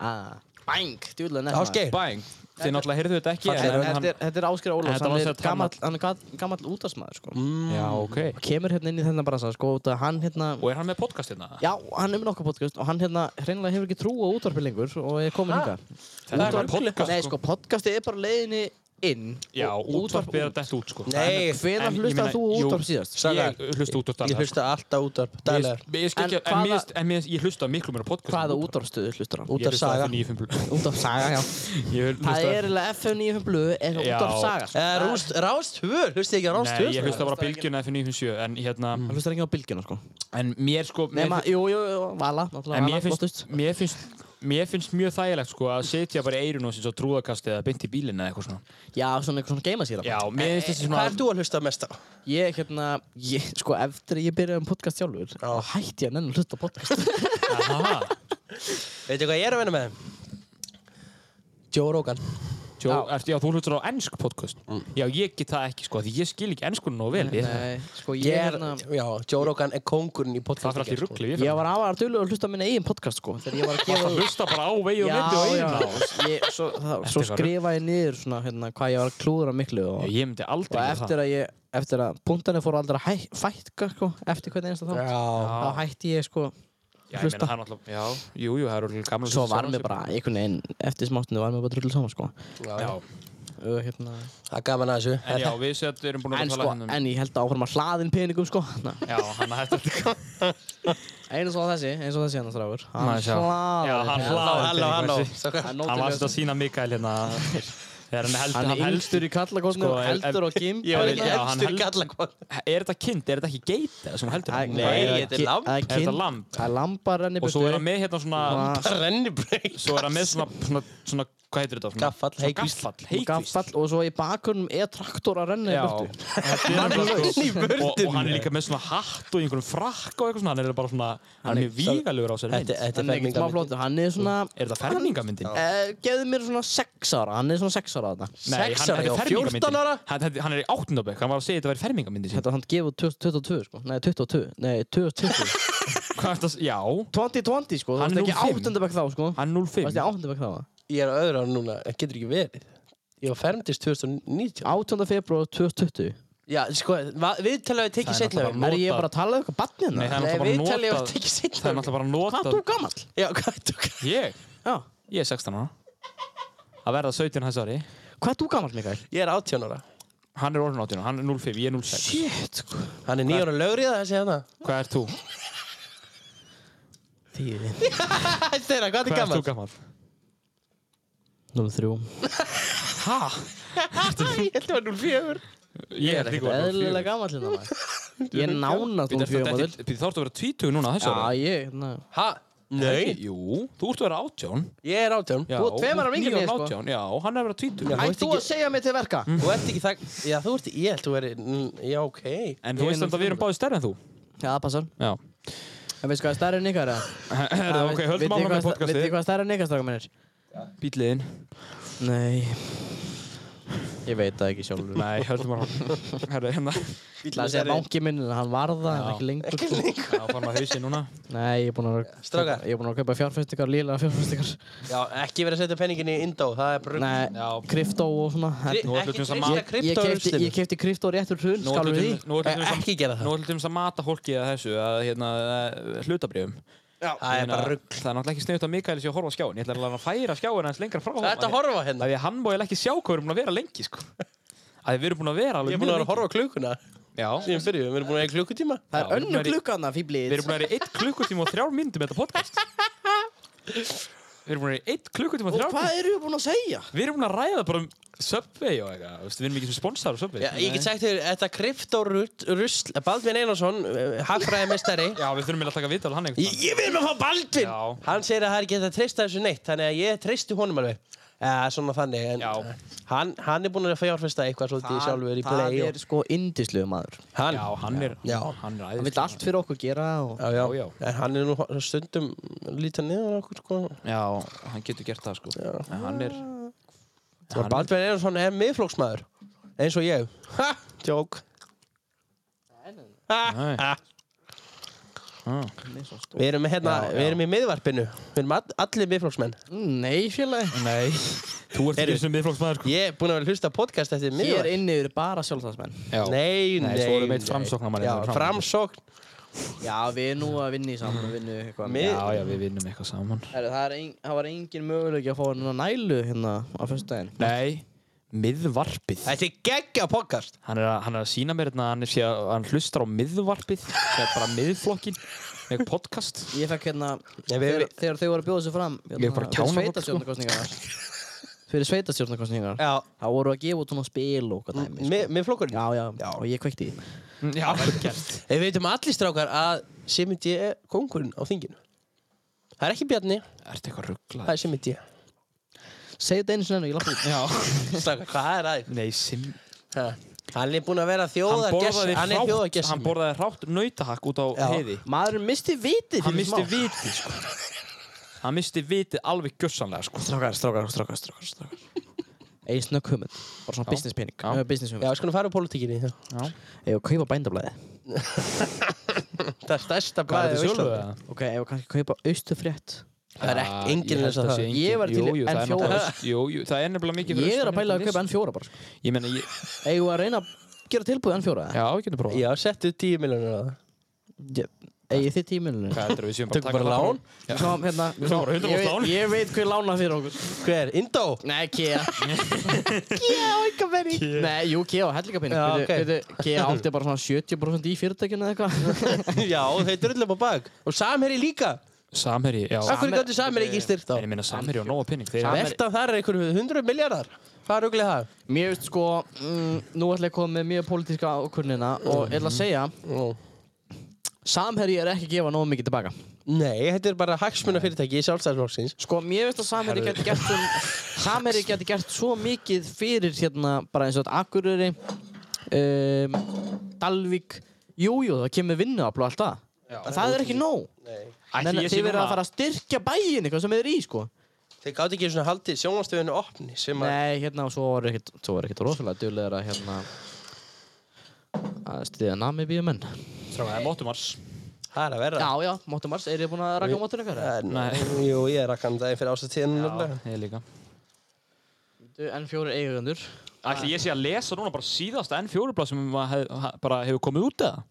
S2: Ah. Bang, djúðlega nefna.
S3: Ásgeir?
S1: Bang! Þið náttúrulega heyrðu þetta ekki.
S2: Þetta
S1: en
S2: er,
S1: hann-
S2: þetta er, þetta er Áskir Ólafs,
S1: Þetta var Mm.
S2: hann er
S1: sem sagt
S2: gamall, hann er gamall, gamall útastmaður sko.
S1: Já, ok.
S2: Kemur hérna inn í þennan bransa sko, út að hann hérna,
S1: Og er hann með podcast hérna?
S2: já, hann er með nokkuð podcast og hann hérna hreinlega hefur ekki trú á útvarpi lengur og er komin hingað.
S1: Þetta er bara podcast,
S2: Nei,
S1: sko.
S2: sko, podcastið er bara leiðinni inn
S1: Já,
S2: og
S1: útvarpið er dætt út, sko.
S3: Nei,
S1: en
S2: Hvenær
S1: ég meina,
S2: hlustaði þú á
S1: jú.
S2: útvarp síðast?
S3: Saga.
S1: Ég hlusta útvarp
S3: Ég
S1: daglega, sko.
S3: hlusta alltaf útarp,
S1: Ég-
S3: daglegar.
S1: ég skil ekki-
S2: En
S1: En mér
S2: hvaða-
S1: finnst- en mér finnst- ég hlusta miklu meira á podcast. en
S2: Hvaða
S1: útvarp.
S2: útvarpstöðu hlustar hann?
S1: Ég
S3: Útvarp
S1: hlusta á
S3: Saga.
S1: FM 95.
S2: Útvarp saga, já.
S1: Ég hlusta-
S2: Það er eiginlega FM95 blöð eða
S1: Já.
S2: útvarp saga. sko.
S3: Eh, Rúst, Rást 2, hlustu ekki á sko? Rást 2?
S1: Nei, ég hlusta bara á bylgjuna FM 97, en hérna,
S2: Það hlustar ekki á bylgjuna sko.
S1: en mér sko, mér
S2: Nema, jú, jú, jú, vala,
S1: En
S2: náttúrulega
S1: mér
S2: vala,
S1: finnst,
S2: flottust.
S1: mér finnst, mér finnst mjög þægilegt sko að setja bara eirun og sinns og trúðakast eða beint í bílinn eða eitthvað svona. Eh,
S2: Já, svona eitthvað svona geimasýra.
S1: Já, mér finnst þessi svona...
S3: Hvað er þú að hlusta mest á?
S2: Ég, hérna, ég, sko, eftir að ég byrjaði um podcast sjálfur, þá hætti ég að nennu að hlusta á podcast.
S1: Aha,
S3: Veitu hvað ég er að vinna með þeim? Joe Rogan.
S1: tjó, ertu, já, þú hlutur á ennsk podcast.
S2: Mm.
S1: Já, ég get það ekki sko, því ég skil ekki ennskunum nóg vel. Ég,
S2: sko, ég,
S3: Ég er,
S2: hérna,
S3: já, Joe Rogan er kongurinn í sko. podcast.
S1: það fyrir allt í ruggli, ég
S2: ég
S1: fyrir.
S2: var afar dölur að hlusta á minna eigin podcast, sko, þegar ég var að gefa...
S1: Það hlusta bara á vegi og myndi og eirun á.
S2: ég, svo, það, svo
S1: Þetta var
S2: skrifaði ég niður svona, hérna, hvað ég var að klúðra miklu og,
S1: Ég myndi aldrei
S2: og
S1: gera
S2: eftir að ég, eftir að punktana fóru aldrei að hæ, fætka, sko, eftir hvernig einasta þá,
S3: Já.
S2: þá hætti ég, sko,
S1: Já, ég meina
S2: hlusta.
S1: það er náttúrulega, já, jú, jú, það eru örugglega gamla hlusta
S2: svo var
S1: saman
S2: mér
S1: sér.
S2: bara, einhvern veginn, eftir smáttinu var mér bara drullið saman, sko.
S1: Já,
S2: Og, hérna,
S3: Það er gaman að þessu.
S1: en já, við sett, við erum búin
S2: en,
S1: að
S2: sko,
S1: tala hérna um...
S2: en ég held áfram að hlaðin peningum, sko, na.
S1: Já, hann hætti að...
S2: Eins og þessi, eins og þessi hann þráfur
S1: Má
S2: Hann
S1: sjá. Já, hann
S2: hlaði
S1: hlaði
S3: Halló, halló.
S2: Hann
S1: Hann var
S2: nótilega-
S1: þetta að sína Mikael hérna þegar hann heldur,
S2: Hann er yngstur í
S1: Sko,
S2: kallakotnum og
S1: en-
S2: heldur og gimp
S1: Já,
S2: Það
S1: ég- já, hann
S3: Elstur
S1: held-
S3: gallakon.
S1: Er þetta kind, er þetta ekki geit eða sem hann heldur?
S2: er-
S3: Nei,
S2: það er
S3: þetta er
S2: ki-
S3: lamb.
S2: það
S1: Er þetta lamb?
S2: Það er lambar renni
S1: Og svo er hann með hérna svona,
S3: Rennibröð.
S1: svo er hann með svona, svona, svona hvað heitir þetta? Svona-
S3: Gaffall,
S1: svona
S3: heikvísl.
S1: Gaffall, heikvísl.
S2: Gaffall og svo í bakunum er traktor að renna í
S1: Já,
S2: burtu
S1: Þetta er nefnilega, sko, og, og hann er líka með svona hatt og einhverjum frakk og eitthvað svona, hann er bara svona, hann er mjög vígalegur á sér mynd.
S3: Þetta
S1: Er
S3: þetta
S2: Hann
S3: er
S2: er ekkert smá
S3: fermingarmyndin.
S2: flottur, hann er svona
S1: þetta fermingamyndin?
S2: eh, Gefðu mér svona 6 ára, hann er svona 6 ára þarna
S1: Nei,
S3: sex
S1: hann
S3: ára,
S1: er
S3: já, 14
S1: fermingamyndin.
S3: ára.
S1: Hann, þetta- hann er í áttundabökk, hann var að segja þetta væri fermingamyndin sín.
S2: Þetta hann gefur 2022 sko, nei 22, nei 2020
S1: Hvað er þetta? Já,
S2: 2020 sko,
S1: Hann
S2: það
S1: er
S2: er ekki
S1: 05.
S2: áttundabæk þá sko
S1: hann
S2: Það er
S1: 05.
S2: áttundabæk þá
S3: Ég er á öðru ára núna. Það getur ekki verið. Ég var fermdist 2019.
S2: 18. februar 2020
S3: Já, sko, við talaðum við
S1: Það
S3: tekið
S1: er
S3: setna
S1: náttúrulega
S2: Er
S3: við.
S2: ég
S1: Notað-
S2: bara að tala um eitthvað barnið
S1: Nei, það er
S3: Nei,
S1: náttúrulega
S3: við
S1: bara
S3: talaðum við
S1: notað, það
S3: tekið
S1: er
S3: setna við.
S1: náttúrulega bara
S2: Hvað
S1: notað.
S2: þú gammal?
S3: Já, hvað er þú?
S1: Ég?
S2: Já.
S1: Ég er 16 ára. Að verða 17 hans ári.
S2: Hvað er þú gammal, Mikael?
S3: Ég er 18 ára.
S1: Hann er orðin 18, hann er 05, ég er 06.
S2: Shit, sko.
S3: Hann er 9 ára lögrið þessi hérna.
S1: Hvað er þú?
S2: Þýði.
S3: Þeirra, hvað
S1: Hvað er
S3: er
S1: þú
S3: gammal?
S1: gammal?
S2: 03.
S1: Ha?
S3: Ég held að það var 04.
S1: Ég er líka orðinn 04.
S2: Eðlilega gammal hérna maður. Ég er nána
S1: Bíddu, ertu
S2: 04
S1: þetta
S2: modell.
S1: ekki- bíddu, Þá ertu að vera 20 núna á þessu
S2: Já,
S1: ári.
S2: ég, hérna.
S3: Ha? Nei.
S1: Jú, þú ert að vera 18.
S3: Ég er 18.
S1: Já,
S2: Þú ert tveimur árum yngri en ég,
S1: níu
S2: sko.
S1: og 18, Já, hann er að vera 20.
S3: þú
S2: Ætt
S3: ert
S2: þú að
S3: ekki-
S2: segja mig til verka?
S3: Þú ert ekki það... Já, þú ert... Ég held að þú verið... mm, Já, ok.
S1: En þú
S2: Ég er
S1: veist samt að við erum báðið stærri en þú.
S2: Já, það passar.
S1: Já.
S2: En veistu hvað er stærri en ykkar? eða?
S1: Herðu,
S2: Það
S1: ok,
S2: veit-
S1: höldum
S2: vitið
S1: áfram með
S2: hvað- Vitið
S1: podcastið.
S2: hvað er stærri en ykkar, strákar mínir?
S1: Bíliðin.
S2: Nei. Ég veit það ekki sjálfur.
S1: Nei, höldum áfram. Herðu, hérna.
S2: Það sé að vangi minn, en hann varða, það er ekki lengur. sko.
S1: Já, farin á hausin núna.
S2: Nei, ég er búinn að...
S3: Strákar.
S2: Ég er búinn að kaupa fjárfestingar, líla fjárfestingar.
S3: Já, ekki verið að setja penningin í Indó. Það er bara...
S2: Nei, kryptó og svona.
S3: Kri-
S1: Nú ætlum
S3: Ekki
S1: við saman-
S2: Ég
S3: treysta
S2: kefti,
S3: kryptóurslitum.
S2: ég kefti kryptó rétt úr hrun,
S1: Nú
S2: skálum við því?
S1: ætlum- nú ætlum við samt-
S3: Ekki gera það.
S1: Nú ætlum við að mata fólkið að þessu, að hérna, hlutabrjöfum.
S3: Það er bara rugg.
S1: Það er náttúrulega ekki sniðut að Mikael sé að horfa á skjáin. Ég ætla að hann að færa skjáin hans lengra frá
S3: Það ert að horfa hérna.
S1: Það er hann má ég ekki sjá hvað við erum búin að vera lengi, sko. Að við erum búin að vera alveg
S3: Ég er búin
S1: mjög
S3: að vera að horfa á klukkuna.
S1: lengi. Já.
S3: Síðan byrjuðum, við erum búin að vera í klukkutíma.
S2: Það er
S1: Já,
S2: önnu
S1: við-
S2: glukkaðna,
S1: Við
S2: fíblið.
S1: erum búin að vera í 1 klukkutíma og 3 myndum með þetta podcast. Við erum búin að vera í 1 klukkutíma
S2: Og
S1: 30
S2: hvað eru við búin að segja?
S1: Við erum búin að ræða bara um Subway og eitthvað, þú veist, við erum ekki sem sponsor á Subway.
S3: Já, ég get sagt þér, þetta kryptorusl, Baldvin Einarsson, eh, hagfræðimestari.
S1: Já, við þurfum eiginlega að taka vital hann
S3: ég,
S1: einhvern
S3: ég vil maður fá Baldvin!
S1: Já.
S3: Hann segir að það er ekki hægt að treysta þessu neitt, þannig að ég treysti honum alveg. Uh, svona þannig, en
S1: Já.
S3: hann, hann er búinn að fjárfesta eitthvað svolítið sjálfur í
S2: það
S3: play.
S2: er sko indisluðu maður.
S3: hann,
S1: Já, hann er,
S3: Já.
S1: hann er
S2: Hann
S1: æðist.
S2: vil allt fyrir okkur gera og...
S3: já, já.
S1: Já, já.
S3: En hann er nú ho- stundum lítið niður á okkur, sko.
S1: Já, hann getur gert það, sko. Já. En hann er,
S3: Og Baldvin Einarsson er miðflóksmaður, eins og ég. Ha! Jók.
S1: nei,
S3: Við erum, hérna, við erum í miðvarpinu. Við erum all, allir miðflóksmenn.
S2: Nei, félagi.
S1: nei, þú ert
S3: Heyrðu.
S1: ekki sem miðflóksmaður, sko.
S3: Ég er búinn að vera að hlusta á podcast eftir miðvarp.
S2: Hér inni eru bara sjálfstæðsmenn.
S1: Já.
S3: Nei, nei,
S1: Nei, svo erum við eitt Framsóknarmann
S3: Já,
S1: hérna fram.
S3: framsókn
S2: Já, við erum nú að vinna í saman og vinna eitthvað.
S3: Mið-
S1: Já, já, við vinnum eitthvað saman.
S2: Herru, það, er ein, það var engin möguleik að fá hennar nælu hérna á fyrstdægin.
S1: Nei, miðvarpið.
S3: Þetta er geggja podcast
S1: Hann er, að, hann er að sína mér hérna, hann, er sé að- hann hlustar á miðvarpið, það er bara miðflokkin, með podcast.
S2: Ég fekk hérna,
S3: Nei, við-
S2: þegar, þegar þau voru að bjóða sér fram hérna,
S1: Ég er bara að kjána
S2: fyrir
S1: fólk, sko.
S2: sveitastjórnarkostningarnar Fyrir sveitastjórnarkostningarnar
S3: Já,
S2: Það voru að gefa út svona spil og hvað dæmi sko.
S3: mi- miðflokkurinn
S2: já, já, og ég kveikti í því.
S1: Já, vel gert.
S3: Við veitum allir strákar að Simindi er kongurinn á þinginu Það er ekki Bjarni,
S1: Ertu eitthvað rugglað?
S3: það er Simindi
S2: Segðu þetta einu sinni enn og ég lappa út
S3: Strákar, hvað er aðeins?
S1: Nei, sim...
S3: Hann er búinn að vera
S1: hann
S3: þjóðargessi
S1: borðaði
S3: Hann er
S1: hrátt hann
S3: þjóðargessi
S1: borðaði hrátt nautahakk út á heiði
S2: Maðurinn misti vitið
S1: hann
S2: fyrir
S1: misti
S2: smá.
S1: vitið sko. hann misti vitið alveg gjössanlega sko.
S2: Strákar, strákar, strákar, strákar, strákar. Egið snögg hugmynd, bara svona business pening,
S1: Já.
S2: uh, business
S3: Já,
S2: hugmynd.
S3: við skulum fara úr pólitíkinni Það
S2: Ef að kaupa bændablaði,
S3: er
S1: Hvað
S3: stærsta
S1: er
S3: blæði
S1: þetta sjálfu eða?
S2: ok, ef að kannski kaupa austufrétt.
S3: Það er ekki enginn
S1: Ég
S3: eins
S1: held
S3: og
S1: að sé
S3: það
S1: engin-
S2: Ég var til
S1: Jú, jú, það er
S2: N4.
S1: náttúrulega aust- Jú, jú, það er nefnilega mikið fyrir
S2: Ég er
S1: austan
S2: að pæla
S1: hérna
S2: að kaupa
S1: list.
S2: N4 bara. sko.
S1: Ég meina, ég-
S2: Eigum við að reyna að gera tilbúið N4 eða?
S1: já, við getum prófað
S3: Já, settu 10 miljonir á það
S2: Eigið þið tíminu?
S1: Hvað heldur við séum bara að
S3: Tökum
S1: taka
S3: bara
S1: það
S3: lán.
S1: frá-
S2: Við fáum hérna
S1: Við fáum bara 100%
S2: ég veit-
S1: lán.
S2: Ég veit hver lána fyrir okkur
S3: Hver? Indó?
S2: Nei, Kea Kea á enga penning Nei, jú, Kea á hellingapenning
S3: Já, ok.
S2: Kea átti bara svona 70% í fyrirtækinu eða eitthvað
S3: Já, þeir drullum á bak Og Samherji líka
S1: Samherji, já
S3: Akkur gæti Samherji ekki styrkt á
S1: En ég meina Samherji og nóga pinning Þeir
S2: Sam-
S1: eru
S3: Veltan þar er einhverjum 100 miljardar Hvað er auglið það?
S2: Mér veist sko mm, Nú ætla ég að koma með mjög pólitíska ákvörnina Og ég ætla að segja Samherji er ekki að gefa nógu mikið tilbaka
S3: Nei, þetta er bara hagsmunafyrirtæki í sjálfstæðsflokksins.
S2: Sko, mér veist að Samherji geti gert um, Samherji geti gert svo mikið fyrir hérna bara eins og þetta Akureyri um, Dalvík Jújú, jú, það kemur vinnu að blóða alltaf En það er ekki nóg
S1: Ætli
S2: Nei,
S1: ég sé
S2: Þið verður
S1: núna-
S2: að fara að styrkja bæin eitthvað sem þið er í, sko
S3: Þeir gátt ekki svona haldið sjónastöðinu opni sem að...
S2: Nei, hérna, og svo var ekkert, svo var ekkert rosalega duðlegar að hérna að stiðja nami bíu menn
S1: Það er mótumars
S3: Það er að vera.
S2: Já, já, Móttu Mars, er þið búin að raka á mótunum ykkar?
S3: Eh,
S1: Nei.
S3: Jú, ég er rakkan daginn fyrir ásatíðinu náttúrulega.
S1: Ég líka
S2: N4 eigundur
S1: Ætli ég sé að lesa núna bara síðasta N4 blað sem maður um hef- ha- bara hefur komið út eða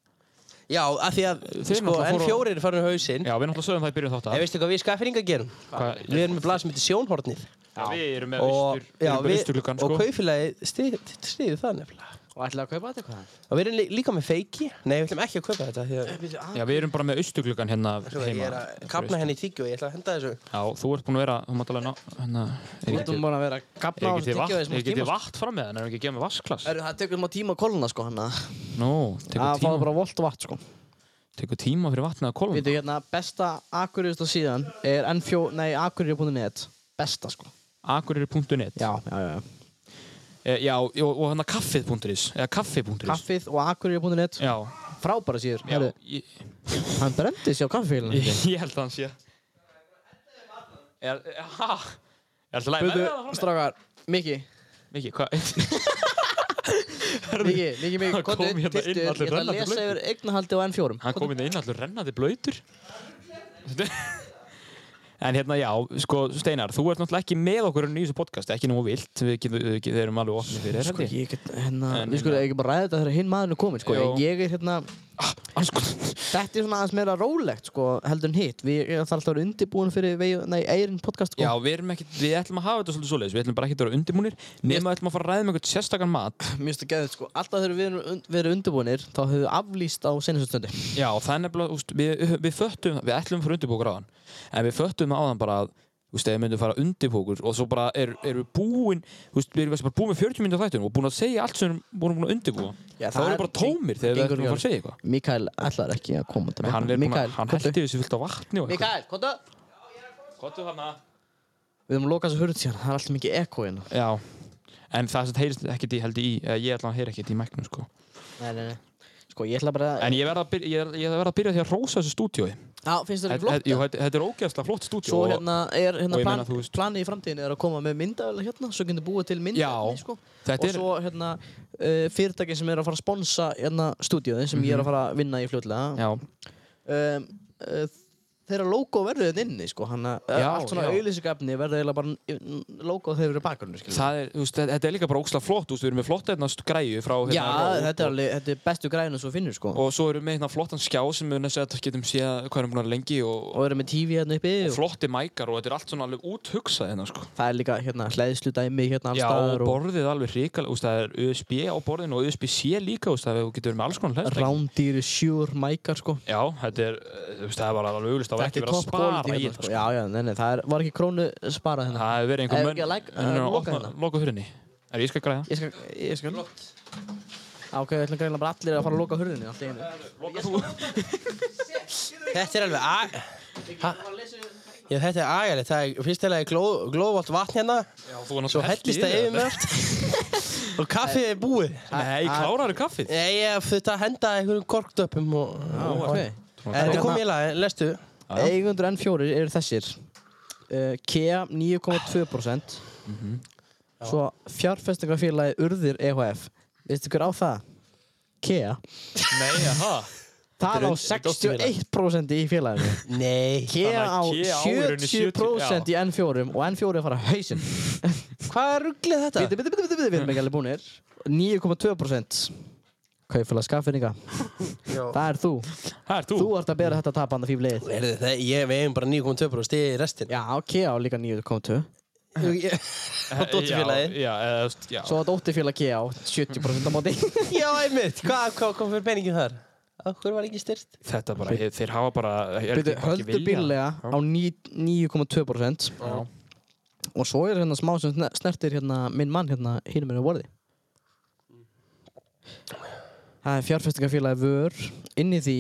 S3: Já, af því að
S1: Þeir
S3: sko,
S1: náttúrulega fóru-
S3: N4 er farin á hausinn.
S1: Já, við náttúrulega sögum það í byrjun þátt
S3: En veistu hvað við skafringar gerum? Við erum með blað sem heitir Sjónhornið.
S1: Við erum með
S3: Og,
S1: austur- við erum með
S3: við-
S1: austurgluggann,
S3: og
S1: sko.
S3: kaufélagið stýði það nefnilega.
S2: Og ætlaði að kaupa þetta eitthvað?
S3: Og við erum lí- líka með feiki. Nei, við ætlum ekki að kaupa þetta. því að-
S1: Já, við erum bara með austugluggan hérna
S3: Ég
S1: heima.
S3: er að hérna. kapna henni í tíkju og ég ætla að henda þessu.
S1: Já, þú ert búin að vera, þú mátt alveg ná, hérna, er
S2: Þú
S1: ekki,
S2: erum bara að vera að
S1: er
S2: gafna á
S1: ekki til
S2: þessu
S1: vatn,
S2: tyggjóði
S1: er
S2: sem
S1: ekki til
S2: tíma sko.
S1: vatn fram með hann, er ekki að gefa mig vasklas?
S2: Herru, það tekur maður tíma að kólna sko hann að
S1: Nú,
S2: Það
S1: tekur
S2: fáið
S1: tíma,
S2: bara volt og vatn sko
S1: tekur tíma fyrir vatnið að kolum.
S2: Veitu hérna, besta akurýrsta síðan er N4, nei akurýri.net Besta sko
S1: Akureyri.net.
S2: Já, já, já
S1: E, já, og, og hérna kaffið.is, eða kaffi.is.
S2: Kaffið og akurýri.net
S1: Já,
S2: Frábæra síður
S1: já,
S2: Herru,
S1: ég,
S2: hann brendi sér á kaffeilinu
S1: ég, ég held að hann sé. Er, ha, er alltaf læg með það frá
S2: Veitu, strákar, Miki
S1: mig? Mikið, hvað?
S2: Miki, Miki, Miki,
S1: Hann kom hérna
S2: komdu,
S1: inn
S2: tiltu,
S1: allir
S2: ég ætla að
S1: rennandi
S2: lesa
S1: blautur.
S2: yfir eignahaldi á N4
S1: Hann kom hérna inn inn allur rennandi blöytur. En hérna, já, sko, Steinar, þú ert náttúrulega ekki með okkur í þessu podcast, ekki nógu vilt, við, getum- við, við erum alveg opnið fyrir þér,
S2: Sko,
S1: held ég.
S2: ég get, hérna,
S1: En,
S2: við skulum
S1: hérna-
S2: ekki bara ræða þetta þegar hinn maðurinn er komin, sko
S1: Jú.
S2: Ég er hérna,
S1: Sko,
S2: þetta er svona aðeins meira rólegt, sko, heldur en hitt Við, ég þarf alltaf að vera undirbúin fyrir vegi, nei, Eirin podcast, sko
S1: Já, við, erum ekki, við ætlum að hafa þetta svolítið svoleiðis, við ætlum bara ekki að vera undirbúnir nema við ætlum að fara að ræða um einhvern sérstakann mat
S2: Mér finnst það geðið sko, alltaf þegar við erum und- verið undirbúinir þá höfum við aflýst á senastundundi
S1: Já, það er nefnilega, úst, við, við föttum, við ætlum að fara undirbúkur á hann en við föttum á þann bara að Þú veist, ef við myndum fara undirbókur og svo bara er, erum við búin, þú veist, við erum kannski bara búin með 40 myndir þættunum og búin að segja allt sem við vorum búin að undirbúa.
S2: Já,
S1: þá
S2: það
S1: erum
S2: er-
S1: við bara tómir þegar við
S2: gengur
S1: erum að fara að segja eitthvað.
S2: Mikael ætlar ekki að koma til
S1: Hann, er,
S2: Mikael,
S1: Mikael, hann
S2: komdu.
S1: heldur þessu fullt á vatni og
S2: Mikael, kontu
S1: Kottu þarna.
S2: Við höfum lokað þessu hurð síðan, það er alltaf mikið ekko hérna
S1: Já, en það sem heyrist ekkert í, held ég í, eða ég ætla að heyra ekkert í mæknum, sko.
S2: Nei, nei, nei Sko, ég ætla bara
S1: En ég verð að byrja, ég, ég verð að, byrja því að rósa þessu stúdíói.
S2: Já, finnst
S1: Þetta
S2: þér ekki flott?
S1: þetta- jú, þetta- þetta er ógeðslega flott stúdíó.
S2: Svo
S1: og-
S2: hérna er hérna
S1: og ég
S2: plan,
S1: meina, þú veist-
S2: planið í framtíðinni er að koma með myndavel hérna svo getur búið til
S1: Já,
S2: myndavel sko. og
S1: þetta er,
S2: svo hérna uh, fyrirtækin sem er að fara að sponsa hérna stúdíóðin sem ég er að fara að vinna í fljótlega
S1: Mhm. já,
S2: um, uh, þeirra logo verður þetta inni sko, hann að
S1: Já,
S2: allt svona
S1: já.
S2: auðlýsingafni verður eiginlega bara n- logo þeir eru bakgrunni skilur.
S1: það er, þú veist, þetta er líka bara ógeðslega flott, þú veist, við erum með flott hérna græju frá hérna
S2: Já,
S1: Ró-
S2: þetta er, alveg, þetta er bestu græðinu svo finnur sko og,
S1: og svo erum við með hérna flottan skjá sem við næstu að getum séð hvað erum búin að lengi og,
S2: og eru með TV hérna uppi
S1: og
S2: og
S1: flotti mækar og þetta er allt svona alveg úthugsað hérna sko.
S2: það er líka hérna hlæðslu dæmi hérna alls
S1: Já, og
S2: staðar og
S1: borðið er alveg hrikalega, úst, það er USB á borðinu og USB-C líka, úst, það er- þú getur verið með alls konar hlæðslega.
S2: rándýri sjúr mækar sko
S1: Já, þetta er, eh, úst, það er bara alveg auglust, það var
S2: Þetta
S1: ekki
S2: er
S1: verið að
S2: topp
S1: spara
S2: quality
S1: í
S2: hérna
S1: þetta
S2: sko
S1: sko.
S2: Já, já, nei, nei, það er, var ekki krónu sparað hérna
S1: Það hefur verið
S2: Er
S1: einhver
S2: ekki að læk-
S1: menn
S2: að
S1: að
S2: loka
S1: opna,
S2: hérna?
S1: loka hurðinni. Er ég skal græða?
S2: Ég skal, ég skal Já, ok, við ætlum greinlega bara allir að fara að loka hurðinni allt í einu
S3: Þetta er alveg a... Ha? Já, þetta er agalegt. Það er fyrst eða gló, glóðvalt vatn hérna,
S1: Já, þú var
S3: svo
S1: náttúrulega
S3: hellist það yfir með allt. og kaffið er búið.
S1: Nei, kláraðu kaffið.
S3: Ég, Eh, ég þurfti að henda einhverjum korkdöpum og... og- Eh,
S2: Ok,
S3: Þetta kom ég lag, lestu.
S1: já.
S2: eigundur N4 eru þessir uh, KEA 9,2% Svo fjárfestingafélagi Urðir EHF Veistu hver á það? KEA
S1: Nei, aha.
S2: Það á
S1: undir-
S2: 61% í félaginu
S3: Nei.
S2: KEA á
S1: Þannig að KEA á í rauninni
S2: 70% í N4 og N4 er að fara á hausinn
S3: Hvað er rugglið þetta?
S2: Biti, biti, biti, biti, biti, við erum ekki alveg búinir 9,2% Kaufélag skaffirninga Það er þú
S1: Það er þú.
S2: Þú ert að bera þetta tap andan fyrir leið
S3: Er þetta, Hérna. ég veginn bara 9,2% í restin.
S2: Já, KEA á líka 9,2
S3: Já.
S1: Já,
S3: dótturfélagið.
S1: Já, eða, þú veist, já.
S2: Svo að dóttirfélag KEA á 70% á móti
S3: Já, einmitt. Hvað hva kom fyrir peningin þar? Hver var ekki styrst?
S1: Þetta bara, þeir, þeir hafa bara er
S2: Biti,
S1: ekki- bara ekki
S2: Höldu
S1: vilja.
S2: bíllega
S1: Já.
S2: á ní- 9,2%
S1: Já.
S2: Og svo er hérna smá sem sne- snertir hérna minn mann hérna hínum minni vorði Það er fjárfestingafélagi vör Inn í því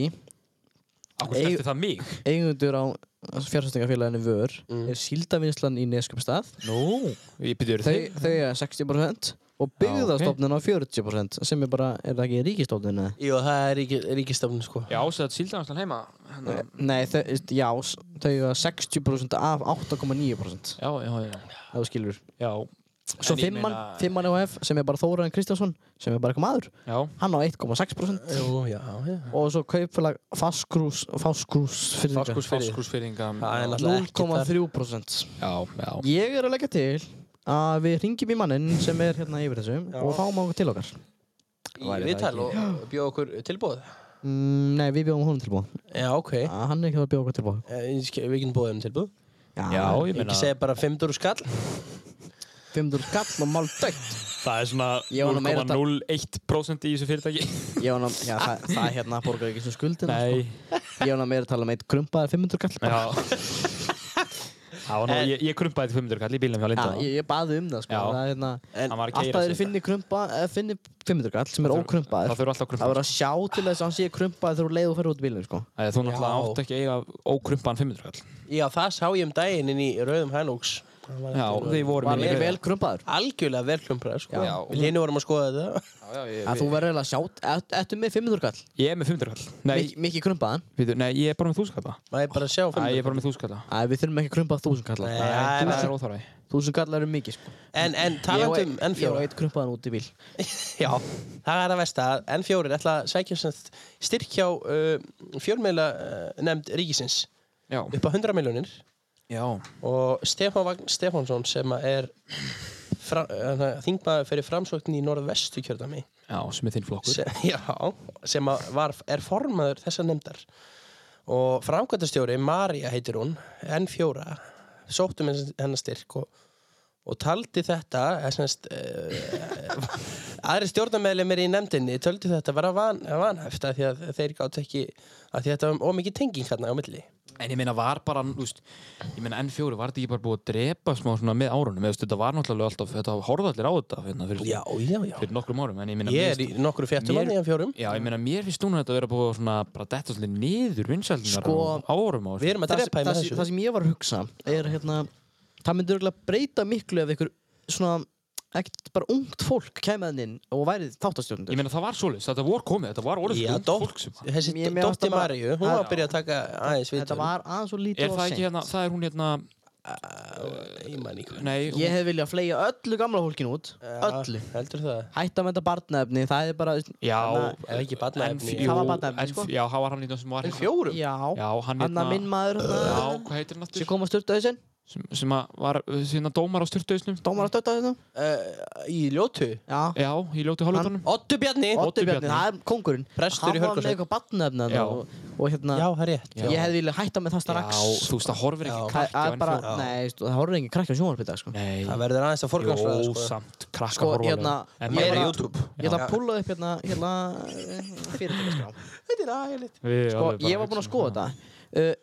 S1: Akkur snerti það mig
S2: eigundur á fjárfestingafélaginu vör
S1: Mm.
S2: er síldavinnslan í Neskjöpstað
S1: Nú, ég byrjuður
S2: þau,
S1: þig
S2: þau er 60% og byggðastofnun á 40% sem er bara, er það ekki ríkistofnun eða?
S3: Jú, það er ríki, ríkistofnun, sko.
S1: Já, sætt síldanslan heima hérna.
S2: Nei, þau, já, s- þau er 60% af 8,9%
S1: Já, já, já,
S2: ef þú skilur.
S1: já.
S2: Svo
S1: En ég
S2: fimmann,
S1: meina-
S2: fimmann EHF sem er bara Þóraðin Kristjánsson sem er bara eitthvað maður,
S1: Já,
S2: hann á 1,6%
S3: Jú, já, já.
S2: og svo kaupfélag Faskrús Faskrús fyrir
S3: Fáskursfirði.
S1: fáskursfyrðinga
S3: Það er náttúrulega ekki þar.
S2: 0,3%
S1: Já, já
S2: Ég er að leggja til að við ringjum í mannin sem er hérna yfir þessu og fáum okkur til okkar.
S3: Í viðtal og bjóð okkur eh, tilbúð.
S2: Mm, nei, við bjóðum honum tilbúið.
S3: Já, ok.
S1: Eh?
S2: Ja, hann er ekki að bjóða okkur tilbúið.
S3: Eh, ég skil- Við getum búið um tilbúð.
S1: Já, ég
S3: Ég
S1: meina
S3: segi bara 500 skall.
S2: 500 skall og mál dögt.
S1: Það er svona
S2: Ég var nú meira að tala-
S1: 0,01% í þessu fyrirtæki
S2: Ég var náttúrulega, já, það, það er hérna borgar ekki sem skuldina.
S1: Nei,
S2: Sko. Ég var náttúrulega meira að tala um eitt krumpaðar 500 skall.
S1: já Það var nú, ég, ég krumpaði til 500 kall í bílum hjá
S2: Já,
S1: Linda
S2: ég, ég baði um það, sko.
S1: Já.
S2: Það er hérna,
S1: Hann var að keyra
S2: alltaf
S1: sig
S2: þeir finni krumpa, eh, finni 500 skall sem er
S1: Það
S2: ókrumpaðar.
S1: þurfa alltaf að
S2: Það
S1: krumpa
S2: verður að sjá til þess að hann sé krumpaðar þegar þú leiðu fyrir út í bílunum, sko.
S1: Æ, Þú náttúrulega
S3: Já.
S1: átt ekki að eiga ókrumpaðan 500 kall
S3: Já, það sá ég um daginn inn í rauðum hælóks. Það var
S1: Já,
S3: ekki-
S1: þið voru
S2: Var
S1: minni
S2: mér vel krumpaðar?
S3: Algjörlega velklumpraður, sko.
S1: Já.
S3: Við henni vorum að skoða þetta.
S2: Að þú verður eiginlega að sjá, ert- ertu með 500 skall?
S1: Ég er með 500 kall Nei,
S2: Mik- Mikið krumpaðan?
S1: Býtu, nei, ég er bara með þúskalla.
S3: Má ég bara sjá
S1: Æ, ég er
S3: 500?
S1: bara með þúskalla.
S2: Æ, við þurfum ekki að krumpa þúsund kallar.
S3: Nei, það
S1: Það
S3: er-
S1: er óþarfi.
S2: Þúsund kallar eru mikið, sko.
S3: En, en
S2: Ég
S3: talandum
S2: á ein- Ég á
S3: N4.
S2: eitt krumpaðan út í bíl.
S3: Já, það er að versta að N4 ætla að sækja sem sagt styrk hjá uh, fjölmeila uh, nefnd ríkisins
S1: Já.
S3: upp á 100 miljónir
S1: Já.
S3: og Stefán Vagn Stefánsson sem að er fra, uh, þingmaður fyrir framsóknin í norðvestu kjördami
S1: Já, sem er þinn flokkur.
S3: sem, já, sem að var, er formaður þessa nefndar og framkvæmtastjóri Marja heitir hún, N4 sóttum hennar styrk og, og taldi þetta eða sem sagt, uh, aðri stjórnameðlemir í nefndinni töldu þetta vera van, vanhæft af því að þeir gátt ekki af því að þetta var ómikið tenging hérna á milli
S1: En ég meina var bara, þú veist, ég meina N4 var þetta ekki bara búið að drepa smá svona með árunum, eða þú veist, þetta var náttúrulega alltaf, þetta horfði allir á þetta hérna, fyrir,
S3: Já, já, já.
S1: fyrir nokkrum árum, en ég meina,
S3: Ég
S1: mér
S3: er í
S1: finnst-
S3: nokkru fjettum
S1: mér-
S3: hann í hann fjórum.
S1: já, ég meina, mér finnst núna þetta að vera búið að svona, bara detta svolítið niður vinsældunar
S2: Sko,
S1: á árum á
S3: Við erum að
S2: það, það,
S3: drepa í
S2: það,
S3: með
S2: það
S3: þessu.
S2: sem ég var að hugsa er hérna það myndi örgulega breyta miklu ef ykkur svona ekkert bara ungt fólk kæmið hann inn og værið
S1: Ég
S2: þáttastjórnundur
S1: meina, það var svoleiðis, þetta vor komið, þetta var orðið
S3: Já,
S1: ungt
S3: Dótt-
S1: fólk sem
S3: Þessi
S2: Mér- mér
S3: Dótti
S2: átti bara-
S3: Maríu, hún
S2: Já.
S3: var að byrja að taka aðeins við.
S2: þetta var aðeins og lítið
S1: Er
S2: og
S1: það ekki
S2: seint.
S1: hérna, það er hún hérna,
S3: Ég man ekki.
S1: nei,
S2: ég hef viljað fleia öllu gamla fólkin út öllu
S3: Heldur það?
S2: hætta með þetta barnaefni það er bara
S1: já,
S3: Ef ekki barnaefni.
S1: N4
S2: Það var barnaefni,
S1: N-
S2: sko.
S1: Já, það var hann hérna sem var hérna-
S3: fjórum?
S2: já
S1: Já, hann
S2: hann að minn
S1: hérna,
S2: maður
S1: já,
S2: hérna,
S1: hvað heitir hann
S2: sem
S1: aftur?
S2: kom að störta þessin
S1: Sem, sem að var, síðan dómar á styrtausnum
S2: dómar að störta þessin
S1: Eh,
S3: Í ljótu.
S2: já
S1: Já, í ljótu hálfutónum
S3: Ottu Bjarni.
S1: Oddur
S2: Ottur Bjarni,
S1: Eh, Bjarni.
S2: það er kongurinn
S3: Prestur í
S2: hann var með
S3: Hörgársveit.
S2: eitthvað barnaefni þarna
S1: Já.
S2: og, og hérna
S3: Já, það er rétt.
S1: Já.
S2: ég hef viljað hætta með það strax
S1: Já, þú veist, það horfir
S3: Já.
S1: ekki
S2: Það
S1: krakki á
S2: það er
S1: enn
S2: bara,
S1: fjóra
S2: nei, veistu, það horfir engin krakki á sjónvarpið í dag, sko.
S1: Nei,
S3: Það verður aðeins að forgangsraða,
S1: jú,
S3: sko.
S1: samt krakka
S2: Sko,
S1: horfa alveg.
S2: hérna,
S1: En
S2: ég
S1: maður
S2: er
S1: er
S2: að-
S3: YouTube.
S2: Ég ætla að pulla upp hérna, hérna, fyrirtækaskrá.
S3: Þetta er aðeins.
S1: við
S2: Sko,
S1: alveg bara
S2: ég var búinn að
S1: hugsa um
S2: skoða þetta. Uh,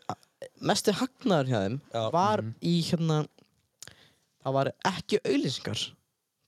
S2: mesti hagnaður hjá þeim
S3: Já.
S2: var
S1: Mhm.
S2: í, hérna, það var ekki auðlýsingar.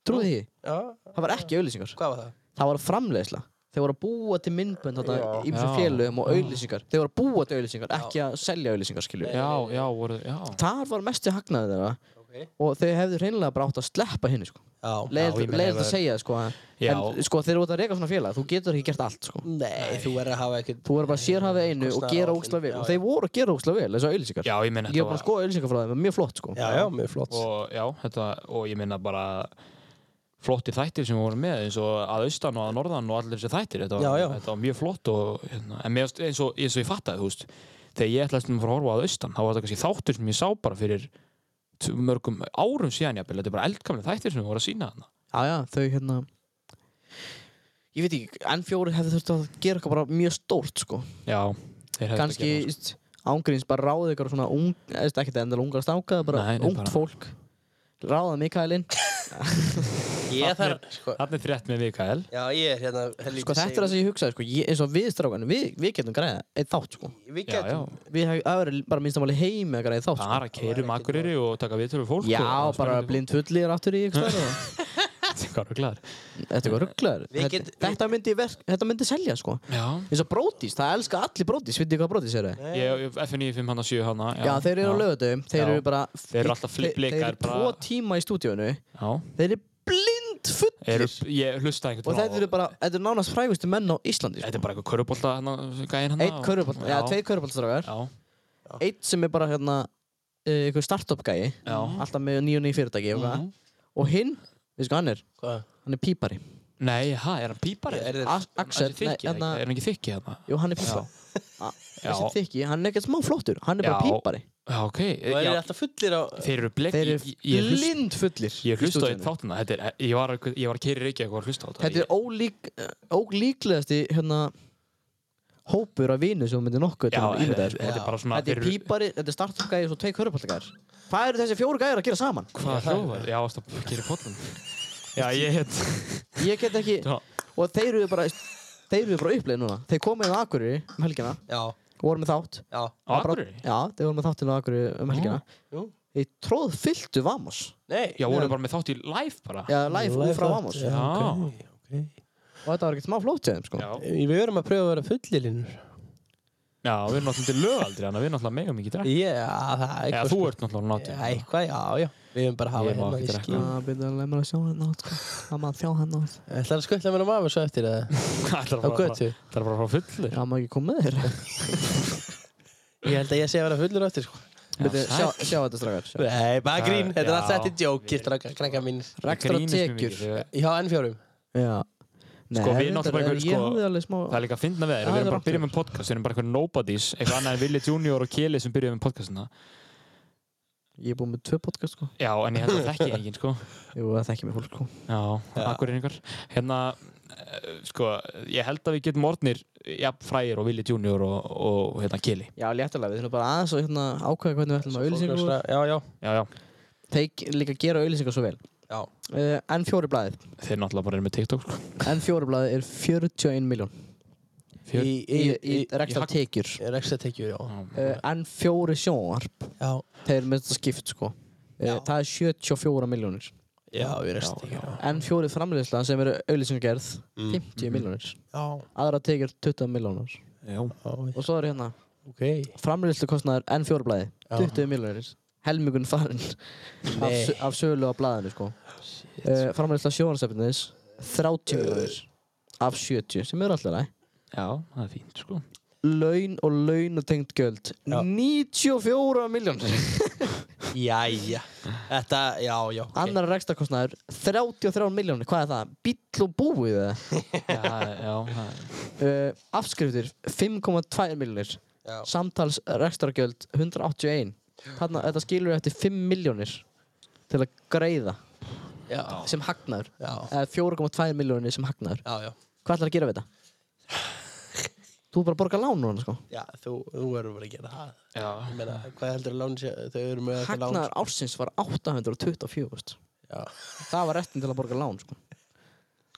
S2: Trúið því?
S3: Já,
S2: Það var ekki auðlýsingar.
S3: hvað var það?
S2: Það var framleiðsla. Þeir voru að búa til myndbönd þarna
S3: Já.
S2: í mjög
S1: Já.
S2: félögum og auðlýsingar. Þeir voru að búa til auðlýsingar, ekki að selja auðlýsingar, skilju.
S1: Já, já, voru, já
S2: Þar var mesti hagnaður þeirra
S3: Ok.
S2: og þau hefðu reynilega bara átt að sleppa henni, sko.
S3: Já.
S1: Já, ég meina,
S2: leiðilegt
S1: ef
S2: að
S1: að-
S2: segja sko, en-
S1: Já.
S2: en sko þeir eru út að reyka svona félag þú getur ekki gert allt sko.
S3: Nei, þú verður að hafa ekkert...
S2: þú verður bara að sérhafið einu og
S3: Kostnaðaráætlun,
S2: gera ógstlega vel
S3: já,
S2: og
S3: já.
S2: þeir voru að gera ógstlega vel þessu auðlýsingar
S1: Já, ég meina
S2: ég var bara að skoða auðlýsingar frá þeim mjög flott sko.
S3: Já, já, mjög flott.
S1: Og já, þetta, og ég meina bara flotti þættir sem voru með eins og að austan og að norðan og allir þessi þættir þetta var,
S3: Já, já.
S1: Þetta var mjög flott og, hérna, en mér, varst- eins, og, eins og ég fattaði, þú veist þegar ég ætlaði stundum að fara að horfa að austan þá var þetta kannski þáttur sem ég sá bara fyrir t- mörgum árum síðan jafnvel þetta er bara eldgamlega þættir sem voru að sína þarna
S2: já, já, þau hérna ég veit ekki, N4 hefði þurft að gera eitthvað bara mjög stórt sko.
S1: Já, þeir hefðu
S2: kannski
S1: þetta að gera,
S2: íst, ángríns bara ráðið eitthvað svona ung, eða ekki endilega ungar stáka bara
S1: Nei, nei,
S2: ungt
S1: bara-
S2: fólk ráðað Mikaelin
S3: Ég þarf... Sko,
S1: sko. Þarna er frétt með Mikael
S3: já, ég er hérna...
S2: sko, þetta er það sem ég hugsaði sko. ég, eins og við strákanum, við, við getum græða eitt þátt sko.
S3: Við
S1: Já, já,
S3: getum...
S2: við hefum það verið bara minnstamáli heim eða græði þátt sko.
S1: bara keirum akkurýri og taka viðtölu við fólk sko.
S2: Já,
S1: og,
S2: bara blind fullir aftur í ykkur stæður
S1: Hvað er glæður?
S2: Þetta er eitthvað rugglaður
S3: Við
S2: þetta,
S3: get-
S2: þetta, myndi verk- þetta myndi selja sko
S1: Já,
S2: eins og brótis, það elska allir brótis, veitir hvað brótis eru? Já,
S1: ég, FNI 5 hana 7 hana
S2: já, þeir eru á lögadöfum, þeir
S1: Já.
S2: eru bara
S1: Þeir eru alltaf
S2: Þeir- Þeir
S1: flipleikar
S2: eru tvo tíma í stúdíónu
S1: Já,
S2: Þeir eru blind
S1: eru,
S2: fullir
S1: ég hlusta einhvern
S2: Og þetta eru bara, þetta eru nánast frægustu menn á Íslandi
S1: Þetta
S2: sko.
S1: er bara eitthvað körubólta hana, gæðin hana
S2: Eitt körfubalt, já, tveir körfubaltstrákar
S1: Já,
S2: Eitt sem er bara hérna eh, einhver startup gæi,
S1: Já. Mhm.
S2: alltaf með nýju nýju fyrirtæki mm -hmm. og hinn, veistu hvað hann er?
S3: Hvað?
S2: Hann er pípari
S1: nei, hæ, er hann pípari?
S3: Er þetta...
S2: A- Axel,
S1: þykki,
S2: nei, hérna
S1: er hann ekki þykki hérna?
S2: Jú, hann er pípa A- Þessi þykki, hann er ekkert smá flottur Hann er bara
S1: Já.
S2: pípari
S1: Já, ok,
S3: Þú
S1: já,
S3: verður alltaf fullir á...
S1: þeir eru blek
S2: Þeir
S1: ég-
S2: eru
S1: ég- ég hlusta-
S2: blind fullir
S1: Ég
S2: í
S1: hlusta á
S2: stúdíónu.
S1: eitt þáttuna, þetta er, ég var, að- ég var að keiri reykja eitthvað að hlusta á þetta
S2: Þetta er ólík, eh, ólíklegasti hérna, hópur af vinu sem þú myndir nokkuð
S1: Já,
S2: til að ímynda þér, sko.
S1: þetta er bara svona
S2: Þetta er
S1: þeir eru-
S2: pípari, þetta er startupgæði og svo tvei körupallagæðir Hvað eru þessi fjóru gæðir að gera saman?
S1: Hvað hljóðar? Já, ást að gera pollum Já, ég heit
S2: Ég get ekki
S1: Já.
S2: Og þeir eru bara Þeir eru bara uppleið núna Þeir komu inn á Akureyri um helgina
S3: Já,
S2: og voru með þátt
S3: já.
S1: Á Akureyri?
S2: Já, þeir voru með þátt inn á Akureyri um helgina
S3: Jú.
S2: Þeir tróð fylltu Vamos
S3: Nei.
S1: Já, voru bara með þátt í Ah, live bara
S2: Já, live út frá Vamos
S3: Já,
S1: Já.
S3: ok, ok.
S2: Og þetta var ekkert smá flótt til þeim sko
S1: Já,
S3: Við verum að pröfa að vera fullir hérna. linnur.
S1: já við erum náttúrulega til lögaldri Þannig að við erum náttúrulega mega mikið drekk
S3: Já, það er sko.
S1: Já, þú ert náttúrulega
S3: Já,
S1: náttúrulega
S3: eitthvað, já, já. Við höfum bara að hafa
S1: Ég má
S3: hérna
S1: ekki drekka.
S3: viski.
S2: Það byrði Ah, að leið mér að sjá hann átt sko Það maður að þjá hann átt
S3: Ætlar að skutla mér á maður svo eftir það?
S1: Það er
S3: Á götu?
S1: bara að fara fullir
S2: Já, maður ekki kom með þér
S3: Ég held að ég sé að vera fullur eftir, sko.
S2: Byrði, sjá, sjá þetta strax sjá.
S3: Nei, bara grín. Þetta er
S1: Já.
S3: alltaf þetta er jók, giftur að krenka mín.
S2: Rekstra tekjur.
S3: Já, N4.
S2: Já Nei,
S1: Sko, við
S2: reyndar
S1: náttúrulega
S2: er-
S1: einhver,
S2: Ég
S1: sko,
S2: hafði alveg smá
S1: Það er líka að finna við þeir
S2: Já,
S1: Við
S2: það er
S1: erum bara
S2: rangt
S1: að byrja með podcast Við erum bara eitthvað nobodies Eitthvað annað en Willi Junior og Keli sem byrjuðum með podcastina
S2: Ég er búinn með tvö podcast sko
S1: Já, en ég held að þekki engin sko
S2: Jú, það þekki mig fólk sko
S1: Já, akkur einhver Hérna, eh, sko, ég held að við getum orðnir Já, frægir og Willi Junior og, og hérna Keli
S2: Já, léttilega, við þurfum bara aðeins og hérna ákveða hvernig við ætlum að auðlýsingar úr.
S3: Já, já.
S1: Já, já,
S2: Þeir líka gera auðlýsingar svo vel.
S3: Já.
S2: Uh, N4 blaðið.
S1: þeir náttúrulega bara eru með TikTok sko
S2: N4 blaðið er 41 miljón.
S1: Fjör-
S2: í, í, í,
S3: í-
S2: í reksta
S1: hag-
S2: tekjur
S3: Reksa tekjur, já.
S2: uh, en fjóri sjónvarp
S3: Já,
S2: þeir eru með þetta skipt sko uh,
S3: Já.
S2: það er 74 miljónir
S3: já, í reksa tekjur, já.
S2: en fjóri framleiðsla sem eru auðlýsingargerð 50 miljónir
S3: Já,
S2: aðra tekjur 20 miljónir
S1: Já,
S2: og svo er hérna
S3: ok.
S2: framleiðslu kostnaður en fjórublaði 20 miljónir helmingun farinn af,
S3: Nei.
S2: sö- af sölu á blaðinu sko uh, framleiðsla sjónarstefnis
S3: Eh.
S2: 30 miljónir af 70 sem eru alltaf ræð
S1: já, það er fínt sko
S2: laun og launatengt göld
S3: Já.
S2: 94 miljónir
S3: Jæja. Þetta, já, já. ok.
S2: annar rekstakostnaður 33 miljónir, hvað er það? bíll og búið eða?
S1: Já, já, það er
S2: uh, afskriftir 5,2 miljónir
S3: Já.
S2: samtals rekstargjöld 181 Þarna, þetta skilur eftir 5 miljónir til að greiða
S3: Já,
S2: sem hagnaður
S3: já,
S2: eða 4,2 miljónir sem hagnaður
S3: já, já.
S2: hvað ætlar að gera við þetta? þú er bara að borga lán núna sko
S3: Já, þú, þú verður bara að gera það.
S1: Já,
S3: Ég meina, hvað heldur að lán sé, þau eru með eitthvað lán. sko.
S2: hagnaður ársins var 824 veist.
S3: Já.
S2: sko. það var réttin til að borga lán sko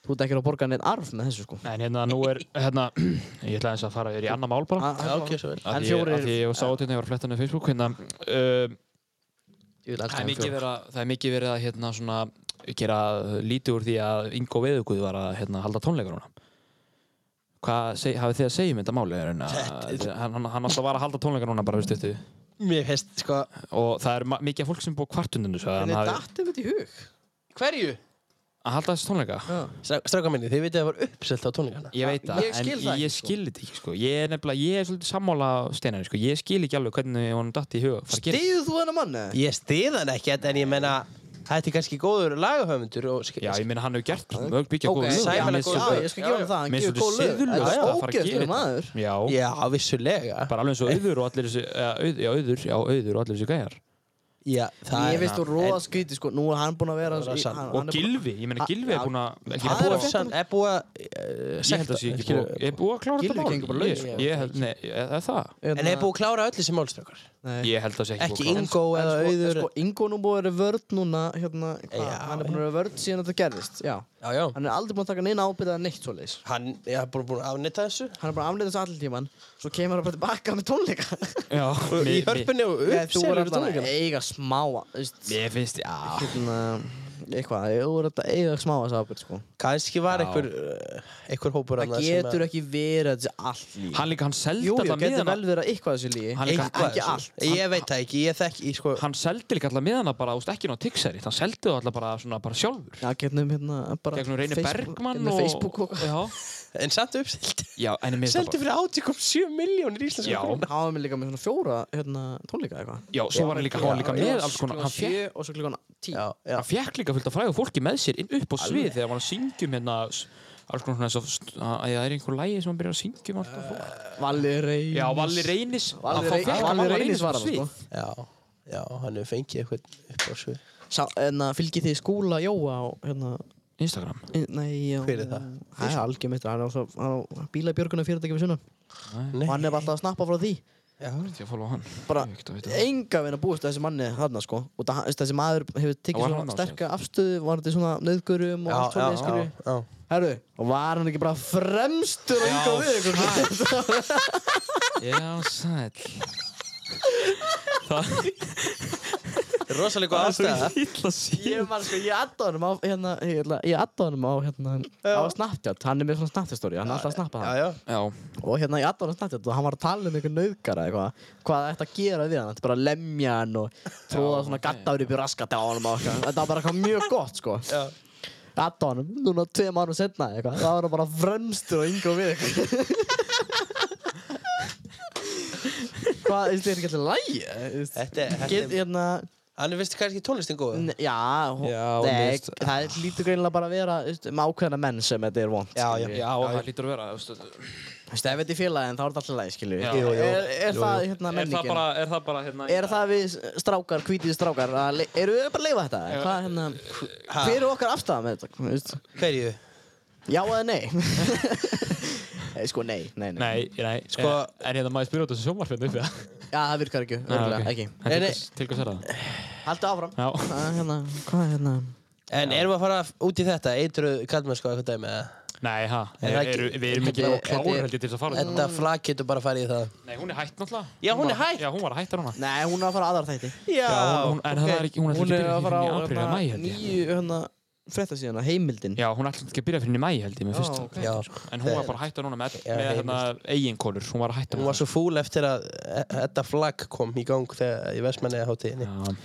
S2: þú ert ekki að borga neitt arf með þessu sko
S1: en hérna nú er, hérna, ég ætla eins að fara yfir í annað mál bara
S3: Já,
S2: A-
S3: ok, svo vel.
S1: Af
S2: En
S1: því ég-
S2: fjórir-
S1: af Því ég sá þetta, ég var að fletta henni á Facebook, hérna, um,
S2: Ég vil
S1: Það er
S2: elska hann
S1: mikið
S2: fyrir.
S1: verið að, það er mikið verið að hérna svona gera lítið úr því að Ingo Veðuguð var að hérna halda tónleikar núna. Hvað seg, hafið þið að segja um þetta máli? Er, hérna, hann, hann, hann alltaf var að halda tónleikar núna bara, veistu þetta.
S3: Mér finnst, sko,
S1: Og það er ma- mikið af fólk sem búið kvartundinu svo að
S2: Henni
S1: hann hafi
S2: datt einhvern í hug
S3: hverju?
S1: að halda þessi tónleika.
S3: Strá- Strákar minni, þið vitið að það var uppselt á tónleikana.
S1: Ég veit það,
S2: Ég skil
S1: en
S2: það ekki,
S1: ég
S2: sko.
S1: skil þetta ekki, sko. Ég er nefnilega, ég er svolítið sammála steinar, sko. Ég skil ekki alveg hvernig honum datt í huga.
S2: Stýðu þú hennar manni?
S3: Ég stið hann ekkert, en ég meina, þetta er kannski góður lagahöfundur og sk-
S1: Já, ég meina, hann hefur gert mjög byggja góð
S3: Sævar er góð
S2: Já,
S3: lög.
S2: ég skal gefa
S3: Já,
S2: hann það, hann
S1: Mér
S2: gefur
S1: finnst
S2: góð
S1: þetta
S2: lög.
S1: siðlust
S2: Það
S1: að
S2: er
S1: fara að gera þetta. Já,
S2: ógeðslega maður.
S3: Já, vissulega.
S1: bara alveg eins og auður og allir þessi eða, auð, já, auður, já, auður og allir þessi gæjar
S3: Já, það
S2: Ég
S3: er
S2: veist þú roða skrítið sko, nú er hann búinn að vera
S3: Það er
S2: í-
S3: sant.
S2: hann-
S1: og
S2: hann er búinn-
S1: Gilvi, ég meina
S2: Ha-
S1: Gilvi
S2: já,
S1: er búin að ekki
S2: það
S1: búin
S2: er
S1: að
S2: að
S3: Sann, er búið að eh,
S1: ég held að
S3: sekta-
S1: það sé ekki
S3: skilur-
S1: búið er búið að klára
S2: Gilvi
S1: þetta
S2: gengur bara
S1: mál
S2: laus. sko.
S1: ég, ég held, nei, er er það?
S2: Hérna,
S3: En hefur búið að klára öllu sem málströkar?
S2: Nei.
S1: ég held að það sé
S3: Ekki
S1: ekki búið að
S2: En
S3: Ingo eða
S2: sko- en
S3: Auður?
S2: Sko, Ingo nú búið að vera vörd núna, hérna, hvað?
S3: Já,
S2: Hann er búinn að vera vörd síðan þetta gerðist, já.
S3: Já, já.
S2: Hann er aldrei búinn að taka neina ábyrða eða neitt svoleiðis.
S3: Hann er búin búin að afnita þessu.
S2: Hann er bara aflið þessu allir tíman, svo kemur hann bara tilbaka með tónleika.
S1: klára
S3: Í hörpunni og
S2: Nei, þú er
S3: uppselur
S2: alltaf að
S3: tónleikana.
S2: eiga smá, þú veist,
S1: ég finnst, já
S2: hérna, eitthvað, þú er alltaf að eiga smá þessu ábyrð, sko.
S3: Kanski var
S1: Já.
S3: einhver, eh, einhver hópur
S2: Það getur ekki verið að þetta sé allt líf.
S1: hann líka, hann seldi
S2: Jú, jú,
S1: alltaf
S2: getur
S1: miðana
S2: vel verið að eitthvað þessu lígi
S1: Hann er
S2: Ekki-
S1: kannski-
S2: Ekki allt
S3: Ég veit það ekki, ég þekk í sko...
S1: hann seldi líka alltaf miðana bara, úst, ekki ná tikseri hann seldi það alltaf bara, svona, bara sjálfur
S2: Já, getnum hérna bara
S1: gegnum Reyni Bergmann
S2: og
S1: og
S2: Facebook og
S1: já,
S3: En samt uppselt.
S1: já, en ég minnst
S3: Seldi
S1: það bara
S3: fyrir 80,7 miljónir íslenska
S1: Já.
S3: króna.
S2: Háðum við líka með svona fjóra hérna, tónleika eitthvað
S1: já, svo var hann líka, hann var líka
S2: Já,
S1: með
S2: já,
S1: alls konar
S2: klukkan
S1: hann fékk
S2: sjö Og svo klukkan tíu
S3: Já, já.
S1: hann fekk líka fullt af fræðu fólki með sér inn upp á svið þegar hann var að syngjum hérna s- alls konar svona eins og st- að að það er einhver lægi sem hann byrjar að syngjum alltaf fólk
S2: Valli Reynis
S1: Já, Valli Reynis
S2: Valli
S1: Hann
S2: Rey-
S1: fekk hann
S2: Valli
S1: Valli
S2: Reynis var
S1: á
S2: hann,
S1: svið.
S2: sko.
S3: Já, já, hann hefur fengið eitthvað upp á svið.
S2: Sá, en að fylgi þið skúla Jóa á hérna
S1: Instagram
S2: í- Nei, já
S3: Hver er það?
S2: Það er algjörmitt Hann er á, svo- hann á bíla björguna fyrirtæki við sunnan
S3: Nei.
S2: Og hann er bara alltaf að snappa frá því
S3: Já.
S1: Ég fólu á hann
S2: Bara
S1: Ég veit ekki að vita það.
S2: enga veginn að búast að þessi manni þarna sko Og það, þessi maður hefur
S1: Já,
S2: tekið
S1: var
S2: svona
S1: hann á
S2: sterka afstöðu Var þetta svona nöðgurum og
S3: Já,
S2: allt
S3: já,
S2: svona skilju
S3: já, já.
S2: Herru, var hann ekki bara fremstur á yngu við ykkur?
S1: Já, sæll Það
S3: Þetta er rosalega góð ástæða.
S1: illa síðan
S2: Ég var sko, ég adda honum á, hérna, ég ætla, ég adda honum á, hérna, á Snapchat, hann er með svona Snapchat-stóri, hann er alltaf að snappa
S3: Já,
S2: það.
S3: já.
S1: Já,
S2: Og hérna, ég adda honum á Snapchat og hann var að tala um einhver nauðgara eitthvað, hvað það ætti að gera við hann, þetta bara að lemja hann og tróða svona gattaður upp í raskat á honum og eitthvað, þetta var bara eitthvað mjög gott, sko.
S3: Já.
S2: Adda honum, núna tveim árum setna eitthvað, það var hann bara fremstur á yngu við ykkur. Hvað, þú veist, er ekki alltaf lægi?
S3: Þetta er- þetta
S2: Get,
S3: er...
S2: hérna,
S3: Hann er vist kannski tónlistin góð.
S2: N- Já, hún-
S1: Já, hún
S2: nei,
S1: veist-
S2: það er lítur greinilega bara að vera veist, um ákveðna menn sem þetta er vond
S3: Já, já.
S1: já, það lítur að vera þú veist,
S2: Þú veist, ef þetta er félagin þá er þetta alltaf læg, skilju
S1: Já.
S2: Er,
S1: Jú,
S3: jú.
S2: er
S3: Jú,
S2: það
S3: jú.
S2: hérna
S1: Er það
S2: menningin?
S1: bara, er það bara hérna
S2: Er það við strákar, hvítið strákar að le- Eru við bara að leifa þetta? Hvað, hérna, hver er okkar afstæða með þetta? Þú veist,
S3: Hverju?
S2: Já eða nei? Nei, sko nei, nei, nei
S1: Nei, nei, sko
S3: Sko-
S1: En hérna maður spyrir út þessu sjómarfinu uppi það
S2: Já, það virkar ekki,
S1: Ah, ok.
S2: örgulega, ekki
S1: En til
S3: Nei,
S1: hvers- Til hvers er það?
S2: Haldu áfram
S1: Já
S2: Það er hérna, hvað er hérna
S3: En erum við að fara út í þetta, eitruð kallmennsku eitthvað dæmi eða?
S1: Nei, ha,
S3: Er það ekki-
S1: eru, við erum ekki
S3: þetta-
S1: nógu klárir
S3: þetta-
S1: held ég til þess að fara þetta.
S3: Þetta flagg getur bara að fara í það.
S1: Nei, hún er hætt náttúrulega.
S3: Já, hún er
S1: var-
S3: hætt.
S1: Já, hún var hætt núna.
S2: Nei, hún er að fara aðar þætti.
S3: Já,
S1: hún- en það er ekki- hún er ekki byrjuð
S2: að fara á
S1: í apríl eða
S2: hérna,
S1: maí, held ég.
S2: nýju hérna, frétta síðan, heimildin.
S1: Já, hún ætlaði ekki að byrja fyrir henni í mæ held ég með
S2: Já,
S1: fyrst.
S2: ok.
S3: Já,
S1: En hún var bara hætt núna með,
S3: Já,
S1: með
S3: heimild.
S1: hérna eiginkonur. Hún var hætt
S3: hún var svo fúl eftir að e- þetta flagg kom í gang þegar í Vestmanniða hátíðinni.
S1: Já,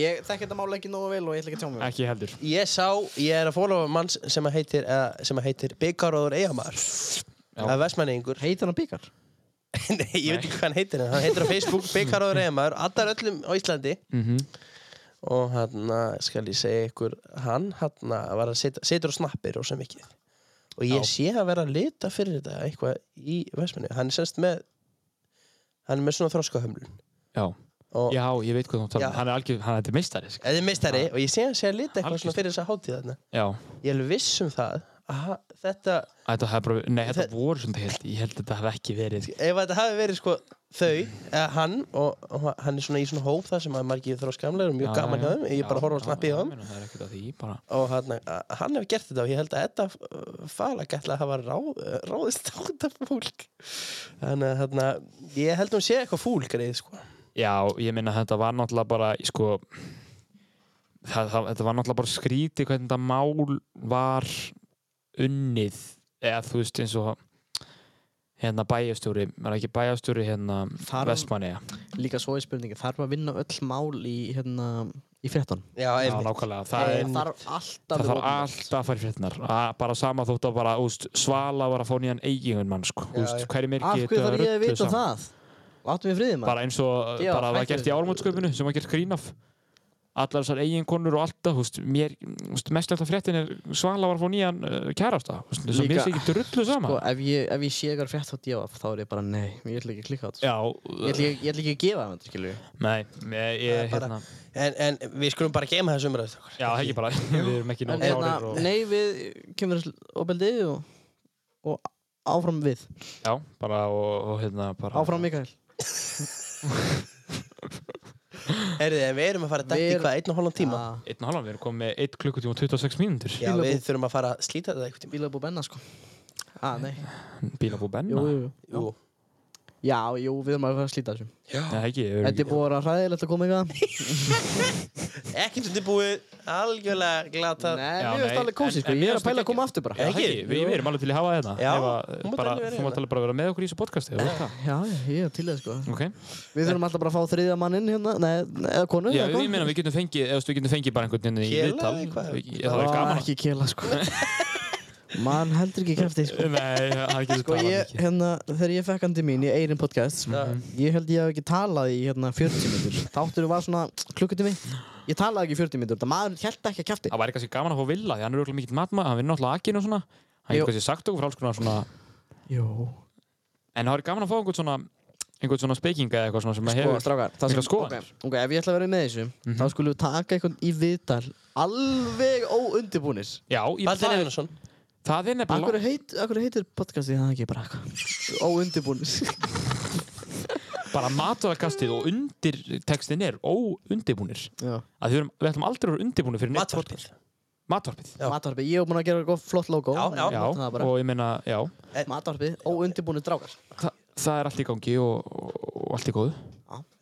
S2: Ég þekk þetta mála ekki nógu vel og ég ætla ekki að tjá mig.
S1: ekki heldur.
S3: Ég sá, ég er að fólofa mann sem að heitir, eh, sem að heitir Byggaróður Eihamar. Það er Vestmanniðingur.
S2: Heitir hann byggar?
S3: Nei, ég veit ekki hvað hann heitir en hann heitir á Facebook Byggaróður Eihamar, allar öllum á Íslandi.
S1: Mhm.
S3: Og hann, skal ég segja ykkur, hann hann var að setja, setur og snappir og sem ekki. Og ég sé að vera að lita fyrir þetta eitthvað í Vestmanniða. Hann er semst með, hann er með svona þroskahömlun.
S1: Já.
S3: Og
S1: Já, ég veit hvað þú
S3: Já.
S1: talar. um. Hann er algjör, hann er þetta meistari. sko.
S3: Þetta er meistari og ég sé hann sé að lita eitthvað
S1: Algjört.
S3: svona fyrir þess að hátíð þarna.
S1: Já.
S3: Ég er alveg viss um það að ha- þetta,
S1: Þetta hefði bara, nei, þetta
S3: Þe-
S1: voru svona held, ég held að þetta hefði ekki verið.
S3: ef þetta hafi verið sko þau, eða hann og, og hann er svona í svona hóp þar sem að margir þrá skamlega og mjög
S1: Já,
S3: gaman
S1: já,
S3: hjá þeim, ég
S1: já,
S3: bara horfa
S1: já,
S3: að
S1: já,
S3: snappi
S1: ég
S3: hjá þeim
S1: meina, Það er ekkert að því, bara.
S3: og hann, að- hann hefur gert þetta og ég held að þetta fala gætla að hafa ráð, eh, ráðist á þetta fólk. Þannig að þarna, ég held að hún sé eitthvað fúl greið sko.
S1: Já, ég minna þetta var náttúrulega bara, sko, það, það, þetta var náttúrulega bara skrítið hvernig þetta mál var unnið, eða þú veist eins og hérna bæjastjóri, maður ekki bæjastjóri hérna
S2: Farm-
S1: Vestmanniða.
S2: Líka svo er spurningi, þarf að vinna öll mál í, hérna, í fréttan?
S3: Já,
S1: Já,
S3: einmitt.
S1: nákvæmlega. Það, er,
S2: þarf alltaf
S1: það þarf alltaf að fara í fréttinar. Bara sama þótt að bara, úst, svala var að fá nýjan eigingun mann, sko.
S3: Já,
S1: Úst,
S3: já.
S1: hverju
S2: Af
S1: merki
S2: hverju þarf ég að
S1: rugluð
S2: vita
S1: saman.
S2: það? Áttum við friðið maður?
S1: bara eins og uh,
S2: Já,
S1: bara var
S2: hættu
S1: gert í
S2: þessu.
S1: álmótskaupinu sem var gert grín af allar þessar eiginkonur og alltaf húst, mér, húst, mest alltaf fréttin er Svala var að fá nýjan uh, kærasta húst, þess að
S2: Líka-
S1: mér sé ekki drullu saman
S2: Sko, ef ég, ef ég sé eitthvað frétt á djáf, þá er ég bara, nei, ég ætla ekki að klikka á þetta.
S1: já, uh,
S2: Ég ætla ekki, ég ætla ekki að gefa það, skilur við.
S1: nei ég,
S3: Það er
S1: ég,
S3: bara-
S1: hérna,
S3: En, en við skulum bara geima þessu umræðu. strákar.
S1: já, ekki bara við erum ekki
S2: En
S1: nóg
S2: hérna,
S1: klárir og,
S2: nei, við kemur opeldið og, og áfram við.
S1: já, bara og, og hérna bara,
S2: Áfram Mikael.
S3: Heyrðu, en við erum að fara að dætti
S2: Við-
S3: í hvað, einn og hálfan tíma?
S2: Ja,
S1: einn og halvan, við erum komið með 1 klukkutíma og 26 mínútur
S3: Já, við þurfum að fara að slíta þetta einhvern tíma.
S2: Bílabú Benna, sko. Ah, nei.
S1: bílabú benna,
S2: Jú, jú, jú.
S3: Jú.
S2: Já, jú, við erum að fara að slíta þessum.
S1: Nei, ekki, við erum
S2: Þetta
S1: ekki
S2: er búið að vera hræðilegt að koma ykkar.
S3: Ekkert undirbúið, algjörlega glata.
S2: Nei,
S1: Já,
S2: mér finnst
S1: nei,
S2: alveg kósi,
S1: en-
S2: sko.
S1: en
S2: Ég
S1: mér
S2: er
S1: finnst
S2: að pæla
S1: það
S2: að koma aftur bara.
S1: Já, ekki, við, við erum alveg til í að hafa þetta
S3: Já,
S1: Ef að,
S3: þú mátt
S1: bara,
S3: alveg vera
S1: þú mátt
S3: hérna.
S1: alveg bara vera með okkur í þessu podcasti eða hvað?
S2: Já, ég er til það, sko.
S1: ok,
S2: Við þurfum alltaf bara að fá þriðja manninn hérna, nei, nei, eða konu.
S1: Já,
S2: eða
S1: ég
S2: hvað?
S1: meina við getum fengið, eða þú veist, við getum fengið bara einhvern veginn í
S3: Kela
S1: viðtal
S3: eða hvað?
S1: Ég- Það er
S2: Ó,
S1: gaman
S2: Ah, Ekki kela, sko. Man heldur ekki krafti, sko.
S1: Nei, það getur
S2: Sko,
S1: talað
S2: ég,
S1: mikið
S2: hérna, þegar ég fekk hann til mín í Eirin podcast,
S1: Mhm.
S2: ég held ég hef ekki talað í hérna 40 minnur. Þátturum var svona klukkutími. Ég talaði ekki í 40 minnur, það maður held ekki að kæfti.
S1: Það væri kannski gaman að fá Villa, því hann er auðvitað mikill matma Hann vinnur náttúrulega akinn og svona Hann
S2: Jú.
S1: getur kannski sagt okkur frá alls konar svona
S2: Jó.
S1: En það væri gaman að fá einhvern svona einhvern svona spekinga eða eitthvað svona sem að
S2: Sko,
S1: hefur Mhm.
S2: strákar, það sem
S1: miklar skoðanir.
S2: ok, ok, ef ég ætla að vera með þessu, þá skulum við taka einhvern í viðtal alveg óundibúnis.
S1: Já, ég,
S3: Baldur
S1: það, er,
S3: Einarsson.
S1: það er nefnilega
S2: Akkur, heit, akkur heitir podcastið það ekki bara eitthvað? Óundibúnis.
S1: bara matvælakastið og undir textin er óundibúnir
S2: Já.
S1: að við, erum, við ætlum aldrei að vera undibúnir fyrir neitt
S3: Matvarpið.
S1: podcast. Matvarpið
S3: Já.
S2: Matvarpi, ég hef búin að gera eitthvað flott logo.
S3: Já, já.
S1: Já,
S2: Það bara.
S1: og ég meina, já
S2: Matvarpi, óundibúnis drákar.
S1: Þa, Það er allt í gangi og, og, og allt í góðu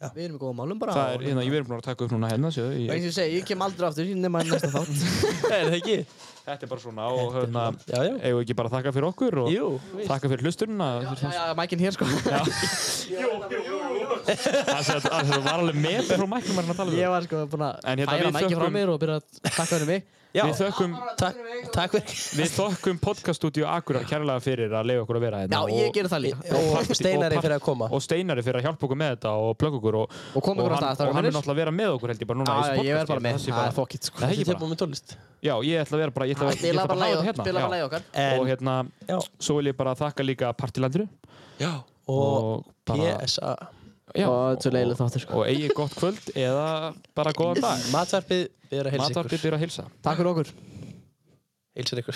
S2: Já. Við erum í góða málum bara.
S1: Það er, hérna, ég verðum búin að taka upp núna hérna séu, ég,
S2: Og eins og ég segi, ég kem aldrei aftur nema í næsta þátt.
S3: Er það ekki?
S1: Þetta er bara svona og hérna
S3: Já, já.
S1: eigum við ekki bara að þakka fyrir okkur og
S3: Jú.
S1: þakka fyrir hlustunina
S2: Já, já, mækinn hér sko.
S1: það var alveg með frá mæknum að tala um
S2: Ég
S1: við
S2: var sko búin að
S1: En hérna,
S2: færa
S1: við
S2: mækinn frá
S1: þökkum-
S2: mér og byrja að takka henni mig.
S3: Já,
S1: Við þökkum,
S3: takk, takk fyrir.
S1: við þökkum podcaststudio Akurar kærlega fyrir að leiða okkur að vera
S2: Já,
S1: hérna
S2: ég
S1: og-
S2: gerir það líka.
S1: og partí-
S3: Steinari
S1: og partí-
S3: fyrir að koma.
S1: og Steinari fyrir að hjálpa okkur með þetta og plugga okkur og,
S2: Og koma okkur af
S1: hann,
S2: stað, strákar
S1: og hann er
S2: mínir.
S1: náttúrulega að vera með okkur held ég bara núna í
S2: Já,
S1: þessu
S2: já, ég
S1: podcasti,
S2: verð bara með.
S1: það sé
S2: Það er fokkitt sko.
S1: Það er
S3: Þetta
S1: ekki
S3: er
S1: bara
S3: búin með tónlist.
S1: Já, ég ætla að vera bara, ég ætla, ég ætla
S2: Ah, Spila
S1: bara
S2: bara
S1: að hafa
S2: lagið
S1: þetta
S2: spila bara
S1: hérna
S2: lagið
S1: já.
S2: okkar.
S1: Og
S3: En,
S1: hérna,
S3: já,
S1: svo vil ég bara þakka líka partilandru
S3: og
S1: og bara
S3: PSA.
S1: já,
S2: Og þetta er leiðilegt
S1: og-
S2: þáttur, sko.
S1: Og eigi gott kvöld eða bara góðan dag
S3: Matvarpið byrjar að heilsa
S1: Matarbyr
S3: ykkur.
S1: byrja að hilsa
S2: Takk fyrir okkur.
S3: Heilsa ykkur.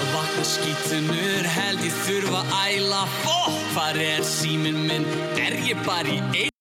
S6: Og vakna skítunur held ég þurfa að æla Fó, hvar er síminn minn? Er ég bara í einn?